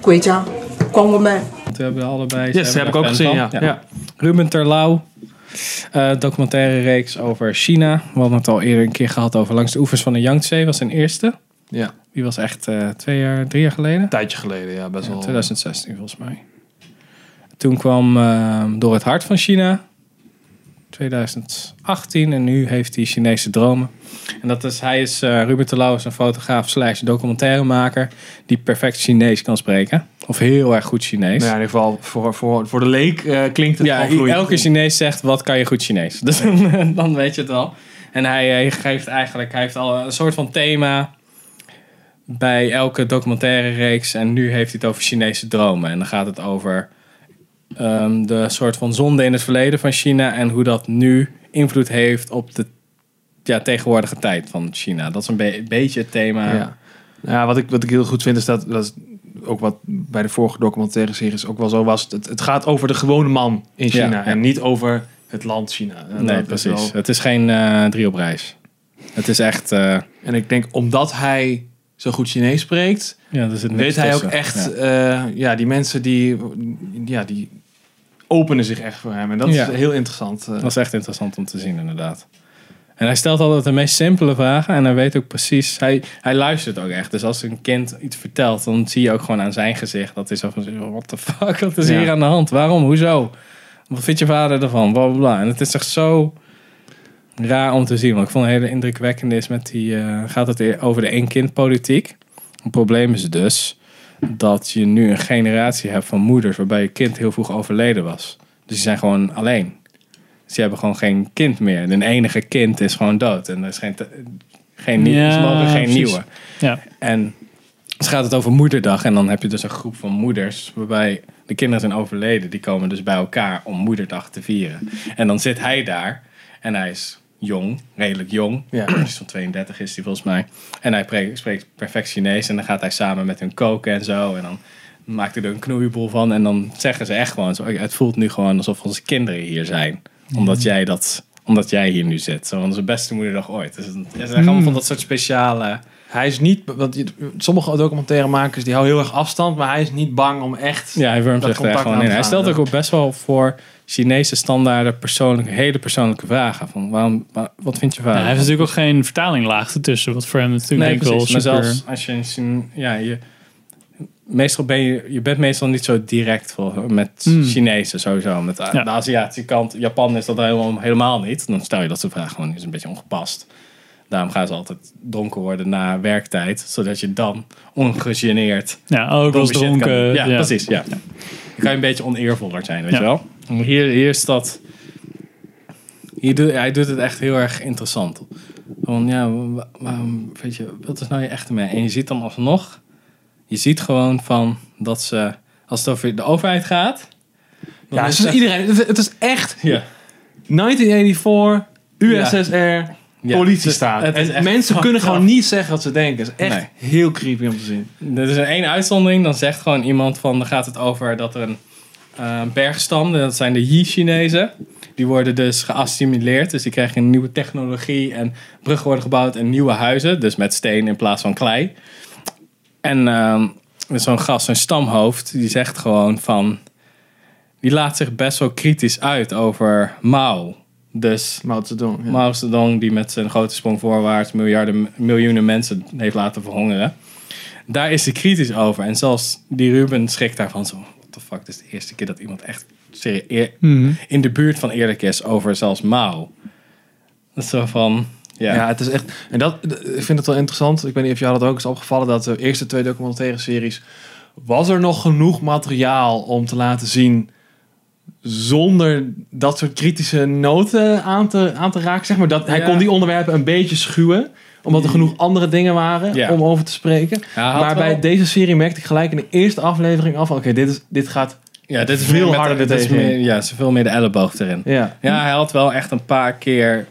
S12: 国家管我们
S2: Want we hebben allebei...
S3: Yes, heb ik ook gezien, ja. ja.
S2: Ruben Terlouw. eh documentaire reeks over China. We hadden het al eerder een keer gehad over Langs de Oevers van de Yangtze. was zijn eerste.
S3: Ja.
S2: Die was echt eh, twee jaar, drie jaar geleden.
S3: Een tijdje geleden, ja, best
S2: Ja,
S3: wel.
S2: 2016 volgens mij. Toen kwam ehm, Door het Hart van China. 2018 en nu heeft hij Chinese dromen. En dat is, hij is, eh Ruben Terlouw is een fotograaf slash documentairemaker die perfect Chinees kan spreken. Of heel erg goed Chinees.
S3: Nou ja, in ieder geval voor, voor, voor de leek eh, klinkt het
S2: Ja,
S3: gewoon vloeiend.
S2: elke Chinees zegt, wat kan je goed Chinees? Dus dan weet je het wel. En hij, eh, hij geeft eigenlijk, hij heeft al een soort van thema bij elke documentaire reeks. En nu heeft hij het over Chinese dromen. En dan gaat het over ehm, de soort van zonde in het verleden van China. En hoe dat nu invloed heeft op de ja, tegenwoordige tijd van China. Dat is een be- beetje het thema.
S3: Ja. Ja, wat ik, wat ik heel goed vind is dat, dat is ook wat bij de vorige documentaire series ook wel zo was. Het, het gaat over de gewone man in China
S2: Ja, ja.
S3: en niet over het land China. En dat
S2: nee,
S3: is
S2: precies.
S3: wel-
S2: Het is geen eh drie op reis. Het is echt... eh,
S3: En ik denk omdat hij zo goed Chinees spreekt,
S2: ja, er zit niks
S3: Weet hij ook
S2: tussen. Ja.
S3: echt, ja. ja, die mensen die, ja, die openen zich echt voor hem. En dat
S2: Ja.
S3: is heel interessant. eh.
S2: Dat is echt interessant om te zien, inderdaad. En hij stelt altijd de meest simpele vragen en hij weet ook precies. Hij, hij luistert ook echt. Dus als een kind iets vertelt, dan zie je ook gewoon aan zijn gezicht. Dat is zo van: what the fuck, wat is
S3: Ja.
S2: hier aan de hand? Waarom? Hoezo? Wat vindt je vader ervan? Bla bla bla. En het is echt zo raar om te zien. Want ik vond een hele indrukwekkende is met die. eh, gaat het e- over de één-kind-politiek? Het probleem is dus dat je nu een generatie hebt van moeders waarbij je kind heel vroeg overleden was. Dus die zijn gewoon alleen. Dus die hebben gewoon geen kind meer. Hun enige kind is gewoon dood. En er is geen, te- geen, nie-
S1: Ja,
S2: ze mogen geen
S1: precies.
S2: nieuwe.
S1: Ja.
S2: En Dus gaat het over moederdag en dan heb je dus een groep van moeders waarbij de kinderen zijn overleden. Die komen dus bij elkaar om moederdag te vieren. En dan zit hij daar en hij is jong, redelijk jong.
S3: Ja.
S2: Hij is van 32 is hij volgens mij. En hij pre- spreekt perfect Chinees en dan gaat hij samen met hun koken en zo. En dan maakt hij er een knoeiboel van en dan zeggen ze echt gewoon zo, het voelt nu gewoon alsof onze kinderen hier zijn. Omdat jij dat omdat jij hier nu zit. Zo, onze beste moederdag ooit. Dus het is echt allemaal van dat soort speciale...
S3: Hij is niet, want je- sommige documentairemakers die houden heel erg afstand, maar hij is niet bang om echt.
S2: Ja, hij wurmt
S3: dat
S2: zich er echt
S3: contact
S2: gewoon
S3: aan
S2: in.
S3: te
S2: Hij
S3: gaan.
S2: stelt ook op best wel voor Chinese standaarden persoonlijke, hele persoonlijke vragen. Van waarom, wa- wat vind je van?
S1: hij heeft natuurlijk ook geen vertalinglaag ertussen, wat voor hem natuurlijk
S2: nee,
S1: denk ik wel
S2: precies. Maar
S1: super...
S2: zelfs als je, een Chin- ja, je, meestal ben je, je bent meestal niet zo direct voor, met
S1: Hmm.
S2: Chinezen sowieso. Met de,
S1: Ja.
S2: de Aziatische kant, Japan is dat helemaal, helemaal niet. Dan stel je dat soort vragen gewoon, is een beetje ongepast. Daarom gaan ze altijd donker worden na werktijd, zodat je dan ongegeneerd.
S1: Ja, ook
S2: domme
S1: als
S2: shit kan
S1: dronken.
S2: doen. Ja,
S1: ja.
S2: precies. Ja. Dan kan je een beetje oneervoller zijn, weet
S1: Ja.
S2: je wel. Maar Hier, hier is dat. Hier doet, hij doet het echt heel erg interessant. Van ja, wa- waarom, weet je, wat is nou je echte mee? En je ziet dan alsnog, je ziet gewoon van dat ze, als het over de overheid gaat. dan
S3: Ja,
S2: is
S3: het is
S2: het-
S3: iedereen. Het, het is echt.
S2: Ja.
S3: 1984, USSR,
S2: Ja,
S3: politiestaat.
S2: het is- het is
S3: En
S2: echt
S3: mensen
S2: fucked
S3: kunnen
S2: up.
S3: gewoon niet zeggen wat ze denken. Het is echt heel creepy om te zien.
S2: Er is een één uitzondering. Dan zegt gewoon iemand van, dan gaat het over dat er een eh, bergstam, dat zijn de Yi-Chinezen. Die worden dus geassimileerd. Dus die krijgen een nieuwe technologie en bruggen worden gebouwd en nieuwe huizen. Dus met steen in plaats van klei. En ehm, er is zo'n gast, zo'n stamhoofd, die zegt gewoon van... Die laat zich best wel kritisch uit over Mao. Dus
S3: Mao Zedong.
S2: Mao Zedong die met zijn grote sprong voorwaarts miljarden, miljoenen mensen heeft laten verhongeren. Daar is hij kritisch over. En zelfs die Ruben schrikt daarvan zo. What the fuck, dit is de eerste keer dat iemand echt serie- eer-
S1: Mhm.
S2: in de buurt van eerlijk is over zelfs Mao. Dat is zo van... Ja.
S3: Ja, het is echt. En dat, ik vind het wel interessant. Ik weet niet of jou dat ook is opgevallen dat de eerste twee documentaire series. was er nog genoeg materiaal om te laten zien. zonder dat soort kritische noten aan te, aan te raken, zeg maar. Dat, Hij
S2: Ja.
S3: kon die onderwerpen een beetje schuwen, omdat er genoeg andere dingen waren
S2: Ja.
S3: om over te spreken.
S2: Ja, hij had
S3: maar bij
S2: wel-
S3: deze serie merkte ik gelijk in de eerste aflevering af: oké, dit, is- dit gaat
S2: Ja, dit is meer
S3: veel
S2: met-
S3: harder
S2: dit is
S3: tegen.
S2: meer- Ja, ze veel meer de elleboog erin.
S3: Ja.
S2: ja, hij had wel echt een paar keer...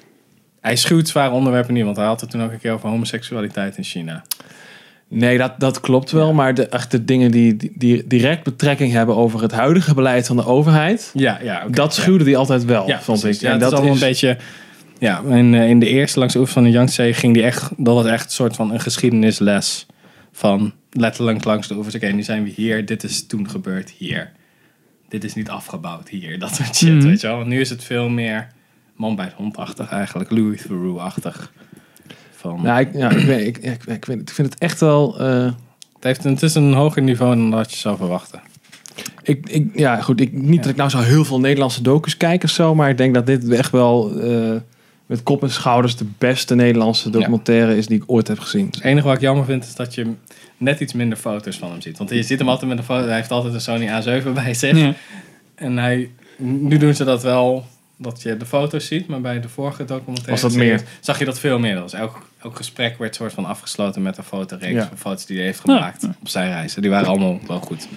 S2: Hij schuwt zware onderwerpen niet, want hij had het toen ook een keer over homoseksualiteit in China.
S3: Nee, dat, dat klopt wel. Maar de, echt de dingen die, die, die direct betrekking hebben over het huidige beleid van de overheid.
S2: Ja, ja, oké,
S3: dat
S2: ja.
S3: schuwde die altijd wel,
S2: Ja,
S3: vond
S2: precies.
S3: ik.
S2: Ja, het is allemaal een beetje... Ja, in, eh, in de eerste langs de oever van de Yangtze ging die echt... Dat was echt een soort van een geschiedenisles. Van letterlijk langs de oevers. Oké, nu zijn we hier. Dit is toen gebeurd hier. Dit is niet afgebouwd hier. Dat soort shit,
S1: Mhm.
S2: weet je wel. Want nu is het veel meer man bij het hondachtig eigenlijk. Louis Theroux-achtig. Van...
S3: Ja, Nou, ik, ja, ik, weet, ik, ik, ik, weet, het. ik vind het echt wel. eh,
S2: Het, heeft, het is een hoger niveau dan dat je zou verwachten.
S3: ik, ik, ja, goed. Ik, niet dat ik nou zo heel veel Nederlandse docus kijk of zo. Maar ik denk dat dit echt wel. eh, met kop en schouders de beste Nederlandse documentaire is die ik ooit heb gezien.
S2: Het enige wat ik jammer vind is dat je net iets minder foto's van hem ziet. Want je ziet hem altijd met een foto. Hij heeft altijd een Sony A7 bij zich.
S1: Ja.
S2: En hij, nu doen ze dat wel dat je de foto's ziet. Maar bij de vorige documentaire
S3: Was dat
S2: serie
S3: meer?
S2: zag je dat veel meer. Dus elk, elk gesprek werd soort van afgesloten met een fotoreeks
S3: Ja.
S2: van foto's die hij heeft gemaakt op zijn reis. En die waren allemaal wel goed.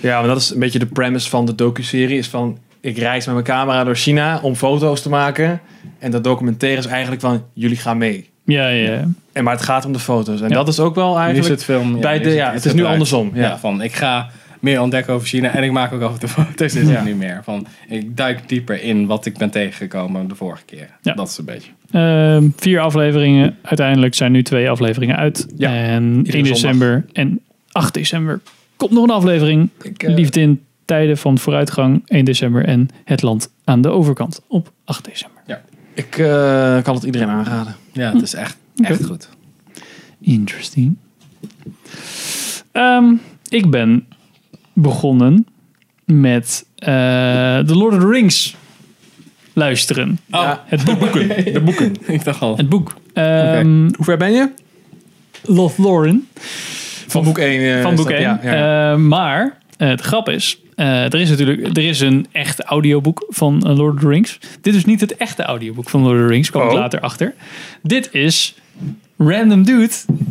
S3: Ja, maar dat is een beetje de premise van de docuserie. Is van, ik reis met mijn camera door China om foto's te maken. En dat documentaire is eigenlijk van, jullie gaan mee.
S1: Ja, ja, ja.
S3: En, maar het gaat om de foto's. En
S1: Ja.
S3: dat is ook wel eigenlijk...
S2: nu is het film.
S3: bij de, ja, het is nu andersom. Ja.
S2: van ik ga meer ontdekken over China en ik maak ook over de foto's. Dit is het niet meer. Van ik duik dieper in wat ik ben tegengekomen de vorige keer. Dat is een beetje.
S1: Ehm, vier afleveringen. Uiteindelijk zijn nu twee afleveringen uit. en 1
S2: zondag.
S1: december en 8 december komt nog een aflevering.
S3: eh,
S1: Liefde in tijden van vooruitgang 1 december en Het land aan de overkant op 8 december.
S2: Ja.
S3: Ik eh, kan het iedereen aanraden.
S2: Ja, het is echt,
S3: Hm.
S2: echt goed.
S1: Interesting. Ehm, ik ben begonnen met eh The Lord of the Rings luisteren.
S2: Oh.
S1: Het boek.
S3: De boeken.
S2: ik dacht al.
S1: Het boek. Ehm,
S3: Hoe ver ben je?
S1: Lothlorien.
S3: Van boek eh, 1.
S1: van boek 1. maar eh, de grap is, eh, er is natuurlijk er is een echt audioboek van eh, Lord of the Rings. Dit is niet het echte audioboek van Lord of the Rings, kwam ik
S3: Oh.
S1: later achter. Dit is random dude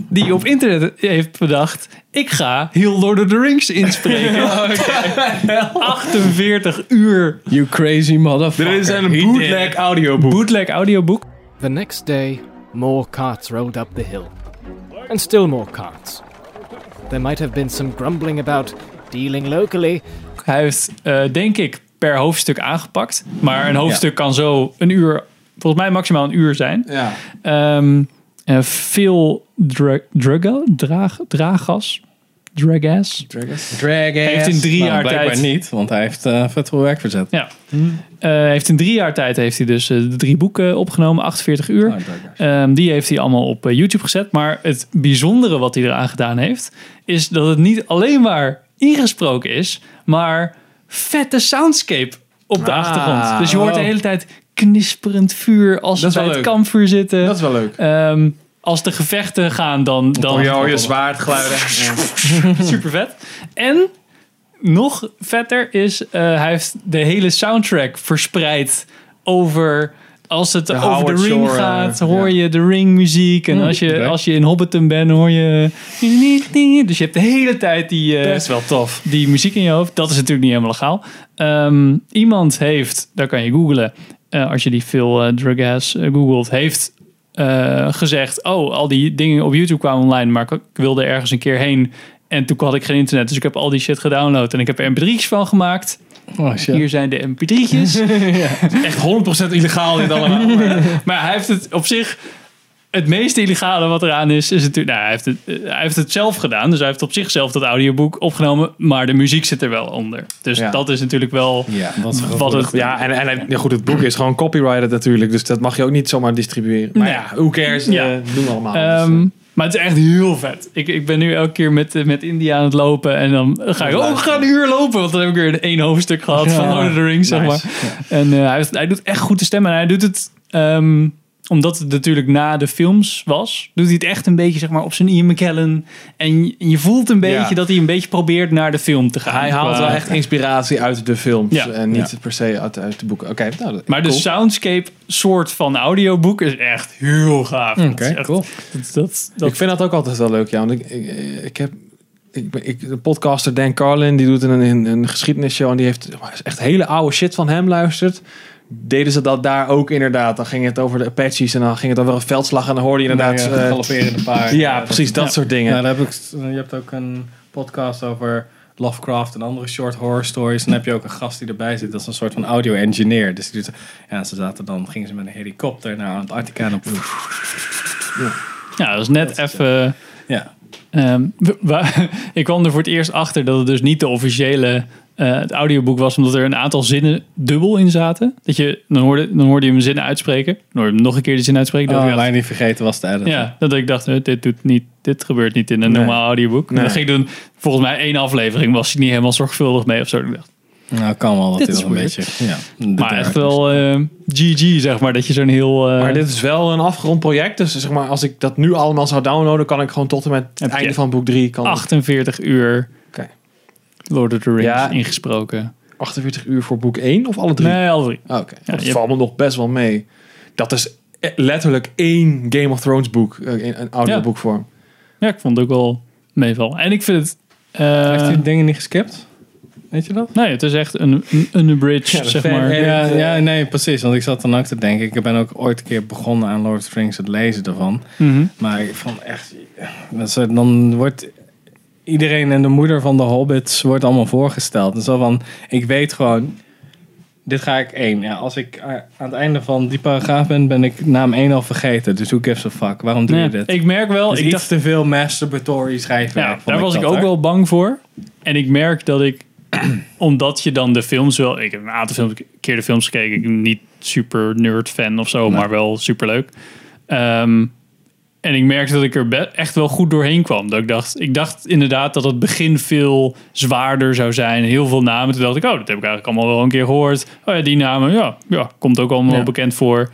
S1: die op internet heeft bedacht... ik ga heel Lord of the Rings inspreken. 48 uur.
S2: You crazy motherfucker.
S8: Dit is een bootleg audioboek.
S1: Bootleg audioboek.
S13: The next day, more carts rode up the hill. And still more carts. There might have been some grumbling about dealing locally.
S1: Hij heeft, eh, denk ik, per hoofdstuk aangepakt. Maar een hoofdstuk kan zo een uur, volgens mij maximaal een uur zijn.
S8: Ja.
S1: Ehm, eh, veel drug, drugga- draag, draaggas. Dragass. Heeft in drie
S2: Nou,
S1: jaar
S2: blijkbaar
S1: tijd.
S2: niet, want hij heeft eh vet veel werk verzet.
S1: Ja.
S13: Hmm.
S1: Eh, heeft in drie jaar tijd heeft hij dus eh, de drie boeken opgenomen, 48
S13: Ah,
S1: uur. Ehm, die heeft hij allemaal op eh, YouTube gezet. Maar het bijzondere wat hij eraan gedaan heeft, is dat het niet alleen maar ingesproken is, maar vette soundscape op de
S8: Ah,
S1: achtergrond. Dus je hoort de
S8: oh.
S1: hele tijd knisperend vuur
S8: Dat
S1: als ze
S8: is
S1: bij
S8: wel
S1: het
S8: leuk.
S1: kampvuur zitten. Dat
S8: is wel leuk.
S1: als de gevechten gaan, dan... dan
S8: Hoor je, hoor je zwaardgeluiden.
S1: Super vet. En nog vetter is, eh, hij heeft de hele soundtrack verspreid over. Als het
S8: De
S1: over
S8: Howard
S1: de ring
S8: Shore, eh,
S1: gaat, hoor je de ring muziek. En
S8: Hmm,
S1: als, je,
S8: oké.
S1: als je in Hobbiton bent, hoor je. Dus je hebt de hele tijd die. eh,
S8: Best wel tof.
S1: Die muziek in je hoofd. Dat is natuurlijk niet helemaal legaal. Ehm, iemand heeft, daar kan je googlen. eh, als je die veel eh drug ass eh, googelt, heeft eh, gezegd: Oh, al die dingen op YouTube kwamen online, maar ik, ik wilde ergens een keer heen. En toen had ik geen internet, dus ik heb al die shit gedownload en ik heb er mp3's van gemaakt. Hier zijn de mp3'tjes.
S8: Echt 100% illegaal dit allemaal.
S1: maar hij heeft het op zich. Het meest illegale wat eraan is, is natuurlijk. Nou, hij, heeft het, eh, hij heeft het zelf gedaan, dus hij heeft op zichzelf dat audioboek opgenomen. Maar de muziek zit er wel onder. Dus
S8: Ja.
S1: dat is natuurlijk wel wat het.
S8: ja, en, en hij- ja, goed, het boek is gewoon copyrighted natuurlijk. Dus dat mag je ook niet zomaar distribueren. Maar
S1: Nee.
S8: ja, who cares? eh,
S1: Ja.
S8: doen we allemaal. Dus, eh,
S1: Ehm, maar het is echt heel vet. Ik, ik ben nu elke keer met, eh, met India aan het lopen. En dan ga ik, oh, we gaan een uur lopen. Want dan heb ik weer één hoofdstuk gehad
S8: Ja.
S1: van Lord of the Rings, zeg
S8: Nice.
S1: maar. En eh, hij, heeft- hij doet echt goed de stem. En hij doet het, ehm, omdat het natuurlijk na de films was, doet hij het echt een beetje zeg maar, op zijn Ian McKellen. En je- je voelt een beetje
S8: Ja.
S1: dat hij een beetje probeert naar de film te gaan.
S8: Hij haalt
S1: Qua-
S8: wel echt inspiratie uit de films.
S1: Ja.
S8: En niet
S1: Ja.
S8: per se uit, uit de boeken. Oké, nou, dat-
S1: Maar de
S8: cool.
S1: soundscape soort van audioboek is echt heel gaaf.
S8: Oké,
S1: Dat is echt-
S8: cool.
S1: Dat, dat, dat
S8: Ik vind dat ook altijd wel leuk, ja. Want ik, ik, ik heb... Ik, ben- ik, de podcaster Dan Carlin, die doet een, een, een geschiedenisshow... en die heeft echt hele oude shit van hem luistert. Deden ze dat daar ook inderdaad. Dan ging het over de Apaches en dan ging het over een veldslag... en dan hoorde je inderdaad...
S2: Nee, eh,
S8: eh,
S2: galopperende paarden.
S8: Ja, precies, dat
S2: Ja.
S8: soort dingen.
S2: Nou, daar heb ik, je hebt ook een podcast over Lovecraft en andere short horror stories. En dan heb je ook een gast die erbij zit. Dat is een soort van audio engineer. Dus die doet, ja, ze zaten dan, gingen ze met een helikopter naar Antarctica. En op,
S1: Ja, dat is net even.
S2: Ja.
S1: Ehm, we- we- ik kwam er voor het eerst achter dat het dus niet de officiële eh, het audioboek was, omdat er een aantal zinnen dubbel in zaten. Dat je, dan, hoorde, dan hoorde je hem zinnen uitspreken. Dan hoorde je hem nog een keer de zin uitspreken.
S2: Oh,
S1: dacht ik, ja,
S2: alleen niet vergeten was de edit.
S1: ja, dat ik dacht, eh, dit, doet niet, dit gebeurt niet in een
S2: Nee.
S1: normaal audioboek. En
S2: Nee.
S1: Dan ging ik doen, volgens mij één aflevering was hij niet helemaal zorgvuldig mee of zo. Ik dacht,
S2: Nou, kan wel dat
S1: Dit
S2: dit
S1: is
S2: wel een
S1: weird.
S2: beetje... Ja,
S1: maar echt wel eh, GG, zeg maar, dat je zo'n heel... eh,
S8: dus. Maar dit is wel een afgerond project. Dus zeg maar, als ik dat nu allemaal zou downloaden... kan ik gewoon tot en met het
S1: Heb je
S8: einde van boek 3... Kan
S1: 48 uur
S8: Oké.
S1: Lord of the Rings
S8: Ja.
S1: ingesproken.
S8: 48 uur voor boek 1 of alle drie?
S1: Nee, alle drie.
S8: Ah, Oké,
S1: Ja,
S8: dat
S1: je-
S8: valt me nog best wel mee. Dat is
S3: e-
S8: eh, letterlijk één Game of Thrones boek. eh, in Een audioboek vorm.
S1: Ja, ik vond het ook wel meeval. En ik vind het... eh,
S2: Heeft u dingen niet geskipt? Weet je dat?
S1: Nee, het is echt een, een, een bridge, zeg maar.
S2: Ja, ja, nee, precies. Want ik zat dan ook te denken. Ik ben ook ooit een keer begonnen aan Lord of the Rings, het lezen daarvan.
S1: Mhm.
S2: Maar ik vond echt... dat ze- Dan wordt iedereen en de moeder van de hobbits wordt allemaal voorgesteld. En zo van, ik weet gewoon... Dit ga ik één. Ja, als ik eh, aan het einde van die paragraaf ben, ben ik naam één al vergeten. Dus who gives a fuck? Waarom doe je
S1: Nee,
S2: dit?
S1: ik merk wel,
S2: Dus
S1: ik
S2: iets
S1: dacht-
S2: te veel masturbatory schrijven.
S1: Ja, daar was ik ook wel bang voor. En ik merk dat ik, omdat je dan de films wel... Ik heb een aantal films, keer de films gekeken. Ik ben niet super nerd fan of zo, maar wel super leuk. en ik merkte dat ik er be- echt wel goed doorheen kwam. Dat ik, dacht, ik dacht inderdaad dat het begin veel zwaarder zou zijn. Heel veel namen. Toen dacht ik, oh, dat heb ik eigenlijk allemaal wel een keer gehoord. Oh ja, die namen, ja, ja komt ook allemaal
S2: Ja.
S1: wel bekend voor.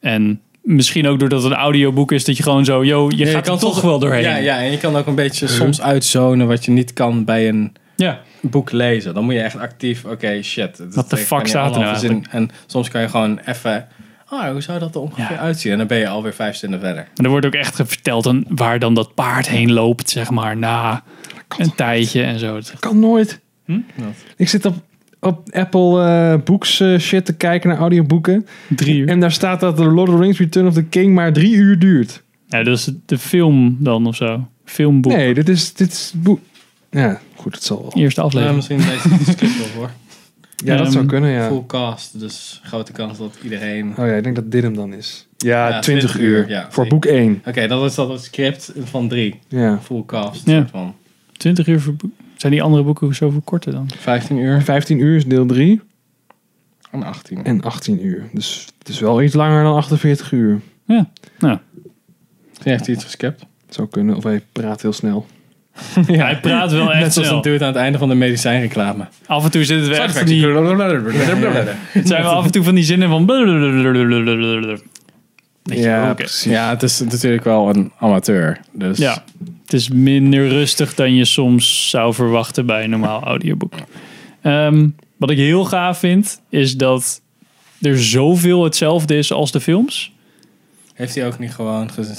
S1: En misschien ook doordat het een audioboek is... dat je gewoon zo, yo, je
S2: Ja,
S1: gaat er toch wel doorheen.
S2: Ja, ja, en je kan ook een beetje
S1: Huh?
S2: soms uitzonen wat je niet kan bij een
S1: Ja.
S2: boek lezen. Dan moet je echt actief, oké, shit.
S1: What the fuck staat er nou
S2: in? En soms kan je gewoon even Ah, hoe zou dat er ongeveer uitzien? En dan ben je alweer vijf zinnen verder.
S1: En er wordt ook echt verteld dan waar dan dat paard heen loopt, zeg maar, na een tijdje en zo. Dat
S3: kan nooit. Ik zit op, op Apple eh, Books eh, shit te kijken naar audioboeken.
S1: Drie uur.
S3: En daar staat dat The Lord of the Rings Return of the King maar drie uur duurt.
S1: Ja, dat is de film dan of zo. Filmboek.
S3: Nee, dit is, dit is boek. Ja, goed, het zal wel.
S1: Eerste aflevering.
S2: Ja, misschien deze discussie wel hoor.
S3: Ja, dat zou kunnen, ja.
S2: Full cast, dus grote kans dat iedereen...
S3: Oh ja, ik denk dat dit hem dan is. Ja,
S2: Ja,
S3: 20,
S2: 20
S3: uur.
S2: uur, ja,
S3: voor boek 1.
S2: Oké, dat is dat het script van drie.
S3: Ja.
S2: Full cast.
S1: Ja.
S2: soort van.
S1: 20 uur voor boek. Zijn die andere boeken zoveel korter dan?
S2: 15 uur.
S3: 15 uur is deel 3.
S2: En 18.
S3: En 18 uur. Dus het is wel iets langer dan 48 uur.
S1: Ja, nou.
S2: heeft hij iets geskipt.
S3: Zou kunnen, of hij praat heel snel.
S1: Ja, hij praat wel echt
S2: Net zoals
S1: snel.
S2: dat doet aan het einde van de medicijnreclame.
S1: Af en toe zitten we echt van die...
S2: Blablabla.
S1: Het zijn wel af en toe van die zinnen van...
S2: Ja, precies. Ja, het is natuurlijk wel een amateur. Dus
S1: Ja, het is minder rustig dan je soms zou verwachten bij een normaal audioboek. Ehm, wat ik heel gaaf vind, is dat er zoveel hetzelfde is als de films.
S2: heeft hij ook niet gewoon ge-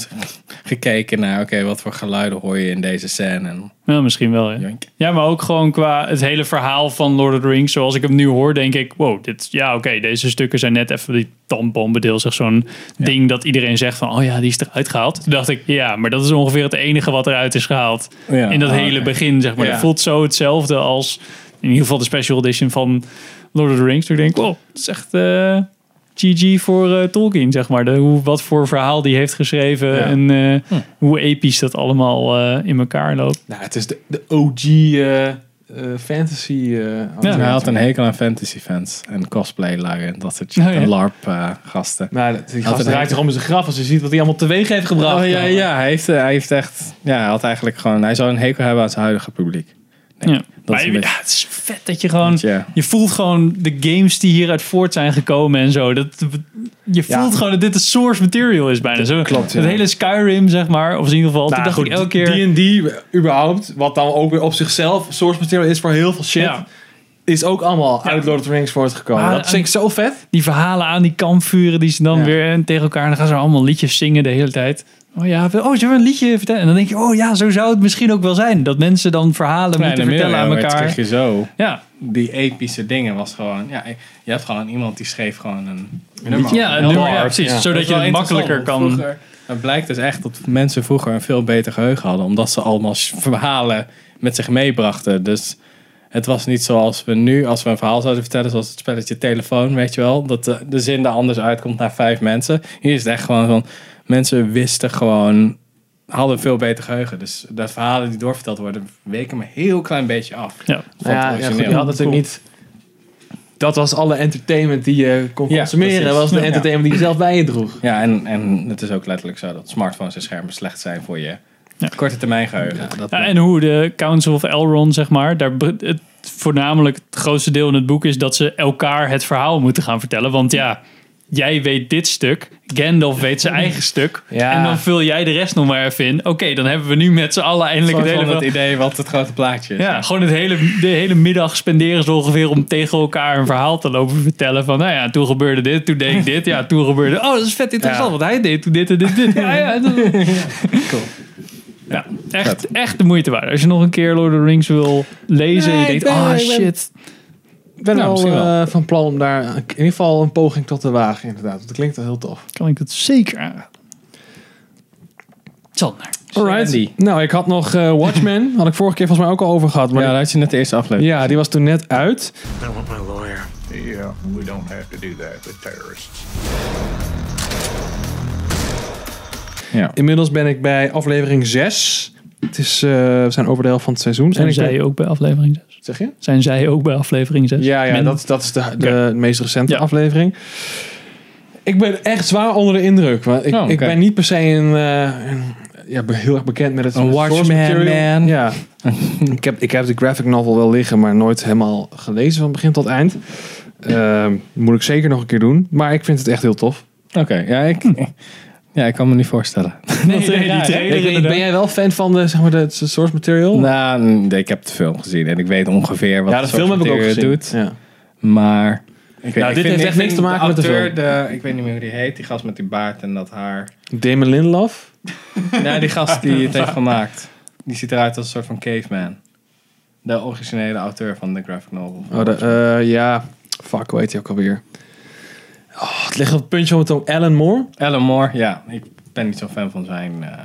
S2: gekeken naar... Oké, wat voor geluiden hoor je in deze scène? En
S1: Ja, misschien wel. Ja. ja, maar ook gewoon qua het hele verhaal van Lord of the Rings. Zoals ik hem nu hoor, denk ik... Wow, dit, ja, oké, deze stukken zijn net even die tandbombendeel. Zeg zo'n ding dat iedereen zegt van... Oh ja, die is eruit gehaald. Toen dacht ik, ja, maar dat is ongeveer het enige wat eruit is gehaald.
S2: Ja,
S1: in dat
S2: ah,
S1: hele
S2: oké.
S1: begin, zeg maar.
S2: Ja.
S1: Dat voelt zo hetzelfde als... In ieder geval de special edition van Lord of the Rings. Toen denk ik, wow, dat is echt... eh, GG voor eh, Tolkien, zeg maar. De, hoe, wat voor verhaal die heeft geschreven en eh,
S2: Hm.
S1: hoe episch dat allemaal eh, in elkaar loopt.
S3: Nou, het is de, de OG eh, eh, fantasy. eh,
S2: Ja, hij had een
S3: auteur.
S2: hekel aan fantasy fans en cosplay lui en dat soort shit.
S3: Oh, ja.
S2: En LARP eh, gasten.
S3: Maar dat- die
S2: Had
S3: gast
S2: een
S3: draait
S2: hekel-
S3: zich om in zijn graf als je ziet wat hij allemaal teweeg heeft gebracht.
S2: Oh, ja, ja, hij heeft, eh, hij heeft echt. Ja, hij had eigenlijk gewoon. Hij zou een hekel hebben aan zijn huidige publiek.
S1: Ja.
S2: Dat
S1: Maar
S2: is een
S1: je-
S2: beetje-
S1: ja, het is vet dat je gewoon...
S2: Ja.
S1: Je voelt gewoon de games die hieruit voort zijn gekomen en zo. Dat, je
S2: Ja.
S1: voelt gewoon dat dit de source material is bijna. Zo,
S3: klopt, ja.
S1: Het hele Skyrim, zeg maar. Of in ieder geval,
S3: Nou,
S1: toen dacht
S3: goed,
S1: ik elke keer...
S3: D&D überhaupt, wat dan ook weer op zichzelf source material is voor heel veel shit, is ook allemaal uit Lord of the Rings voortgekomen.
S1: Maar
S3: dat vind ik zo vet.
S1: Die verhalen aan die kampvuren die ze dan weer en tegen elkaar... En dan gaan ze allemaal liedjes zingen de hele tijd. Oh ja, we- oh, zullen we een liedje vertellen? En dan denk je, oh ja, zo zou het misschien ook wel zijn. Dat mensen dan verhalen moeten vertellen aan
S2: middeleeuwen
S1: elkaar.
S2: kreeg je zo.
S1: Ja.
S2: Die epische dingen was gewoon. Ja, je hebt gewoon iemand die schreef gewoon een. nummer.
S1: Ja, een nummer, ja, precies. Zodat
S2: Dat is
S1: je
S2: wel
S1: het makkelijker
S2: interessant, want
S1: kan-
S2: vroeger- het blijkt dus echt dat mensen vroeger een veel beter geheugen hadden. Omdat ze allemaal s- verhalen met zich meebrachten. Dus het was niet zoals we nu, als we een verhaal zouden vertellen. Zoals het spelletje Telefoon, weet je wel. Dat de, de zin er anders uitkomt naar vijf mensen. Hier is het echt gewoon van... Mensen wisten gewoon... Hadden veel beter geheugen. Dus de verhalen die doorverteld worden... weken maar een heel klein beetje af.
S1: Ja,
S2: Van het
S3: ja, ja,
S2: origineel.
S3: goed, je had natuurlijk niet... Dat was alle entertainment die je kon
S2: Ja,
S3: consumeren. Dat
S2: precies.
S3: was de
S2: Ja.
S3: entertainment die je zelf bij je droeg.
S2: Ja, en, en het is ook letterlijk zo dat smartphones en schermen slecht zijn voor je korte termijn geheugen. dat
S1: Ja, en hoe de Council of Elrond, zeg maar, daar be- het, voornamelijk het grootste deel in het boek is dat ze elkaar het verhaal moeten gaan vertellen. Want ja, jij weet dit stuk, Gandalf weet zijn eigen stuk.
S2: Ja.
S1: En dan vul jij de rest nog maar even in. Oké, dan hebben we nu met z'n allen eindelijk
S2: Soort
S1: het hele
S2: van het
S1: verhaal.
S2: idee wat het grote plaatje is.
S1: Ja, gewoon het hele, de hele middag spenderen ze ongeveer om tegen elkaar een verhaal te lopen vertellen. Van nou ja, toen gebeurde dit, toen deed ik dit. Ja, toen gebeurde. Oh, dat is vet interessant,
S2: Ja.
S1: want hij deed toen dit en dit. dit. Ja, ja, dat-
S2: Cool.
S1: ja, echt, echt de moeite waard. Als je nog een keer Lord of the Rings wil lezen en je
S3: Nee,
S1: denkt,
S3: ik ben-
S1: ah
S3: ik ben-
S1: shit.
S3: Ik ben
S1: Nou,
S3: wel,
S1: misschien wel.
S3: eh, van plan om daar in ieder geval een poging tot te wagen, inderdaad. Want dat klinkt wel heel tof.
S1: Kan ik dat zeker aanraden. Sander.
S3: Alright. Nou, ik had nog eh, Watchmen. had ik vorige keer volgens mij ook al over gehad. Maar ja, daar
S2: had je net de eerste aflevering.
S3: Ja, die was toen net uit.
S14: I want my lawyer. Yeah, we don't have to do that. The terrorists.
S3: Inmiddels ben ik bij aflevering 6. Het is, eh, we zijn over de helft van het seizoen.
S1: Zijn
S3: ik ben-
S1: zij ook bij aflevering 6?
S3: Zeg je?
S1: Zijn zij ook bij aflevering
S2: Dus
S1: 6?
S3: Ja, ja
S1: Men-
S3: dat, dat is de, de meest recente aflevering. Ik ben echt zwaar onder de indruk. Want ik,
S2: Oh, oké.
S3: ik ben niet per se een, eh, een- ja, ben heel erg bekend met het
S2: Een
S3: source
S2: Watchmen
S3: material.
S2: man.
S3: Ja. ik, heb, ik heb de graphic novel wel liggen, maar nooit helemaal gelezen van begin tot eind. Ehm, moet ik zeker nog een keer doen. Maar ik vind het echt heel tof.
S2: Oké, ja, ik,
S3: Hm.
S2: ja, ik kan me niet voorstellen.
S1: nee, die trailer
S3: Ik weet niet,
S1: inderdaad.
S3: ben jij wel fan van de, zeg maar, de, het source material?
S2: Nou, nee, ik heb de film gezien en ik weet ongeveer wat
S3: Ja, de
S2: soort
S3: film heb ik ook
S2: acteur het
S3: gezien.
S2: doet. Maar Ik
S3: Nou, dit
S2: vind-
S3: heeft echt
S2: vind
S3: niks te maken
S2: de
S3: met de
S2: acteur,
S3: film.
S2: de- Ik weet niet meer hoe die heet. Die gast met die baard en dat haar.
S3: Damon Lindelof?
S2: nee, die gast die het heeft gemaakt. Die ziet eruit als een soort van caveman. De originele auteur van de graphic novel.
S3: Oh, de, eh, ja. Fuck, hoe heet hij ook alweer? Oh, het ligt op het puntje om het om Alan Moore.
S2: Alan Moore, ja. Ik ben niet zo'n fan van zijn... eh,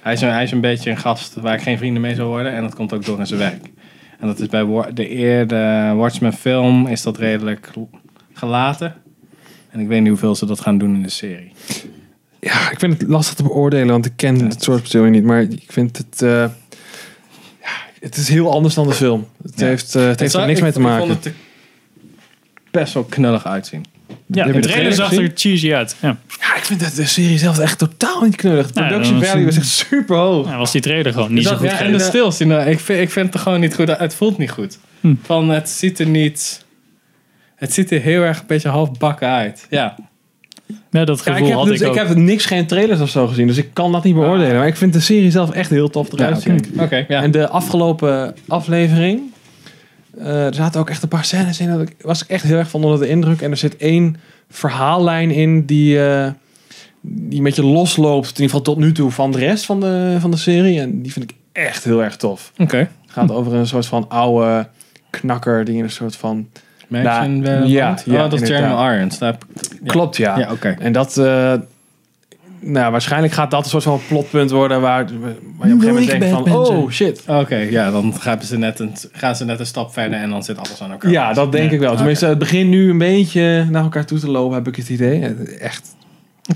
S2: Hij, is een, hij is een beetje een gast waar ik geen vrienden mee zou worden. En dat komt ook door in zijn werk. En dat is bij Wa- de eerder Watchmen film is dat redelijk gelaten. En ik weet niet hoeveel ze dat gaan doen in de serie.
S3: Ja, ik vind het lastig te beoordelen, want ik ken het soort persoon niet. Maar ik vind het... eh, ja, het is heel anders dan de film. Het
S2: Ja.
S3: heeft, eh, het heeft
S2: zag-
S3: er niks
S2: ik-
S3: mee te
S2: ik
S3: maken.
S2: vond het er best wel knullig uitzien.
S1: Ja,
S2: Heb je
S1: de trailer zag
S2: gezien?
S1: er cheesy uit. Ja.
S3: Ja, ik vind dat de serie zelf echt totaal niet knullig. De
S1: Nou,
S3: production
S1: dat was
S3: value
S1: een-
S3: is echt super hoog.
S1: was die trailer gewoon niet
S2: Dus
S1: zo
S2: dat-
S1: goed.
S2: ja, en de
S1: gedaan.
S2: stils. die- nou, Ik vind, ik vind het er gewoon niet goed uit. Het voelt niet goed. Van het ziet er niet... Het ziet er heel erg een beetje half bakken uit. Ja.
S1: Ja, dat
S3: Ja, ik, heb dus- ik heb niks, geen trailers of zo gezien, dus ik kan dat niet beoordelen. Maar ik vind de serie zelf echt heel tof eruit
S2: Ah. Ja,
S3: zien.
S2: oké. Oké, ja.
S3: En de afgelopen aflevering, eh, er zaten ook echt een paar scènes in. Dat ik, was ik echt heel erg van onder de indruk. En er zit één verhaallijn in die, eh, die een beetje losloopt, in ieder geval tot nu toe, van de rest van de, van de serie. En die vind ik echt heel erg tof.
S2: Oké.
S3: Het gaat over een soort van oude knakker die in een soort van...
S2: Mansion
S3: Nou,
S2: Valley.
S3: ja, ja,
S2: oh, dat is
S3: inderdaad.
S2: Jeremy Irons. Daar heb ik-
S3: Klopt, ja.
S2: Ja, oké.
S3: En dat... eh, nou, waarschijnlijk gaat dat een soort van plotpunt worden waar, waar je op een gegeven moment denkt van... Oh, shit.
S2: Oké, ja, dan gaan ze, net een, gaan ze net een stap verder en dan zit alles aan elkaar.
S3: Ja, dat denk
S2: Ja.
S3: ik wel.
S2: Oké.
S3: Tenminste, het begint nu een beetje naar elkaar toe te lopen, heb ik het idee. Echt.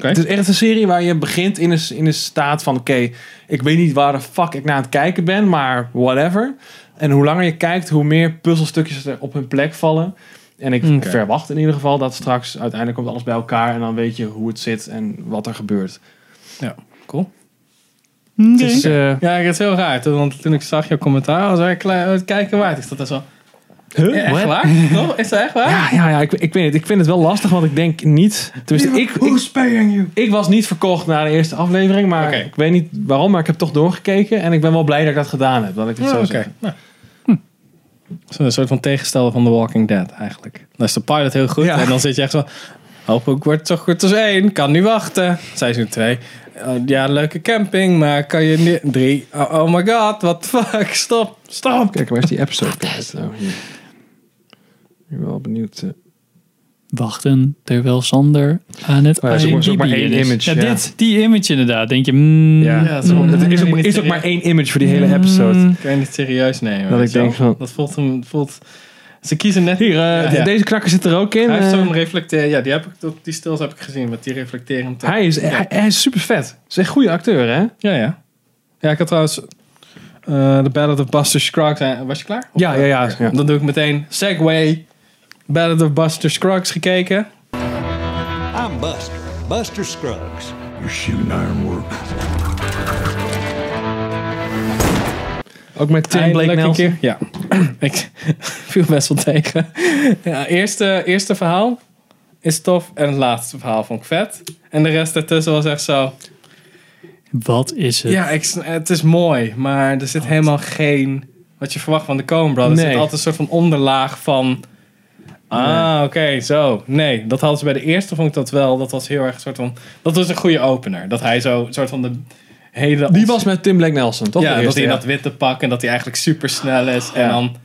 S3: Het is echt een serie waar je begint in een, in een staat van: oké, ik weet niet waar de fuck ik naar aan het kijken ben, maar whatever. En hoe langer je kijkt, hoe meer puzzelstukjes er op hun plek vallen. En ik
S2: Oké.
S3: verwacht in ieder geval dat straks uiteindelijk komt alles bij elkaar en dan weet je hoe het zit en wat er gebeurt.
S2: Ja, cool.
S1: Het
S3: Dus,
S2: is, eh, ja, het is heel raar. toen- Want toen ik zag jouw commentaar, was ik eh, het kijken waard. Ik dat zo...
S3: Huh?
S2: Ja, echt
S3: What?
S2: waar? Toch? Is dat echt waar?
S3: Ja, ja, ja ik, ik weet het. Ik vind het wel lastig, want ik denk niet. Tenminste, ik, ik, ik was niet verkocht na de eerste aflevering, maar ik weet niet waarom, maar ik heb toch doorgekeken en ik ben wel blij dat ik dat gedaan heb. Dat ik het
S2: Ja,
S3: zo
S2: oké.
S3: zeg.
S2: Nou.
S3: Hm.
S2: Zo- Een soort van tegensteller van The Walking Dead eigenlijk. Dan is de pilot heel goed en dan zit je echt zo... Hopelijk wordt het zo goed als één. Kan niet wachten. Seizoen 2. ja, leuke camping, maar kan je niet... Drie. Oh, oh my god, what the fuck. Stop, stop.
S3: Kijk, waar is die episode? Oh, hier. Ik ben wel benieuwd. eh.
S1: Wachten terwijl Sander aan het
S3: ja, ze
S1: IMDb
S3: is ook maar één
S1: is.
S3: image,
S1: Ja,
S3: ja.
S1: dit, die image inderdaad. Denk je, mm,
S3: Ja, het is ook-
S1: mm,
S3: het is ook- is ook maar één image voor die hele episode.
S2: Kan je niet serieus nemen.
S3: Dat
S2: weet
S3: ik
S2: je wel?
S3: denk van-
S2: Dat voelt hem... Voelt, ze kiezen net... Hier,
S3: eh, de- Deze knakker zit er ook in.
S2: Hij heeft
S3: eh.
S2: zo'n reflecteer... Ja, die, heb ik, dat- die stils heb ik gezien, want die reflecterend...
S3: hij, is,
S2: Ja.
S3: hij, hij is super vet. Hij is echt een goede acteur, hè?
S2: Ja, ja. Ja, ik had trouwens eh, de Ballad of Buster Scruggs. eh, was je klaar? eh,
S3: Ja, ja, ja. ja.
S2: Dan doe ik meteen Segway. Ballad of Buster Scruggs gekeken.
S15: I'm Buster. Buster Scruggs.
S14: You're shooting ironwork.
S3: Ook met Tim Blake
S2: Eindelijk een
S3: Nelson.
S2: keer- Ja, ik viel best wel tegen. Ja, eerste, eerste verhaal is tof. En het laatste verhaal vond ik vet. En de rest daartussen was echt zo...
S1: Wat is het?
S2: Ja, ik, sn- het is mooi, maar er zit helemaal geen... Wat je verwacht van de Coen Brothers. Er
S3: Nee.
S2: zit altijd een soort van onderlaag van... Ah, oké, zo. Nee, dat hadden ze bij de eerste, vond ik dat wel. Dat was heel erg een soort van... Dat was een goede opener. Dat hij zo een soort van de hele...
S3: Die was met Tim Blake Nelson, toch?
S2: ja,
S3: De
S2: dat
S3: eerste,
S2: hij in
S3: ja.
S2: dat witte pak en dat hij eigenlijk super snel is. En
S3: Ja.
S2: dan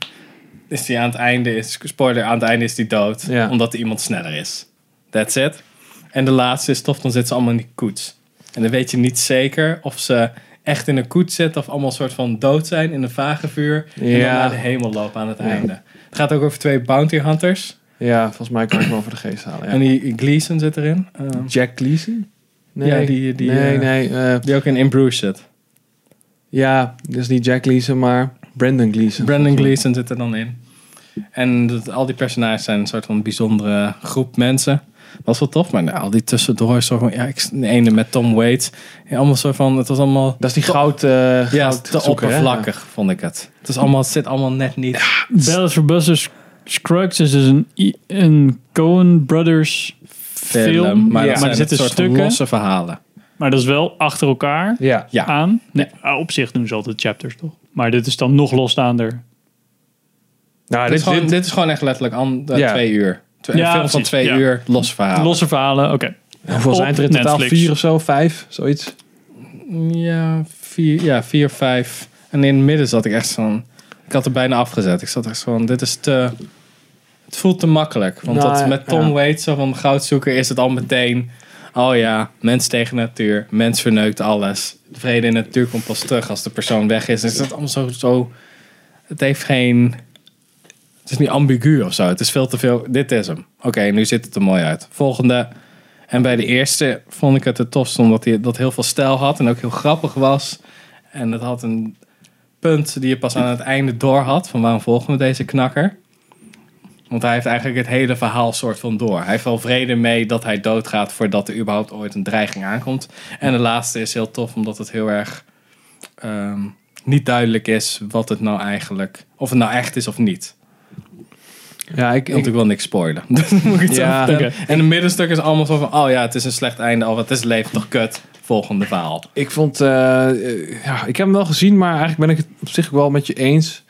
S2: is hij aan het einde, is, spoiler, aan het einde is hij dood.
S3: Ja.
S2: Omdat hij iemand sneller is. That's it. En de laatste is tof, dan zitten ze allemaal in die koets. En dan weet je niet zeker of ze echt in een koets zitten of allemaal soort van dood zijn in een vage vuur. En dan
S3: Ja.
S2: naar de hemel lopen aan het
S3: Ja.
S2: einde. Het gaat ook over twee bounty hunters.
S3: Ja, volgens mij kan ik hem wel voor de geest halen. ja.
S2: En die Gleason zit erin. Ehm,
S3: Jack Gleason? Nee,
S2: Ja, die- die,
S3: nee,
S2: eh,
S3: nee, eh,
S2: die ook in In Bruges zit.
S3: Ja, dus niet Jack Gleason, maar Brandon Gleason.
S2: Brandon Gleason zit er dan in. En dat, al die personages zijn een soort van bijzondere groep mensen. Dat is wel tof, maar nou, al die tussendoor is zo van... Ja, ik, de ene met Tom Waits. Ja, allemaal zo van... Het was allemaal...
S3: Dat is die goud... eh
S2: ja,
S3: goud
S2: te
S3: zoeker, hè?
S2: oppervlakkig, vond ik het. Het, is allemaal, het zit allemaal net niet...
S1: Ballad for Buster Sc- Scruggs is dus een, i- een Coen Brothers film.
S2: maar,
S1: maar,
S2: dat zijn
S1: er
S2: het
S1: zitten
S2: soort van
S1: stukken.
S2: losse verhalen.
S1: Maar dat is wel achter elkaar ah,
S3: ja.
S1: aan. Nee, Op zich doen ze altijd chapters, toch? Maar dit is dan nog losstaander.
S3: Nou,
S2: dit, is gewoon, dit is gewoon echt letterlijk an, eh,
S3: Ja.
S2: twee uur. Twee,
S3: Ja,
S2: een film van
S3: precies.
S2: twee
S3: Ja.
S2: uur, losse
S3: Ah.
S2: verhalen.
S1: Losse verhalen, oké.
S3: Hoeveel
S1: Op
S3: zijn er in totaal?
S1: Netflix.
S3: Vier of zo? Vijf? Zoiets?
S2: Ja, vier, ja, vier, vijf. En in het midden zat ik echt zo'n... Ik had er bijna afgezet. Ik zat echt zo van, dit is te... Het voelt te makkelijk. Want
S3: Nou,
S2: dat met Tom
S3: ja.
S2: Waits, zo van Goudzoeker, is het al meteen... Oh ja, mens tegen natuur. Mens verneukt alles. De vrede in de natuur komt pas terug als de persoon weg is. Is dat allemaal zo... zo het heeft geen... Het is niet ambigu of zo. Het is veel te veel. Dit is hem. Oké, nu ziet het er mooi uit. Volgende. En bij de eerste vond ik het het tofst omdat hij dat heel veel stijl had en ook heel grappig was. En het had een punt die je pas aan het einde door had van waarom volgen we deze knakker. Want hij heeft eigenlijk het hele verhaal soort van door. Hij heeft wel vrede mee dat hij doodgaat voordat er überhaupt ooit een dreiging aankomt. En de laatste is heel tof omdat het heel erg ehm, niet duidelijk is wat het nou eigenlijk, of het nou echt is of niet.
S3: Ja, ik,
S2: ik, wil niks spoilen. Dat moet ik het zo
S3: Ja.
S2: vertellen.
S3: Oké.
S2: En het middenstuk is allemaal zo van, oh ja, het is een slecht einde, of het is leven toch kut. Volgende verhaal.
S3: Ik vond, eh, eh, ja, ik heb hem wel gezien, maar eigenlijk ben ik het op zich ook wel met je eens.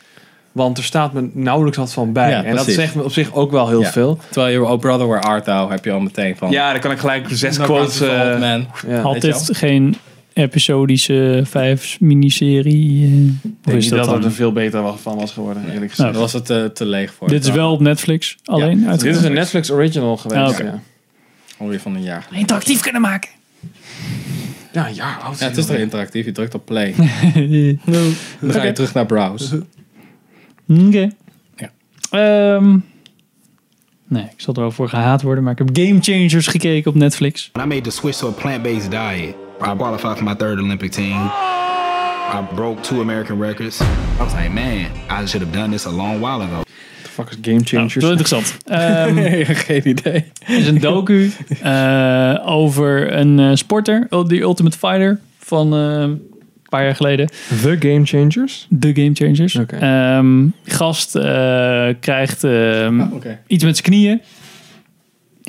S3: Want er staat me nauwelijks wat van bij.
S2: Ja,
S3: en dat
S2: precies.
S3: zegt me op zich ook wel heel
S2: Ja.
S3: veel.
S2: Terwijl je Oh Brother Where Art Thou heb je al meteen van.
S3: Ja, dan kan ik gelijk zes quotes, eh, ja. Weet
S1: Altijd
S3: je
S1: geen episodische vijf miniserie. eh,
S3: Ik
S1: of
S3: denk
S1: is
S3: niet dat,
S1: dat
S3: dat
S1: dan?
S3: er veel beter wa- van was geworden, eerlijk gezegd.
S1: Nou, dat was
S2: het eh, te leeg voor.
S1: Dit is wel op Netflix alleen.
S3: dit is een Netflix original geweest.
S1: Ah, oké.
S3: ja.
S2: Alweer van een jaar.
S1: Interactief kunnen maken.
S3: Ja, ja, oud.
S2: Ja, het is toch interactief, je drukt op play. Dan ga
S1: Oké.
S2: je terug naar browse.
S1: Oké. Ehm, nee, ik zal er wel voor gehaat worden, maar ik heb Game Changers gekeken op Netflix.
S3: Nou,
S10: When I made the switch to a plant-based diet, I qualified for my third Olympic team. I broke two American records. I was like, man, I should have done this a long while ago. The
S3: fuck is Game Changers?
S1: Heel interessant.
S2: Nee, geen idee.
S1: Het Ehm, is een docu eh, over een eh, sporter, oh, die Ultimate Fighter van eh, een paar jaar geleden.
S3: The Game Changers?
S1: The Game Changers. Ehm, gast eh, krijgt ehm,
S2: Ah, oké.
S1: iets met zijn knieën.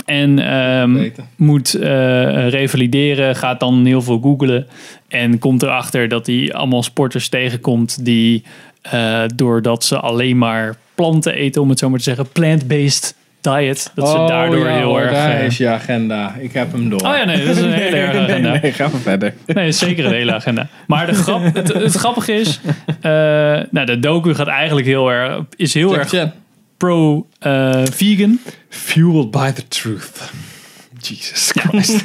S1: En ehm, moet eh, revalideren, gaat dan heel veel googlen. En komt erachter dat hij allemaal sporters tegenkomt die eh, doordat ze alleen maar planten eten, om het zo maar te zeggen, plant-based diet. Dat ze
S2: Oh,
S1: daardoor
S2: ja,
S1: heel
S2: hoor,
S1: erg.
S2: Daar
S1: eh,
S2: is je agenda. Ik heb hem door.
S1: Oh ja, nee, dat is een hele erge agenda.
S2: Nee, nee, ga maar verder.
S1: Nee, zeker een hele agenda. Maar de grap, het, het grappige is, eh, nou, de docu gaat eigenlijk heel erg, is heel
S2: Jack
S1: erg eh,
S2: Chan.
S1: pro-vegan.
S3: Fueled by the truth. Jesus
S1: Christ.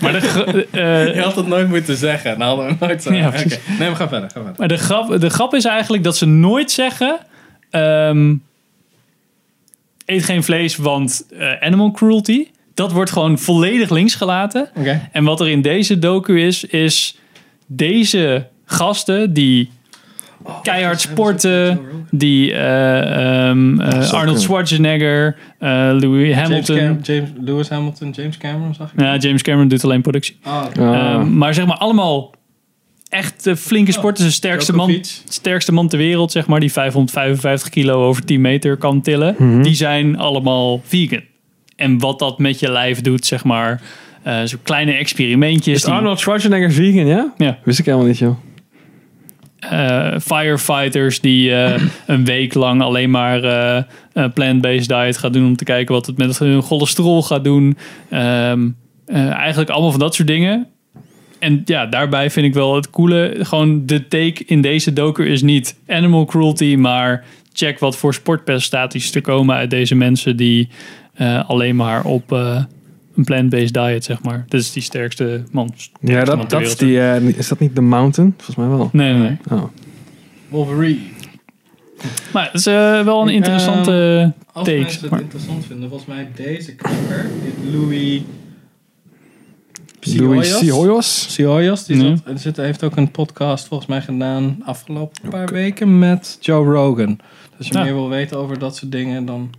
S1: maar de, gr- eh,
S2: je had het nooit moeten zeggen. Dan hadden we het nooit zo.
S1: Ja,
S2: Ja,
S1: precies.
S2: Nee, we gaan verder. Ga verder.
S1: maar de, grap, de grap is eigenlijk dat ze nooit zeggen, ehm, eet geen vlees, want eh, animal cruelty. Dat wordt gewoon volledig links gelaten.
S2: Oké.
S1: En wat er in deze docu is, is deze gasten die keihard sporten, die eh, ehm, eh,
S2: zou
S1: Arnold
S2: kunnen.
S1: Schwarzenegger, eh, Louis Hamilton.
S2: James, Cam- James, Lewis Hamilton, James Cameron zag ik.
S1: Ja, James Cameron doet alleen productie.
S2: Ah, oké.
S1: Ehm, maar zeg maar allemaal echt eh, flinke sporters. De sterkste man, sterkste man ter wereld, zeg maar, die 555 kilo over 10 meter kan tillen.
S3: Mhm.
S1: Die zijn allemaal vegan. En wat dat met je lijf doet, zeg maar. eh Zo'n kleine experimentjes.
S3: Is
S1: die-
S3: Arnold Schwarzenegger vegan, ja?
S1: Ja.
S3: Wist ik helemaal niet, joh.
S1: eh, firefighters die eh, een week lang alleen maar eh, een plant-based diet gaat doen om te kijken wat het met hun cholesterol gaat doen. Ehm, eh, eigenlijk allemaal van dat soort dingen. En ja, daarbij vind ik wel het coole. Gewoon de take in deze docu is niet animal cruelty, maar check wat voor sportprestaties er komen uit deze mensen die eh, alleen maar op eh, een plant-based diet, zeg maar. Dat is die sterkste man.
S3: Ja,
S1: sterkste man
S3: dat,
S1: ter
S3: dat is
S1: wereld.
S3: die... eh, is dat niet The Mountain? Volgens mij wel.
S1: Nee, nee, nee.
S3: Oh.
S2: Wolverine.
S1: Maar het is eh, wel een interessante
S2: Als
S1: take.
S2: mensen
S1: zeg
S2: het
S1: maar.
S2: interessant vinden, volgens mij deze knakker, dit Louis...
S3: Louis Cihoyos?
S2: Cihoyos, die zat, er zit, heeft ook een podcast volgens mij gedaan afgelopen paar weken met Joe Rogan. Dus als je
S1: Ja.
S2: meer wil weten over dat soort dingen, dan...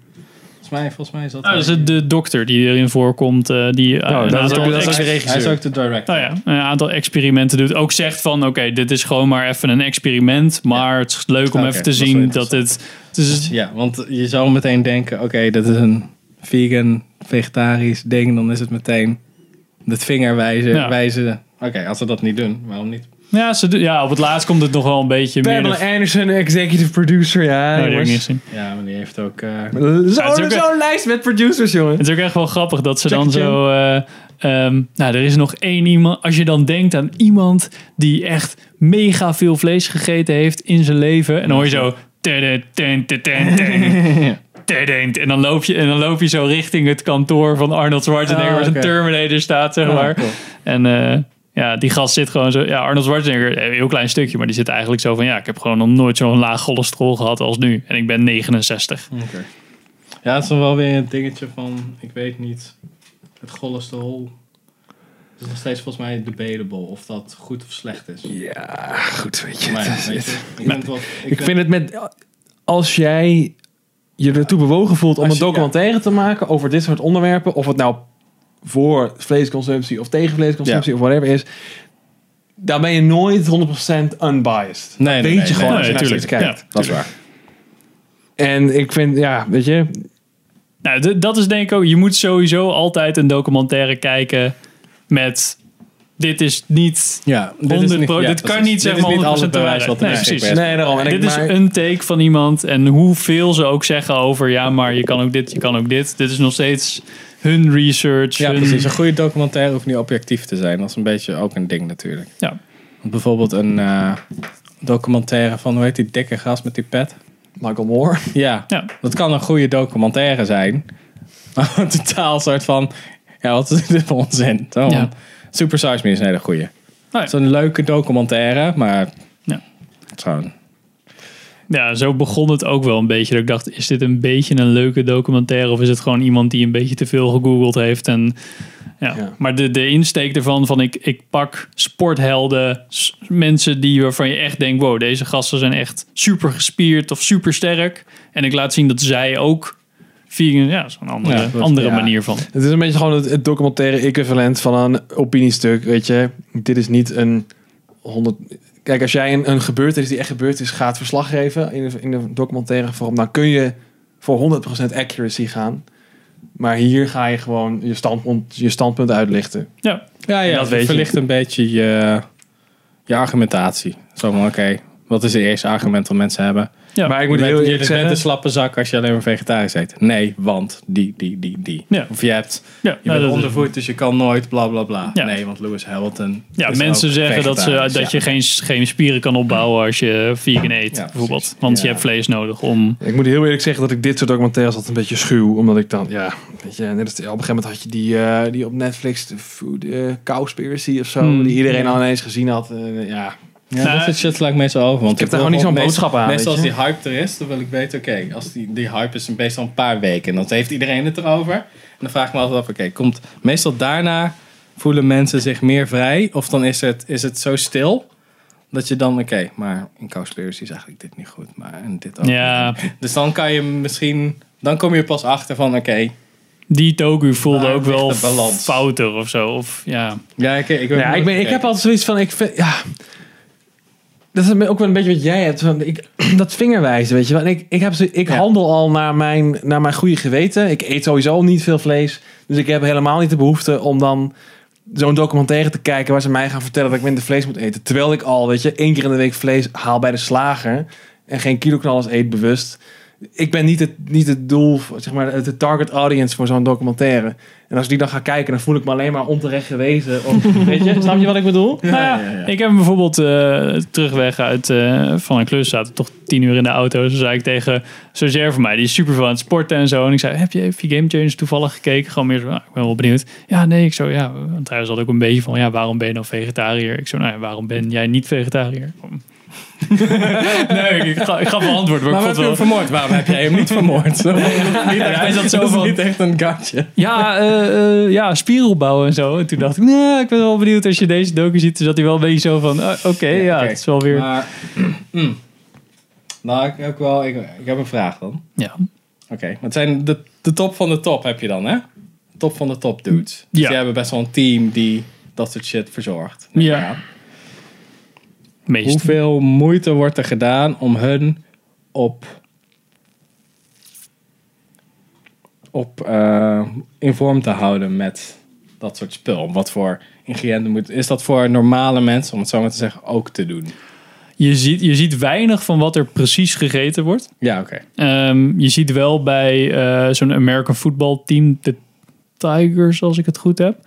S2: Volgens mij, volgens mij is dat...
S1: Ah, dat is het de dokter die erin voorkomt. eh, die
S2: Oh,
S1: eh, een aantal ex-
S2: Hij is ook de director.
S1: Nou ja, een aantal experimenten doet. Ook zegt van, oké, dit is gewoon maar even een experiment. Maar het is leuk om
S2: Oké,
S1: even te
S2: dat is wel
S1: zien dat
S2: interessant.
S1: het... Dus,
S2: ja, want je zou meteen denken, oké, dat is een vegan, vegetarisch ding. Dan is het meteen het vingerwijzen.
S1: Ja.
S2: wijzen. Oké, als ze dat niet doen, waarom niet?
S1: Ja, ze, doen- ja, op het laatst komt het nog wel een beetje meer...
S3: Pamela Anderson, executive producer. Ja,
S1: Nee, die heb ik
S3: jongens.
S1: niet gezien.
S2: Ja, maar die heeft ook... eh,
S3: Zo'n
S1: Ja, het is ook echt-
S3: zo'n lijst met producers, jongen.
S1: Het is ook echt wel grappig dat ze dan
S3: Jackie Chan.
S1: zo. eh, ehm, nou, er is nog één iemand. Als je dan denkt aan iemand die echt mega veel vlees gegeten heeft in zijn leven. En dan hoor je zo. "Tede, ten, te, ten, ten." Tede, En dan, loop je, en dan loop je zo richting het kantoor van Arnold Schwarzenegger,
S3: Ah,
S1: waar zijn
S3: oké.
S1: Terminator staat, zeg
S3: Ah,
S1: maar.
S3: cool.
S1: En eh, ja, die gast zit gewoon zo. Ja, Arnold Schwarzenegger, een heel klein stukje, maar die zit eigenlijk zo van: ja, ik heb gewoon nog nooit zo'n laag cholesterol gehad als nu. En ik ben 69.
S2: Ja, het is dan wel weer een dingetje van, ik weet niet, het cholesterol is nog steeds volgens mij debatable of dat goed of slecht is.
S3: Ja, goed weet je.
S2: Maar,
S3: dat
S2: ja,
S3: is
S2: weet je,
S3: het.
S2: ik vind het wel- ik
S3: Ik
S2: vind-
S3: vind het met... Als jij je ertoe bewogen voelt om een documentaire te maken over dit soort onderwerpen, of het nou voor vleesconsumptie of tegen vleesconsumptie of whatever is, daar ben je nooit 100% unbiased.
S2: Nee,
S3: dat
S2: nee,
S3: weet
S2: nee,
S3: je gewoon
S2: nee,
S3: als je
S2: nee,
S3: naar
S2: tuurlijk.
S3: zoiets kijkt.
S2: Ja, dat is waar.
S3: En ik vind, ja, weet je,
S1: Nou, d- dat is denk ik ook. Je moet sowieso altijd een documentaire kijken met. Dit is niet
S2: Ja,
S1: 100%. Dit, kan niet zeg maar 100% te wijzen.
S2: Wat er
S1: nee, precies.
S3: Nee, daarom. En ik-
S1: dit is
S3: maar-
S1: een take van iemand. En hoeveel ze ook zeggen over. Ja, maar je kan ook dit, je kan ook dit. Dit is nog steeds hun research.
S2: Ja,
S1: hun-
S2: precies. Een goede documentaire hoeft niet objectief te zijn. Dat is een beetje ook een ding natuurlijk.
S1: Ja.
S2: Want bijvoorbeeld een eh, documentaire van, hoe heet die dikke gast met die pet?
S3: Michael Moore.
S2: Ja, dat kan een goede documentaire zijn. Maar een totaal soort van, ja, wat is dit voor onzin? Zo,
S1: Ja. Nou
S2: Super Size Me is een hele goeie.
S1: ja.
S2: Het is een leuke documentaire, maar...
S1: Ja.
S2: Het is gewoon...
S1: Ja, zo begon het ook wel een beetje. Dat ik dacht, is dit een beetje een leuke documentaire? Of is het gewoon iemand die een beetje te veel gegoogeld heeft? En, ja. Maar de, de insteek ervan, van ik, ik pak sporthelden, s- mensen die, waarvan je echt denkt... wow, deze gasten zijn echt super gespierd of super sterk. En ik laat zien dat zij ook vegan... Ja, zo'n andere,
S3: Ja, dat-
S1: andere
S3: ja.
S1: manier van.
S3: Het is een beetje gewoon het, het documentaire equivalent van een opiniestuk, weet je. Dit is niet een 100... Kijk, als jij een, een gebeurtenis die echt gebeurd is gaat verslag geven in een, in een documentaire vorm, dan kun je voor 100% accuracy gaan. Maar hier ga je gewoon je standpunt, je standpunt uitlichten.
S1: Ja,
S2: ja, ja
S3: En dat
S2: dat
S3: weet je.
S2: verlicht een beetje je, je argumentatie. Zo van, oké, wat is het eerste argument dat mensen hebben?
S1: Ja. Maar ik moet
S2: je
S1: heel
S2: bent,
S1: eerlijk
S2: je bent
S1: zeggen-
S2: een slappe zak als je alleen maar vegetarisch eet. Nee, want die, die, die, die.
S1: Ja.
S2: Of je hebt...
S1: Ja,
S2: je
S1: nou,
S2: bent
S1: dat is-
S2: ondervoed, dus je kan nooit bla bla bla.
S1: Ja.
S2: Nee, want Lewis Hamilton.
S1: Ja,
S2: is
S1: mensen
S2: ook
S1: zeggen dat, ze,
S2: vegetarisch.
S1: dat
S2: Ja.
S1: je geen, geen spieren kan opbouwen als je vegan eet, bijvoorbeeld. Want je hebt vlees nodig om...
S3: Ik moet heel eerlijk zeggen dat ik dit soort documentaires altijd een beetje schuw. Omdat ik dan, ja, weet je, net als, op een gegeven moment had je die, eh, die op Netflix, de Food eh, Cowspiracy of zo,
S2: Hmm.
S3: die iedereen
S2: Ja.
S3: al ineens gezien had. Eh, ja.
S2: Ja, dat soort shit sla ik meestal over. Want
S3: ik heb
S2: wil
S3: daar gewoon niet zo'n
S2: meestal-
S3: boodschap aan.
S2: Meestal
S3: weet
S2: als
S3: je.
S2: die hype er is, dan wil ik weten, oké, als die, die hype is meestal een paar weken. En dan heeft iedereen het erover. En dan vraag ik me altijd af, oké, komt meestal daarna voelen mensen zich meer vrij? Of dan is het, is het zo stil, dat je dan, oké, maar in Cowspiracy is eigenlijk dit niet goed. Maar en dit ook
S1: Ja.
S2: niet. Dus dan kan je misschien, dan kom je pas achter van, oké.
S1: Die toku voelde
S2: Daar
S1: ook wel
S2: ligt de balans.
S1: fouter of zo. Of, ja.
S2: ja, ik, ik,
S3: ja, ik, ben, ik heb altijd zoiets van, ik vind, ja, dat is ook wel een beetje wat jij hebt. Van, ik, dat vingerwijzen, weet je wel. En ik ik, heb, zo- ik handel al naar mijn, naar mijn goede geweten. Ik eet sowieso niet veel vlees. Dus ik heb helemaal niet de behoefte om dan zo'n documentaire te kijken waar ze mij gaan vertellen dat ik minder vlees moet eten. Terwijl ik al, weet je, één keer in de week vlees haal bij de slager en geen kiloknallers eet bewust. Ik ben niet het, niet het doel, zeg maar, het het target audience voor zo'n documentaire. En als ik die dan ga kijken, dan voel ik me alleen maar onterecht gewezen. Of, weet je, snap je wat ik bedoel?
S1: Nou ja, Ik heb hem bijvoorbeeld eh, terugweg uit, eh, van een klus. Zaten toch tien uur in de auto. Zo zei ik tegen stagiair van mij. Die is super van het sporten en zo. En ik zei, heb je even Game Changers toevallig gekeken? Gewoon meer zo, "Ah, ik ben wel benieuwd. Ja, nee, ik zo, ja. Want hij zat ook een beetje van, ja, waarom ben je nou vegetariër? Ik zo, nou ja, waarom ben jij niet vegetariër? nee, ik, ga, ik gaf mijn antwoord. Maar,
S2: Waarom
S1: ik vond
S2: heb je hem
S1: wel...
S2: vermoord? Waarom heb jij hem niet vermoord?
S1: Ja, hij zat zo
S2: dat is
S1: van-
S2: niet echt een gatje.
S1: Ja, eh, eh, ja, spieren opbouwen en zo. En toen dacht ik, nou, ik ben wel benieuwd als je deze docu ziet. Toen zat hij wel een beetje zo van, ah, oké, ja,
S2: oké.
S1: het is wel weer...
S2: Maar, mm. nou, ik, ook wel, ik, ik heb een vraag dan.
S1: Ja.
S2: Oké, maar het zijn de, de top van de top heb je dan, hè? Top van de top dudes. Dus
S1: Ja.
S2: die hebben best wel een team die dat soort shit verzorgt.
S1: Ja. Meest.
S2: Hoeveel moeite wordt er gedaan om hun op... op eh, in vorm te houden met dat soort spul? Om Wat voor ingrediënten moet... Is dat voor normale mensen, om het zo maar te zeggen, ook te doen?
S1: Je ziet, je ziet weinig van wat er precies gegeten wordt.
S2: Ja, oké.
S1: Ehm, je ziet wel bij eh, zo'n American football team, de Tigers, als ik het goed heb.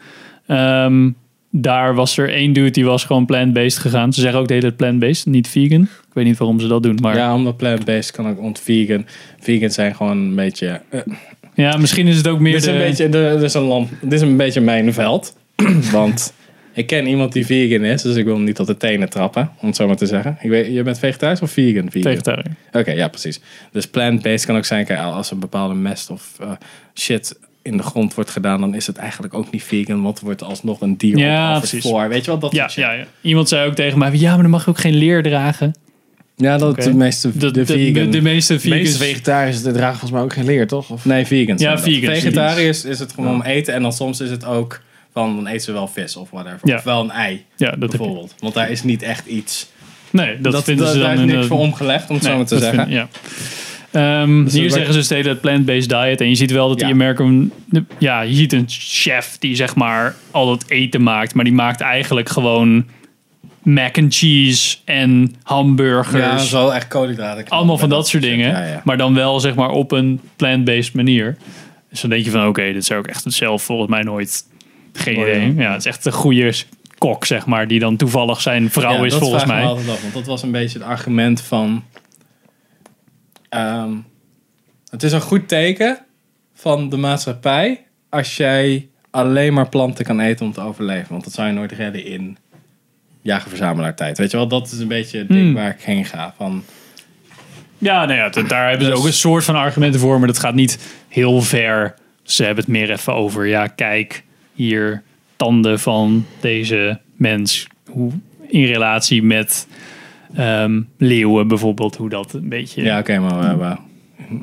S1: Ehm, daar was er één dude die was gewoon plant-based gegaan. Ze zeggen ook de hele tijd plant-based, niet vegan. Ik weet niet waarom ze dat doen, maar...
S2: Ja, omdat plant-based kan ook ont-vegan. Vegan zijn gewoon een beetje... eh,
S1: Ja, misschien is het ook meer
S2: dit, is een
S1: de-
S2: beetje de- dit, is een lamp, dit is een beetje mijn veld. want ik ken iemand die vegan is, dus ik wil hem niet op de tenen trappen, om het zo maar te zeggen. Ik weet, je bent vegetarisch of vegan? vegan?
S1: Vegetariër.
S2: Oké, ja, precies. Dus plant-based kan ook zijn, kijk, als een bepaalde mest of eh, shit in de grond wordt gedaan, dan is het eigenlijk ook niet vegan, want er wordt alsnog een dier
S1: Ja,
S2: op
S1: precies.
S2: voor. Weet je wat dat
S1: ja, ja, ja. Iemand zei ook tegen mij, ja, maar dan mag je ook geen leer dragen.
S2: Ja, dat
S1: Oké.
S2: de meeste
S1: De- de- de- de meeste vegans- meeste
S2: vegetariërs dragen volgens mij ook geen leer, toch? nee, vegans.
S1: Ja,
S2: zijn dat.
S1: vegans.
S2: Vegetariërs is het gewoon
S1: Ja.
S2: om eten en dan soms is het ook van dan eten ze wel vis of whatever.
S1: Ja.
S2: Of wel een ei,
S1: Ja, dat heb je.
S2: bijvoorbeeld. Want daar is niet echt iets.
S1: Nee, dat, vinden ze dan...
S2: daar is niks
S1: inderdaad-
S2: voor omgelegd, om het
S1: Nee,
S2: zo maar te
S1: dat
S2: zeggen.
S1: vind- ja. Ehm,
S2: Dus
S1: hier
S2: dat-
S1: zeggen ze steeds dat plant-based diet. En je ziet wel dat die American... Ja, je ziet een chef die zeg maar al dat eten maakt. Maar die maakt eigenlijk gewoon mac and cheese en hamburgers.
S2: Ja, zo echt koolhydraten.
S1: Allemaal van dat soort dingen. Maar dan wel zeg maar op een plant-based manier. Dus dan denk je van oké, dit zou ik echt zelf volgens mij nooit... Geen
S2: Oh, ja.
S1: idee. Ja, het is echt een goede kok zeg maar. Die dan toevallig zijn vrouw
S2: Ja,
S1: is
S2: dat
S1: volgens
S2: vraag ik
S1: mij.
S2: me altijd af, want dat was een beetje het argument van... ehm, het is een goed teken van de maatschappij als jij alleen maar planten kan eten om te overleven. Want dat zou je nooit redden in jager tijd. Weet je wel, dat is een beetje het ding
S1: Hmm.
S2: waar ik heen ga. Van,
S1: Ja, nou ja, dat- daar hebben
S2: Dus
S1: ze ook een soort van argumenten voor, maar dat gaat niet heel ver. Ze hebben het meer even over, ja, kijk hier tanden van deze mens hoe, in relatie met ehm, leeuwen bijvoorbeeld, hoe dat een beetje.
S2: ja, oké, maar we hebben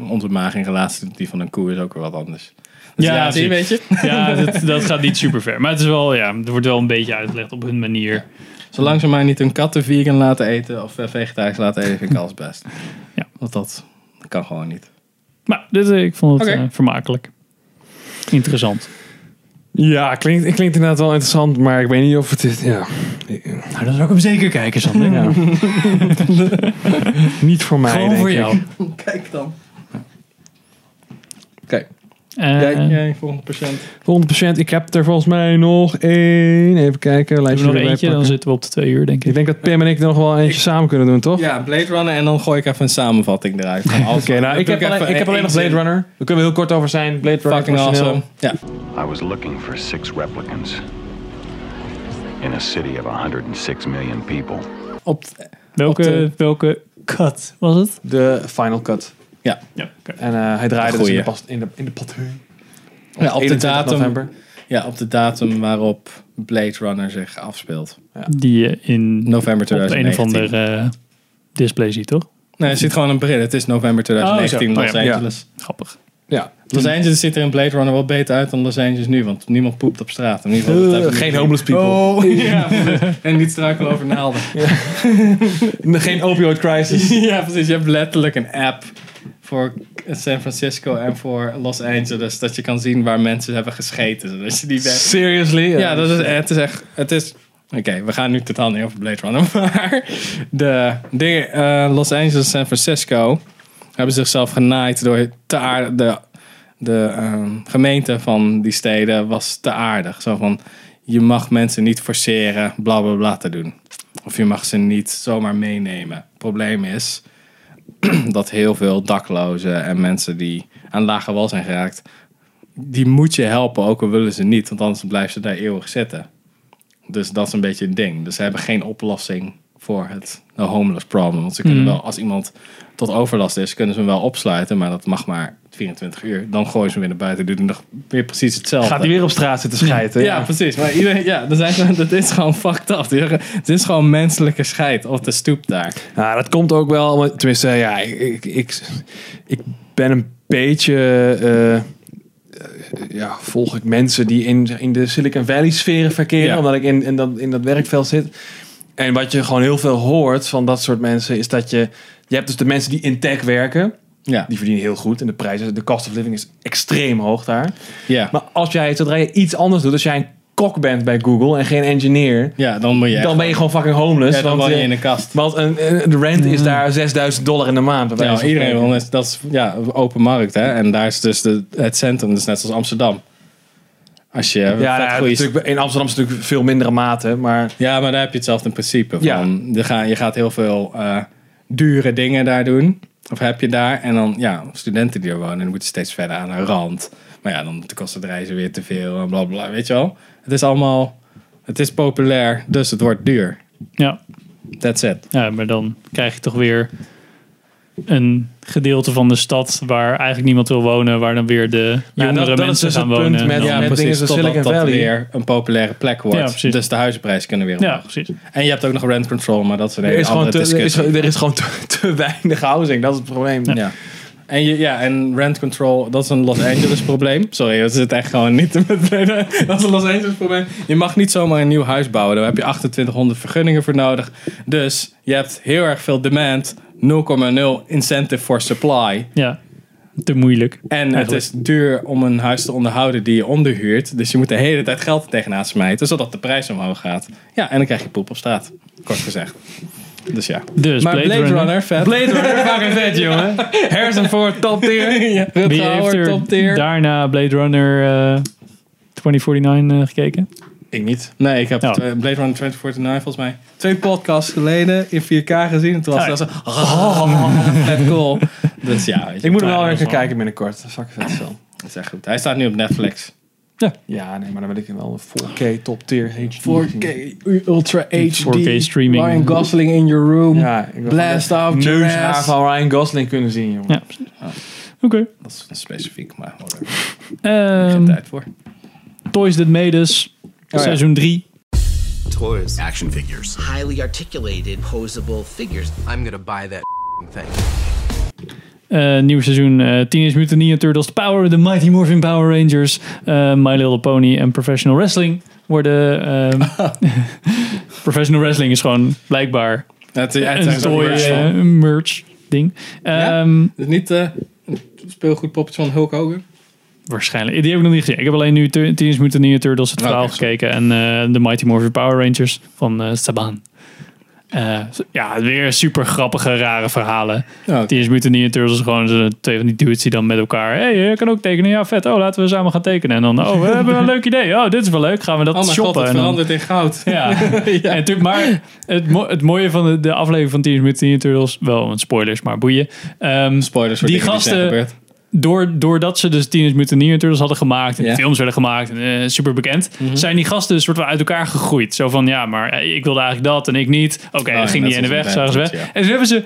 S2: onze maag in relatie tot die van een koe is ook weer wat anders. Dus ja, zie je, weet je?
S1: Ja, dat, dat gaat niet super ver. Maar het is wel, ja, er wordt wel een beetje uitgelegd op hun manier.
S2: Zolang ze maar niet hun katten vegan laten eten of eh, vegetarisch laten eten, vind ik alles best.
S1: Ja.
S2: Want dat, dat kan gewoon niet.
S1: Maar dit, eh, ik vond het
S2: Oké.
S1: eh, vermakelijk. Interessant.
S3: Ja, klinkt, klinkt inderdaad wel interessant, maar ik weet niet of het is. Ja.
S1: Nou, dan zou ik hem zeker kijken, Sander.
S3: Ja. niet voor mij.
S1: Gewoon
S3: denk
S1: voor
S3: ik.
S1: jou.
S2: Kijk dan.
S1: Eh,
S3: Jij-
S2: jij volgende patiënt.
S3: Volgende patiënt, ik heb er volgens mij nog één. Even kijken,
S1: Doen we
S3: lijstje
S1: nog
S3: erbij
S1: eentje, dan
S3: pakken.
S1: zitten we op de twee uur, denk ik.
S3: Ik denk dat Pim en ik er nog wel eentje samen kunnen doen, toch?
S2: Ja, Blade Runner en dan gooi ik even een samenvatting eruit. Oké,
S3: Oké, nou, ik heb, alleen, ik heb alleen nog Blade Runner. Daar kunnen we heel kort over zijn. Blade Runner.
S2: Fucking
S3: origineel.
S2: awesome. Ja.
S16: I was looking for six replicants in a city of 106 million people.
S1: Op welke,
S3: de-
S2: eh,
S1: welke cut was het?
S3: De Final Cut.
S2: Ja.
S3: En eh, hij draaide dus
S2: Goeie.
S3: in de, pas, in de, in de patroon.
S2: Ja, op de
S3: 21 november.
S2: datum. Ja, op de datum waarop Blade Runner zich afspeelt.
S1: Die je in
S2: november
S1: op een of
S2: 2019.
S1: ander eh, display ziet, toch?
S2: Nee, er zit gewoon een bril. Het is november 2019
S3: Nou
S1: Oh, zo.
S2: Los
S1: Oh, ja.
S2: Angeles.
S1: Grappig.
S3: Ja.
S2: Los Angeles ziet er in Blade Runner wel beter uit dan Los Angeles nu, want niemand poept op straat. In ieder geval, dat hebben we
S3: Eh, Geen
S2: niet.
S3: homeless people.
S2: Oh, ja, en niet struikelen over naalden.
S3: Oh. Geen opioid crisis.
S2: ja, precies. Je hebt letterlijk een app voor San Francisco en voor Los Angeles. Dat je kan zien waar mensen hebben gescheten. Zodat je die denkt-
S3: Seriously?
S2: Ja, dat is, het is echt... Het is, Oké, we gaan nu totaal niet over Blade Runner. Maar de dingen, eh, Los Angeles en San Francisco hebben zichzelf genaaid door te aard- de, de ehm, gemeente van die steden was te aardig. Zo van, je mag mensen niet forceren bla bla bla te doen. Of je mag ze niet zomaar meenemen. probleem is dat heel veel daklozen en mensen die aan lage wal zijn geraakt, die moet je helpen, ook al willen ze niet, want anders blijven ze daar eeuwig zitten. Dus dat is een beetje het ding. Dus ze hebben geen oplossing voor het de homeless problem. Want ze kunnen
S3: Mhm.
S1: Mm.
S2: wel, als iemand tot overlast is, kunnen ze hem wel opsluiten, maar dat mag maar 24 uur. Dan gooien ze hem weer naar buiten, doen nog weer precies hetzelfde.
S3: Gaat hij weer op straat zitten schijten?
S2: Ja, precies. Maar iedereen, ja, er zijn, dat is gewoon fucked up. Het is gewoon menselijke scheid op de stoep daar.
S3: Nou, dat komt ook wel. want- Tenminste, ja, ik, ik, ik, ik ben een beetje. eh, eh, ja, volg ik mensen die in, in de Silicon Valley sferen verkeren, omdat ik in, in, dat, in dat werkveld zit. En wat je gewoon heel veel hoort van dat soort mensen, is dat je. Je hebt dus de mensen die in tech werken.
S2: Ja.
S3: Die verdienen heel goed. En de prijzen, de cost of living is extreem hoog daar.
S2: Ja.
S3: Maar als jij, zodra je iets anders doet, als jij een kok bent bij Google en geen engineer,
S2: ja, dan, moet je
S3: dan
S2: echt-
S3: ben je gewoon fucking homeless.
S2: Ja, dan
S3: want,
S2: woon je
S3: eh,
S2: in een kast.
S3: Want een, een- de rent is daar 6000 dollar in de maand. bij wijze
S2: Mm. Ja,
S3: van
S2: iedereen
S3: spreken.
S2: wil net- dat is ja, open markt. Hè? En daar is dus de, het centrum, dus net zoals Amsterdam. Als je
S3: Ja, nou, natuurlijk, in Amsterdam is het natuurlijk veel mindere mate, maar...
S2: Ja, maar daar heb je hetzelfde in principe. Van, je, gaat, je gaat heel veel eh, dure dingen daar doen. Of heb je daar. En dan, ja, studenten die er wonen, die moeten steeds verder aan hun rand. Maar ja, dan kost het reizen weer te veel en bla bla. Weet je wel? Het is allemaal, het is populair, dus het wordt duur.
S1: Ja.
S2: That's it.
S1: Ja, maar dan krijg je toch weer een gedeelte van de stad waar eigenlijk niemand wil wonen, waar dan weer de
S2: Ja,
S1: jongere
S2: dat- dat
S1: mensen
S2: is dus
S1: gaan
S2: het
S1: wonen.
S2: punt met-
S1: en dan-
S2: Ja, met dingen zoals Silicon Valley. een populaire plek wordt.
S1: Ja, precies.
S2: dus de huizenprijzen kunnen weer
S1: Ja,
S2: omhoog. En je hebt ook nog rent control, maar dat is een
S3: Er
S2: hele
S3: is, gewoon
S2: andere
S3: te, er, is,
S2: discussie.
S3: gewoon- er is gewoon te, te weinig housing, dat is het probleem.
S2: Ja. En, je, ja, en rent control, dat is een Los Angeles probleem. Sorry, dat is het echt gewoon niet te betreden. Dat is een Los Angeles probleem. Je mag niet zomaar een nieuw huis bouwen. Daar heb je 2800 vergunningen voor nodig. Dus je hebt heel erg veel demand. 0,0 incentive for supply.
S1: Ja, te moeilijk.
S2: En het
S1: Eigenlijk.
S2: is duur om een huis te onderhouden die je onderhuurt. Dus je moet de hele tijd geld er tegenaan smijten, zodat de prijs omhoog gaat. Ja, en dan krijg je poep op straat. Kort gezegd. Dus ja.
S1: Dus
S2: maar
S1: Blade
S2: Blade,
S1: Runner.
S2: Runner, vet.
S1: Blade Runner, fucking
S2: vet, jongen. Harrison Ford, top tier. ja, Rutger
S1: Wie heeft
S2: Hauer,
S1: er
S2: top tier.
S1: daarna Blade Runner eh, 2049 eh, gekeken?
S3: Ik niet.
S2: Nee, ik heb
S1: Ja.
S2: twee- Blade Runner 2049 volgens mij twee podcasts geleden in 4K gezien. En toen was het zo... vet cool. Dus ja.
S3: oh, Ik moet hem wel weer
S2: even
S3: gaan kijken binnenkort. Dat zak vet zo.
S2: Dat is echt goed. Hij staat nu op Netflix.
S1: Ja.
S3: ja, nee, maar dan wil ik hem wel een 4K top tier HD.
S2: 4K Ultra HD.
S3: 4K streaming.
S2: Ryan Gosling in your room.
S3: Ja, ik wil
S2: Blast
S3: gewoon
S2: off
S3: de
S2: your
S3: neushaar
S2: ass.
S3: van Ryan Gosling kunnen zien, jongen.
S1: Ja. Oké.
S2: Dat is een specifiek, maar whatever.
S1: Geen
S2: tijd voor.
S1: Ehm, Toys That Made Us,
S2: Oh,
S17: ja.
S3: Oh,
S1: seizoen 3.
S17: Toys. Action figures. Highly articulated, posable figures. I'm gonna buy that thing.
S1: Eh, nieuw seizoen eh, Teenage Mutant Ninja Turtles, Power, The Mighty Morphin Power Rangers, eh, My Little Pony en Professional Wrestling worden... ehm, professional Wrestling is gewoon blijkbaar
S2: het is
S1: een
S2: een
S1: toy
S2: merch
S1: eh,
S2: van.
S1: merch ding. Ehm,
S2: Dus niet eh, een speelgoedpoppetje van Hulk Hogan?
S1: Waarschijnlijk. Die heb ik nog niet gezien. Ik heb alleen nu Te- Teenage Mutant Ninja Turtles
S2: Oh,
S1: het verhaal gekeken en eh The Mighty Morphin Power Rangers van eh, Saban. Eh, ja, weer super grappige, rare verhalen. Teenage Mutant Ninja Turtles is gewoon zo'n twee van die dudes die dan met elkaar... hey, je kan ook tekenen. Ja, vet. Oh, laten we samen gaan tekenen. En dan, oh, we hebben een leuk idee. Oh, dit is wel leuk. Gaan we dat
S2: Oh mijn
S1: shoppen?
S2: god, het
S1: en dan-
S2: verandert in goud.
S1: ja. En natuurlijk, maar het, mo- het mooie van de, de aflevering van Teenage Mutant Ninja Turtles, wel een spoilers, maar boeien. Ehm,
S2: spoilers voor
S1: die
S2: dingen die zijn
S1: gasten,
S2: gebeurd.
S1: door, doordat ze dus Teenage Mutant Ninja Turtles hadden gemaakt en
S2: Ja. Mhm.
S1: films werden gemaakt, en, eh, super bekend, zijn die gasten een soort van uit elkaar gegroeid. Zo van, ja, maar eh, ik wilde eigenlijk dat en ik niet. Oké,
S2: Oh, ja,
S1: dan ging
S2: net
S1: die ene
S2: zoals
S1: weg,
S2: een
S1: zagen ze weg.
S2: bandje, ja.
S1: En toen hebben ze,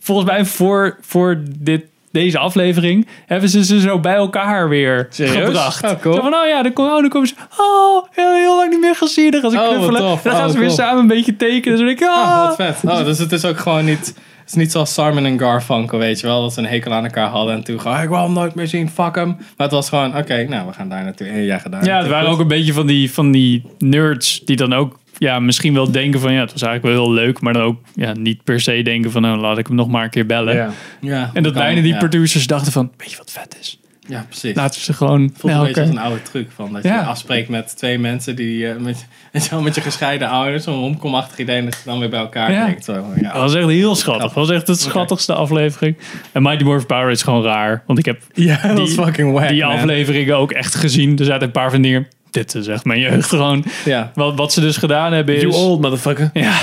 S1: volgens mij voor, voor dit, deze aflevering, hebben ze ze zo bij elkaar weer
S2: Serieus?
S1: gebracht.
S2: Oh, cool.
S1: Zo van, oh ja, dan, kom, oh, dan komen ze, oh, heel, heel lang niet meer gezien. Dan gaan ze
S2: Oh, wat
S1: knuffelen.
S2: tof.
S1: Dan gaan
S2: Oh,
S1: ze weer
S2: cool.
S1: samen een beetje tekenen. Dus dan denk ik, ah.
S2: Ah, wat vet. Oh, dus het is ook gewoon niet... Het is niet zoals Simon en Garfunkel, weet je wel. Dat ze een hekel aan elkaar hadden en toen gewoon... Ik wil hem nooit meer zien, fuck hem. Maar het was gewoon, oké, nou, we gaan daar naartoe. En jij gaat daar
S1: Ja, het
S2: naartoe.
S1: waren ook een beetje van die, van die nerds die dan ook ja, misschien wel denken van ja, het was eigenlijk wel heel leuk, maar dan ook ja, niet per se denken van nou, laat ik hem nog maar een keer bellen.
S2: Ja. Ja,
S1: en dat
S2: kan,
S1: bijna die
S2: ja.
S1: producers dachten van, weet je wat vet is?
S2: Ja, precies.
S1: Laten we ze gewoon
S2: voelt een
S1: bij
S2: beetje als
S1: elkaar-
S2: een oude truc. Van dat
S1: Ja.
S2: je afspreekt met twee mensen die eh, met, weet je wel, met je gescheiden ouders, zo'n romkomachtig idee, en dat je dan weer bij elkaar
S1: Ja.
S2: denkt. Zo, van, ja.
S1: Dat was echt heel schattig. Dat was echt de schattigste aflevering. En Mighty Morphin Power is gewoon raar. Want ik heb
S2: dat is fucking whack,
S1: die
S2: man.
S1: afleveringen ook echt gezien. Er zaten een paar van die dingen. Dit is echt mijn jeugd gewoon.
S2: Ja.
S1: Wat, wat ze dus gedaan hebben is...
S3: You old motherfucker.
S1: Ja.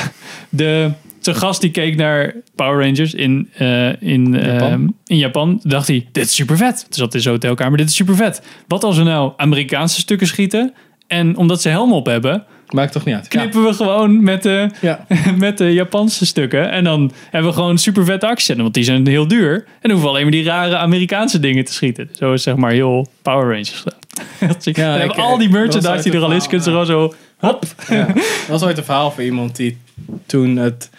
S1: De, de gast die keek naar Power Rangers in, eh, in,
S3: Japan.
S1: ehm, in Japan. Dacht hij, dit is super vet. Toen zat in zo'n hotelkamer. Dit is super vet. Wat als we nou Amerikaanse stukken schieten... En omdat ze helm op hebben,
S2: Maakt toch niet uit.
S1: knippen we gewoon met de, met de Japanse stukken. En dan hebben we gewoon super vette accenten, want die zijn heel duur. En dan hoeven we alleen maar die rare Amerikaanse dingen te schieten. Zo is zeg maar heel Power Rangers gedaan. Ja,
S2: ik- eh,
S1: we hebben al die
S2: dat was
S1: merchandise die
S2: uit
S1: er al is,
S2: het
S1: kunnen ze gewoon zo... Hop.
S2: Er was ooit een verhaal van iemand die toen het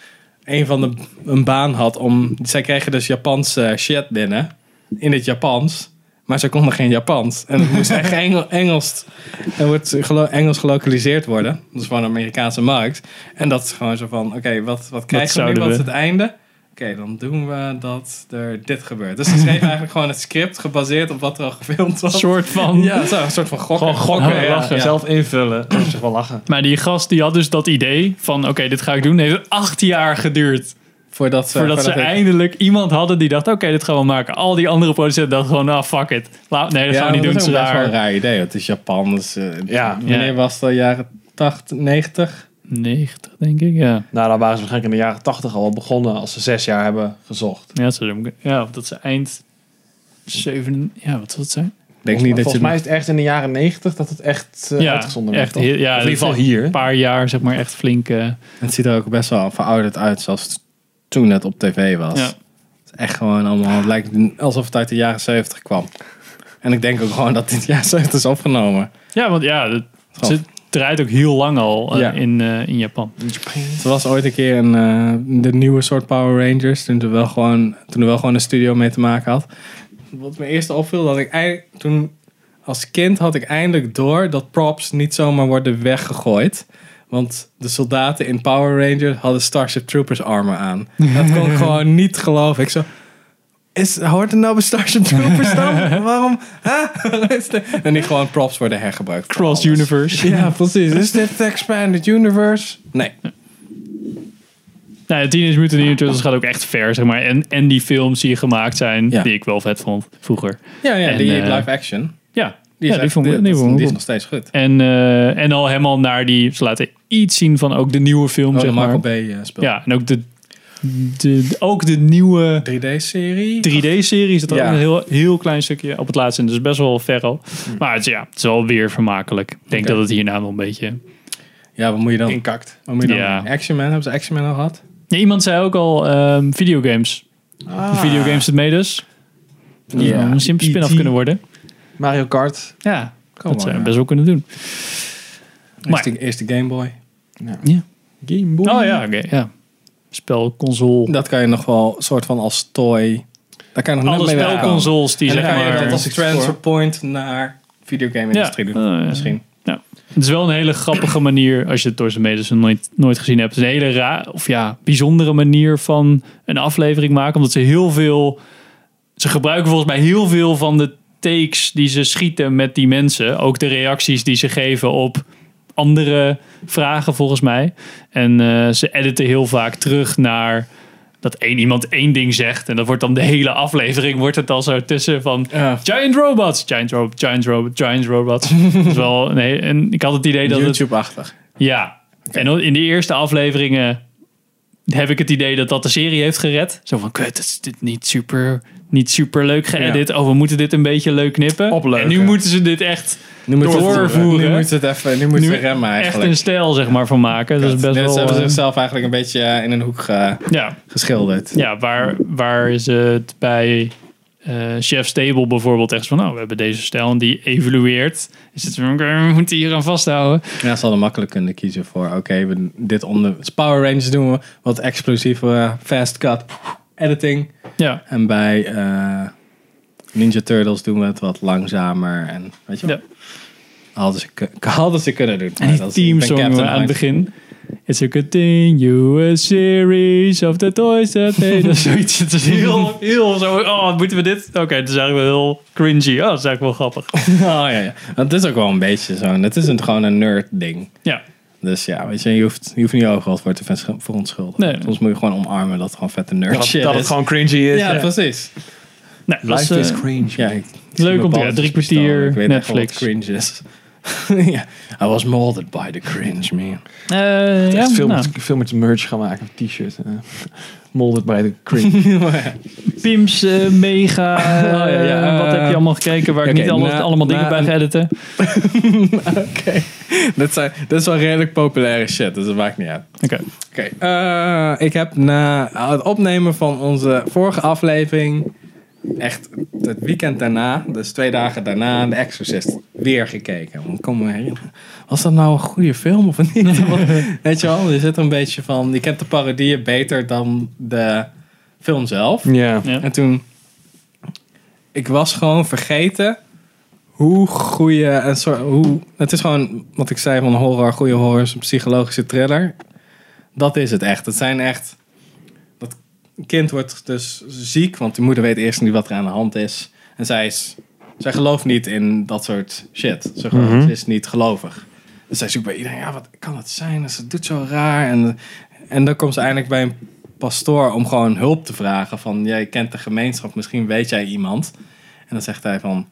S2: een van de een baan had om. Zij kregen dus Japanse shit binnen in het Japans. Maar ze konden geen Japans. En het moest echt Engel, Engels, er wordt gelo- Engels gelokaliseerd worden. Dat is gewoon een Amerikaanse markt. En dat is gewoon zo van, oké, wat, wat krijgen we nu?
S1: zouden
S2: Wat is
S1: we?
S2: het einde? dan doen we dat er dit gebeurt. Dus ze schreef eigenlijk gewoon het script gebaseerd op wat er al gefilmd was.
S1: Soort van.
S2: Ja, zo, een soort van gokken.
S1: Gewoon gokken,
S2: Ja,
S1: lachen.
S2: ja.
S1: Zelf
S3: invullen. Dat is toch wel lachen.
S1: Maar die gast die had dus dat idee van oké, dit ga ik doen. Heeft acht jaar geduurd.
S2: Voordat ze,
S1: Voordat ze
S2: voordat ik-
S1: eindelijk iemand hadden die dacht, oké, dit gaan we maken. Al die andere producenten dachten gewoon, nou, fuck it. Laat, nee, dat gaan we niet doen,
S2: dat
S1: het
S2: is
S1: is
S2: ook best wel
S1: raar.
S2: een raar idee. want Het is Japan, dus... eh,
S1: Ja.
S2: Wanneer
S1: Ja.
S2: was dat? Jaren 80, 90?
S1: 90, denk ik, ja.
S3: Nou, dan waren ze waarschijnlijk in de jaren 80 al begonnen als ze zes jaar hebben gezocht.
S1: Ja, dat ze, ja, of dat ze eind 7, ja, wat zal het zijn?
S3: volgens mij, volgens mij is het echt in de jaren 90 dat het echt eh,
S1: ja,
S3: uitgezonden werd.
S1: echt,
S3: toch?
S1: heel- ja,
S3: Of in ieder geval
S1: dat-
S3: hier.
S1: Een paar jaar, zeg maar, echt flink. eh,
S2: Het ziet er ook best wel verouderd uit zoals toen het op tv was.
S1: Ja.
S2: Het is echt gewoon allemaal... Het lijkt alsof het uit de jaren 70 kwam. En ik denk ook gewoon dat dit jaar 70 is opgenomen.
S1: ja, want ja, het,
S2: Gaf.
S1: ze draait ook heel lang al eh,
S2: Ja.
S1: in, eh, in Japan.
S2: Er was ooit een keer een, eh, de nieuwe soort Power Rangers. Toen er, wel gewoon, toen er wel gewoon een studio mee te maken had. Wat me eerst opviel, dat ik eigenlijk toen als kind had ik eindelijk door dat props niet zomaar worden weggegooid. Want de soldaten in Power Rangers hadden Starship Troopers armor aan. Dat kon ik gewoon niet geloven. Ik zo, is, hoort er nou bij Starship Troopers dan? Waarom? Huh? Is de- en die gewoon props worden hergebruikt. voor
S1: Cross
S2: alles.
S1: Universe.
S2: Ja, precies. Is dit de Expanded Universe? Nee.
S1: Nou, ja, Teenage Mutant Ninja Turtles gaat ook echt ver, zeg maar. En, en die films die gemaakt zijn, die ik wel vet vond vroeger.
S2: Ja, ja
S1: En,
S2: die
S1: eh,
S2: live action.
S1: Ja,
S2: die is,
S1: ja,
S2: echt-
S1: vond ik-
S2: die-
S1: die
S2: dat-
S1: vond ik
S2: die
S1: cool.
S2: is nog steeds goed. Oh,
S1: En, eh, en al helemaal naar die... Ze laten iets zien van ook de nieuwe film,
S2: Oh, de
S1: zeg maar.
S2: Michael Bay, eh, spel.
S1: Ja, en ook de, de, ook de nieuwe...
S2: 3D-serie?
S1: 3D-serie zit er
S2: Ja.
S1: ook een heel, heel klein stukje op het laatste. En dus best wel ver al. Maar het, is- ja, het is wel weer vermakelijk. Ik denk
S2: Oké.
S1: dat het hierna wel een beetje...
S2: Ja, wat moet je dan?
S3: Inkakt.
S2: Wat moet je dan?
S1: Ja.
S2: Action Man, hebben ze Action Man al gehad?
S1: Ja, iemand zei ook al ehm, videogames.
S3: Ah.
S1: Videogames het mee dus. Dat zou
S3: Ja.
S1: een simpele spin-off
S3: E.T..
S1: kunnen worden.
S3: Mario Kart.
S1: Ja, dat
S3: Come on,
S1: zou
S3: ja.
S1: we best wel kunnen doen.
S2: Eerste, eerste Game Boy.
S1: Ja.
S3: Game Boy.
S1: Oh ja, oké. ja. Spel, console.
S2: Dat kan je nog wel soort van als toy... Daar kan je nog
S1: Alle
S2: net mee wegkomen.
S1: spelconsoles die
S2: En dan
S1: zeg
S2: kan je
S1: maar-
S2: dat als transfer point naar videogame-industrie doen.
S1: eh,
S2: Misschien.
S1: Ja. Het is wel een hele grappige manier, als je het Torsen Medes nooit, nooit gezien hebt. Het is een hele raar, of ja, bijzondere manier van een aflevering maken. Omdat ze heel veel, ze gebruiken volgens mij heel veel van de takes die ze schieten met die mensen. Ook de reacties die ze geven op andere vragen volgens mij. En eh, ze editen heel vaak terug naar dat één iemand één ding zegt. En dat wordt dan de hele aflevering, wordt het al zo tussen van Giant Robots, Giant Robot, Giant Robot, Giant Robots. dat is wel, nee, en ik had het idee dat het...
S2: YouTube-achtig.
S1: Ja. En in de eerste afleveringen heb ik het idee dat dat de serie heeft gered. Zo van, kut, is dit niet super, niet super leuk geëdit. Oh, we moeten dit een beetje leuk knippen. En nu moeten ze dit echt
S2: Nu moet het-
S1: doorvoeren.
S2: Nu moet het even... Nu moet ze remmen
S1: echt
S2: eigenlijk.
S1: een stijl zeg maar van maken. Dat is best
S2: Net
S1: wel...
S2: hebben ze
S1: eh,
S2: zichzelf eigenlijk een beetje eh, in een hoek ge-
S1: ja.
S2: geschilderd.
S1: Ja, waar, waar is het bij eh Chef Stable bijvoorbeeld echt van, nou, we hebben deze stijl en die evolueert. Is het van, oké, we moeten hier aan vasthouden.
S2: Ja, ze hadden makkelijk kunnen kiezen voor, oké, we- dit onder het Power Rangers doen we wat explosieve eh, fast cut editing.
S1: Ja.
S2: En bij eh, Ninja Turtles doen we het wat langzamer en weet je wel. Hadden ze, kun- hadden ze kunnen doen.
S1: En die teamsong eh, aan het begin. It's a continuous series of the toys that made us. Zoiets, het is heel, heel zo, oh, moeten we dit? Oké, het is eigenlijk wel heel cringy. Oh, dat is eigenlijk wel grappig.
S2: Oh ja, ja. Want het is ook wel een beetje zo'n, het is een, gewoon een nerd ding.
S1: Ja.
S2: Dus ja, weet je, je hoeft, je hoeft niet overal voor te vers- verontschuldigen.
S1: Nee.
S2: Soms moet je gewoon omarmen dat het gewoon vette nerd
S1: Dat-
S2: shit
S1: dat het
S2: is.
S1: gewoon cringy is.
S2: Ja,
S1: Ja.
S2: precies.
S1: Nee, dat is, eh,
S2: Ja, ik-
S1: Leuk om te
S2: Bepaalde
S1: ja, drie
S2: pistolen, ik
S1: kwartier
S2: weet echt wel wat
S1: Netflix.
S2: cringe is. ja, I was molded by the cringe, man.
S1: Eh, ja,
S3: echt veel,
S1: nou.
S3: met, veel met merch gaan maken. T-shirt. eh. molded by the cringe.
S1: Pim's eh, Mega.
S3: Oh, ja, ja,
S1: eh, wat
S3: eh,
S1: heb je allemaal gekeken waar
S2: oké,
S1: ik niet alles-
S2: na-
S1: allemaal dingen
S2: na
S1: bij ga editen?
S2: dat, zijn, dat is wel redelijk populaire shit, dus dat maakt niet uit.
S1: Oké.
S2: Oké, eh, ik heb na het opnemen van onze vorige aflevering, echt het weekend daarna, dus twee dagen daarna, The Exorcist weer gekeken. Want ik kan me herinneren, was dat nou een goede film of niet? Want, Weet je wel, er zit een beetje van, je kent de parodieën beter dan de film zelf.
S3: Ja.
S1: Ja.
S2: En toen, ik was gewoon vergeten hoe goede en soort, hoe, het is gewoon wat ik zei van horror, goede horror is een psychologische thriller. Dat is het echt. Het zijn echt. Dat, kind wordt dus ziek, want die moeder weet eerst niet wat er aan de hand is. En zij, is, zij gelooft niet in dat soort shit. Ze, gelooft-
S3: Mhm.
S2: ze is niet gelovig. Dus zij zoekt bij iedereen, ja, wat kan het zijn? En Ze doet zo raar. En, en dan komt ze eindelijk bij een pastoor om gewoon hulp te vragen. Van, jij kent de gemeenschap, misschien weet jij iemand. En dan zegt hij van,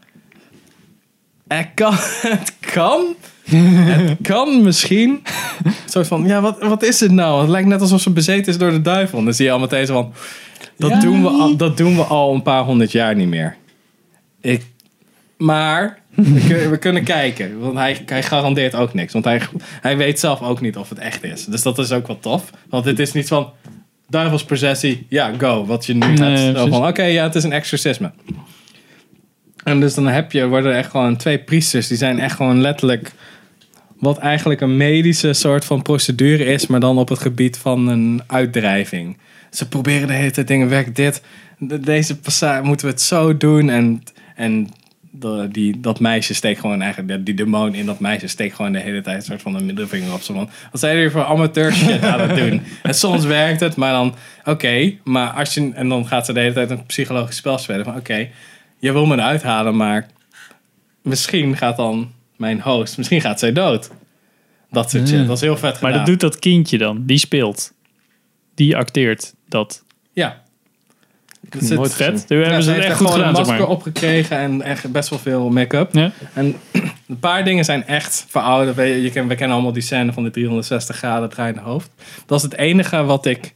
S2: er kan, het kan. Het kan misschien. Een soort van, ja, wat, wat is het nou? Het lijkt net alsof ze bezeten is door de duivel. En dan zie je al meteen zo van, dat,
S3: Ja.
S2: doen, we al, dat doen we al een paar honderd jaar niet meer. Ik, maar, we, kun- we kunnen kijken. Want hij, hij garandeert ook niks. Want hij, hij weet zelf ook niet of het echt is. Dus dat is ook wel tof. Want het is niet van, duivelspossessie, ja, go. Wat je nu
S1: Nee,
S2: hebt. Zo
S1: precies.
S2: van, oké, ja, het is een exorcisme. En dus dan heb je, worden er echt gewoon twee priesters. Die zijn echt gewoon letterlijk... Wat eigenlijk een medische soort van procedure is, maar dan op het gebied van een uitdrijving. Ze proberen de hele tijd dingen weg. Dit, de- deze passage moeten we het zo doen. En, en de- die, dat meisje steekt gewoon eigenlijk, die- die demon in dat meisje steekt gewoon de hele tijd een soort van een middelvinger op. Zo van, wat zijn jullie voor amateur shit aan het doen? En soms werkt het, maar dan, oké. maar als je, en dan gaat ze de hele tijd een psychologisch spel spelen. Van, oké, je wil me eruit halen, maar misschien gaat dan mijn host, misschien gaat zij dood. Dat soort shit. Dat is heel vet gedaan.
S1: Mm. Maar dat doet dat kindje dan. Die speelt. Die acteert dat.
S2: Ja.
S1: heb hem nooit gezien. Vet. Toen hebben ze het
S2: heeft
S1: echt goed
S2: er gewoon
S1: gedaan,
S2: een
S1: zeg
S2: masker
S1: maar.
S2: opgekregen en echt best wel veel make-up. En een paar dingen zijn echt verouderd. We, je ken, we kennen allemaal die scène van de 360 graden draaiende hoofd. Dat is het enige wat ik...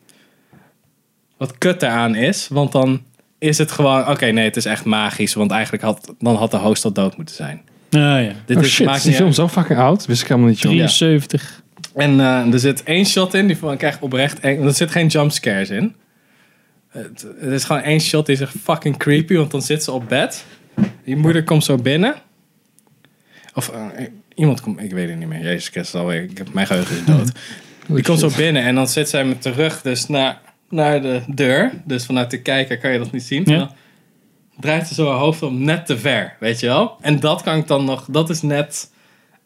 S2: Wat kut eraan is. Want dan is het gewoon... Oké, nee, het is echt magisch. Want eigenlijk had, dan had de host al dood moeten zijn.
S1: Nou ja.
S2: Dit
S3: oh
S2: is-
S3: shit,
S2: maakt
S3: is die
S2: niet
S3: film
S2: uit.
S3: zo fucking oud? Wist ik helemaal niet. joh.
S1: 73.
S2: En eh, er zit één shot in, die vond ik echt oprecht eng. Want Er zit geen jumpscares in. Het, het is gewoon één shot die is echt fucking creepy, want dan zit ze op bed. Die moeder komt zo binnen. Of eh, iemand komt, ik weet het niet meer. Jezus Christus, alweer. Ik heb, mijn geheugen is dood. Die komt zo binnen en dan zit zij met de rug dus naar, naar de deur. Dus vanuit de kijker kan je dat niet zien. En dan draait ze zo haar hoofd om net te ver, weet je wel? En dat kan ik dan nog, dat is net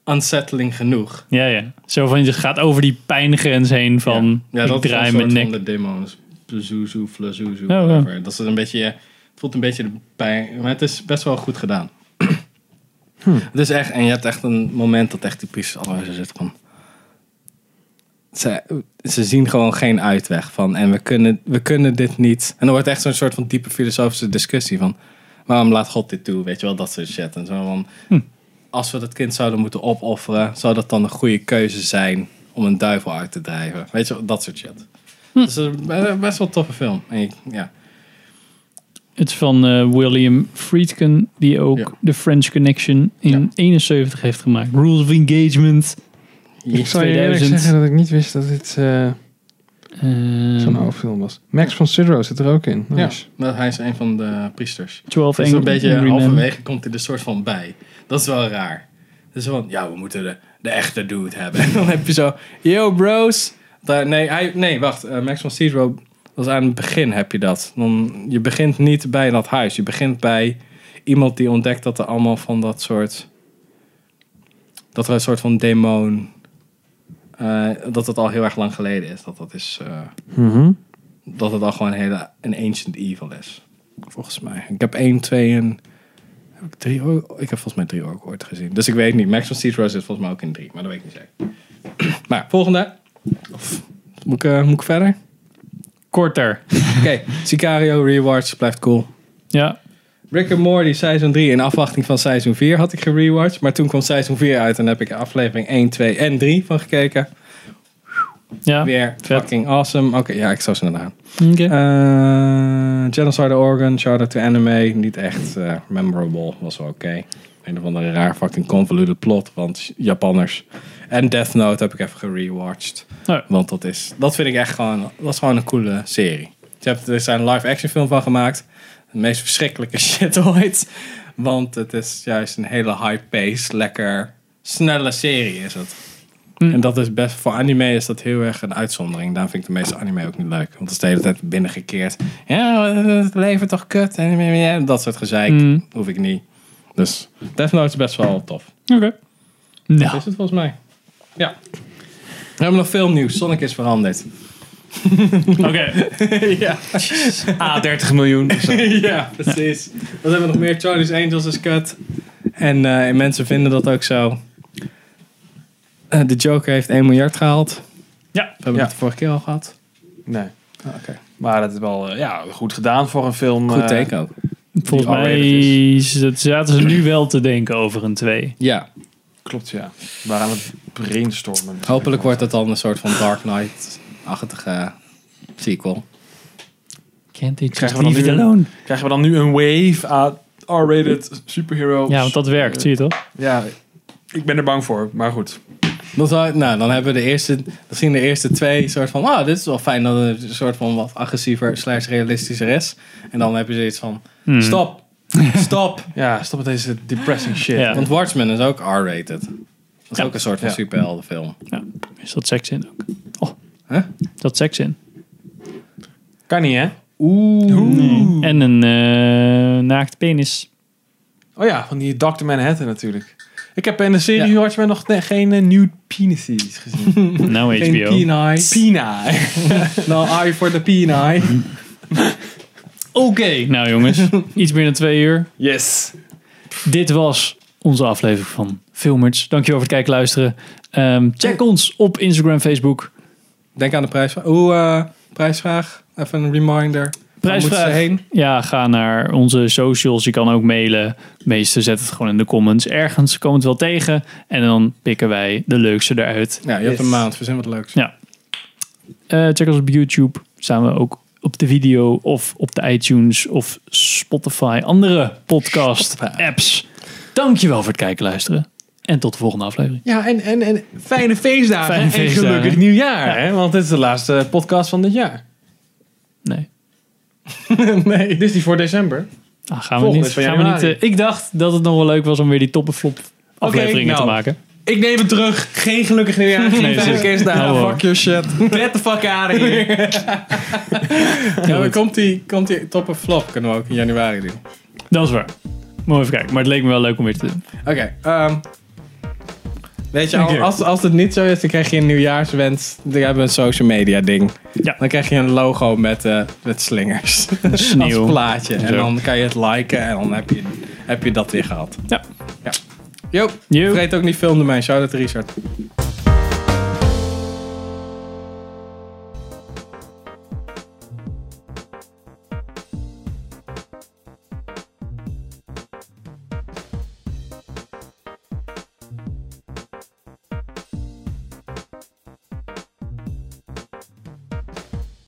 S2: unsettling genoeg.
S1: Ja, ja. Zo van, je gaat over die pijngrens heen van...
S2: Ja,
S1: ik
S2: dat
S1: draai
S2: is een
S1: mijn
S2: soort
S1: nek.
S2: van de demons. Zuzu, flazuzu,
S1: ja.
S2: whatever. Dat is een beetje, het voelt een beetje de pijn. Maar het is best wel goed gedaan. Het is echt, en je hebt echt een moment dat echt die priesters allemaal zo zitten van... Ze, ze zien gewoon geen uitweg van en we kunnen, we kunnen dit niet. En er wordt echt zo'n soort van diepe filosofische discussie van... Waarom laat God dit toe? Weet je wel, dat soort shit. En zo van, als we dat kind zouden moeten opofferen, zou dat dan een goede keuze zijn om een duivel uit te drijven? Weet je, wel, dat soort shit. Dus het is een best wel toffe film. En ik- ja.
S1: Het is van eh, William Friedkin, die ook The French Connection in 71 heeft gemaakt. Rules of Engagement.
S3: Ik zou je eerlijk
S1: 2000.
S3: zeggen dat ik niet wist dat dit eh,
S1: ehm, Hmm.
S3: zo'n oude film was. Max von Sydow zit er ook in.
S2: Ja,
S3: Nice.
S2: maar hij is een van de priesters.
S1: 12
S2: dus een
S1: Angry-
S2: beetje
S1: Angry Men.
S2: halverwege komt hij er soort van bij. Dat is wel raar. Dus van, ja, we moeten de, de echte dude hebben. En dan heb je zo, yo bros. Daar, nee, hij, nee, wacht. eh, Max van Sydow was aan het begin heb je dat. Dan, je begint niet bij dat huis. Je begint bij iemand die ontdekt dat er allemaal van dat soort... Dat er een soort van demon... eh, dat het al heel erg lang geleden is. Dat dat is... eh,
S3: Mhm.
S2: dat het al gewoon een hele een ancient evil is. Volgens mij. Ik heb één, twee en... Heb ik drie ook? Ik heb volgens mij drie ook ooit gezien. Dus ik weet niet. Max van Sydow zit volgens mij ook in drie. Maar dat weet ik niet zeker. maar ja, volgende. Of, moet, ik, eh, moet ik verder?
S1: Korter.
S2: Oké. Sicario Rewards blijft cool.
S1: Ja.
S2: Rick and Morty seizoen 3 in afwachting van seizoen 4 had ik gerewatcht. Maar toen kwam seizoen 4 uit en heb ik aflevering 1, 2 en 3 van gekeken.
S1: Ja,
S2: Weer fucking awesome. Oké, ja, ik zou ze naar aan.
S1: Oké.
S2: Eh, Genocide Organ, Shout Out to Anime. Niet echt eh, memorable, was wel oké. Een of andere raar fucking convoluted plot, want Japanners. En Death Note heb ik even gerewatcht.
S1: Nou,
S2: Want dat is, dat vind ik echt gewoon, dat is gewoon een coole serie. Ze hebben er zijn een live action film van gemaakt. De meest verschrikkelijke shit ooit. Want het is juist een hele high pace, lekker snelle serie is het. En dat is best, voor anime is dat heel erg een uitzondering. Daarom vind ik de meeste anime ook niet leuk. Want het is de hele tijd binnengekeerd. Ja, het leven toch kut. En en- en dat soort gezeik
S1: Mm.
S2: hoef ik niet. Dus Death Note is best wel tof.
S1: Oké. Nou.
S2: Dat is het volgens mij. Ja. We hebben nog veel nieuws. Sonic is veranderd.
S1: Oké.
S2: ja.
S3: Ah, 30 miljoen.
S2: ja, precies. Wat hebben we nog meer? Charlie's Angels is kut. En eh, en mensen vinden dat ook zo. Eh, de Joker heeft 1 miljard gehaald.
S1: Ja. Ah,
S2: We hebben het de vorige keer al gehad.
S3: Nee.
S2: Oké.
S3: Maar dat is wel eh, ja, goed gedaan voor een film.
S2: Goed
S3: eh,
S2: teken ook.
S1: Volgens
S3: die
S1: mij
S3: R-rated
S1: is- dat zaten ze nu wel te denken over een 2.
S2: Ja.
S3: Klopt, ja. We waren aan het brainstormen.
S2: Hopelijk wordt dat dan een soort van Dark Knight-achtige sequel.
S1: Can't they just
S3: Krijgen we, dan
S1: leave it
S3: nu,
S1: alone?
S3: krijgen we dan nu een wave aan R-rated superheroes?
S1: Ja, want dat werkt,
S3: Eh,
S1: zie je toch?
S3: Ja, ik ben er bang voor, maar goed.
S2: Dan, zou, nou, dan hebben we de eerste, dan zien de eerste twee soort van, ah, dit is wel fijn dat het een soort van wat agressiever slash realistischer is. En dan heb je zoiets van,
S3: Hmm.
S2: stop, stop.
S3: ja, stop met deze depressing shit.
S2: Want Watchmen is ook R-rated. Dat is
S1: Ja.
S2: ook een soort van
S1: Ja.
S2: superheldenfilm.
S1: Is dat seks in ook? Oh. Is dat seks in?
S3: Kan niet, hè?
S2: Oeh.
S1: Nee. En een eh, naakt penis.
S3: Oh ja, van die Dr. Manhattan natuurlijk. Ik heb in de serie Watchmen nog ne- geen nieuw nude penises gezien.
S1: Nou,
S3: Geen
S1: HBO.
S2: Penies.
S3: Peni.
S2: nou, I voor de peni.
S1: Oké. Nou jongens, iets meer dan twee uur.
S3: Yes.
S1: Dit was onze aflevering van Filmers. Dankjewel voor het kijken en luisteren. Ehm, check ons op Instagram, Facebook.
S2: Denk aan de prijsvraag. Oeh, eh, prijsvraag. Even een reminder. Waar moeten ze
S1: Prijsvraag.
S2: heen?
S1: Ja, ga naar onze socials. Je kan ook mailen. Meeste zet het gewoon in de comments. Ergens komen we het wel tegen. En dan pikken wij de leukste eruit.
S2: Ja, je hebt een maand. Verzin wat leuks.
S1: Ja. Eh, check ons op YouTube. Staan we ook op de video of op de iTunes of Spotify. Andere podcast apps. Dankjewel voor het kijken en luisteren. En tot de volgende aflevering.
S3: Ja, en, en, en fijne feestdagen.
S1: Fijne
S3: en
S1: feestdagen.
S3: gelukkig nieuwjaar, hè? Want dit is de laatste podcast van dit jaar.
S1: Nee.
S3: nee. Dit is die voor december.
S1: Ah, gaan we
S3: Volgende
S1: niet.
S3: is van
S1: Gaan we niet
S3: januari.
S1: eh, ik dacht dat het nog wel leuk was om weer die toppenflop afleveringen
S3: nou.
S1: te maken.
S3: Ik neem het terug. Geen gelukkig nieuwjaar. Geen
S1: Nee,
S3: fijne
S1: precies.
S3: kerstdagen.
S1: Nou, hoor.
S3: fuck your shit. Get the fuck out of here.
S2: Ja, maar komt die, komt die top of flop? Kunnen we ook in januari doen.
S1: Dat is waar. Moet even kijken. Maar het leek me wel leuk om weer te doen.
S2: Oké. ehm, weet je,
S1: Dank je.
S2: als, als het niet zo is, dan krijg je een nieuwjaarswens. Dan hebben we een social media ding. Dan krijg je een logo met, eh, met slingers.
S1: sneeuw.
S2: Als plaatje. En
S1: Zo.
S2: dan kan je het liken en dan heb je, heb je dat weer gehad.
S1: Ja.
S2: ja. Yo, vergeet ook niet filmdomein. Shout-out Richard.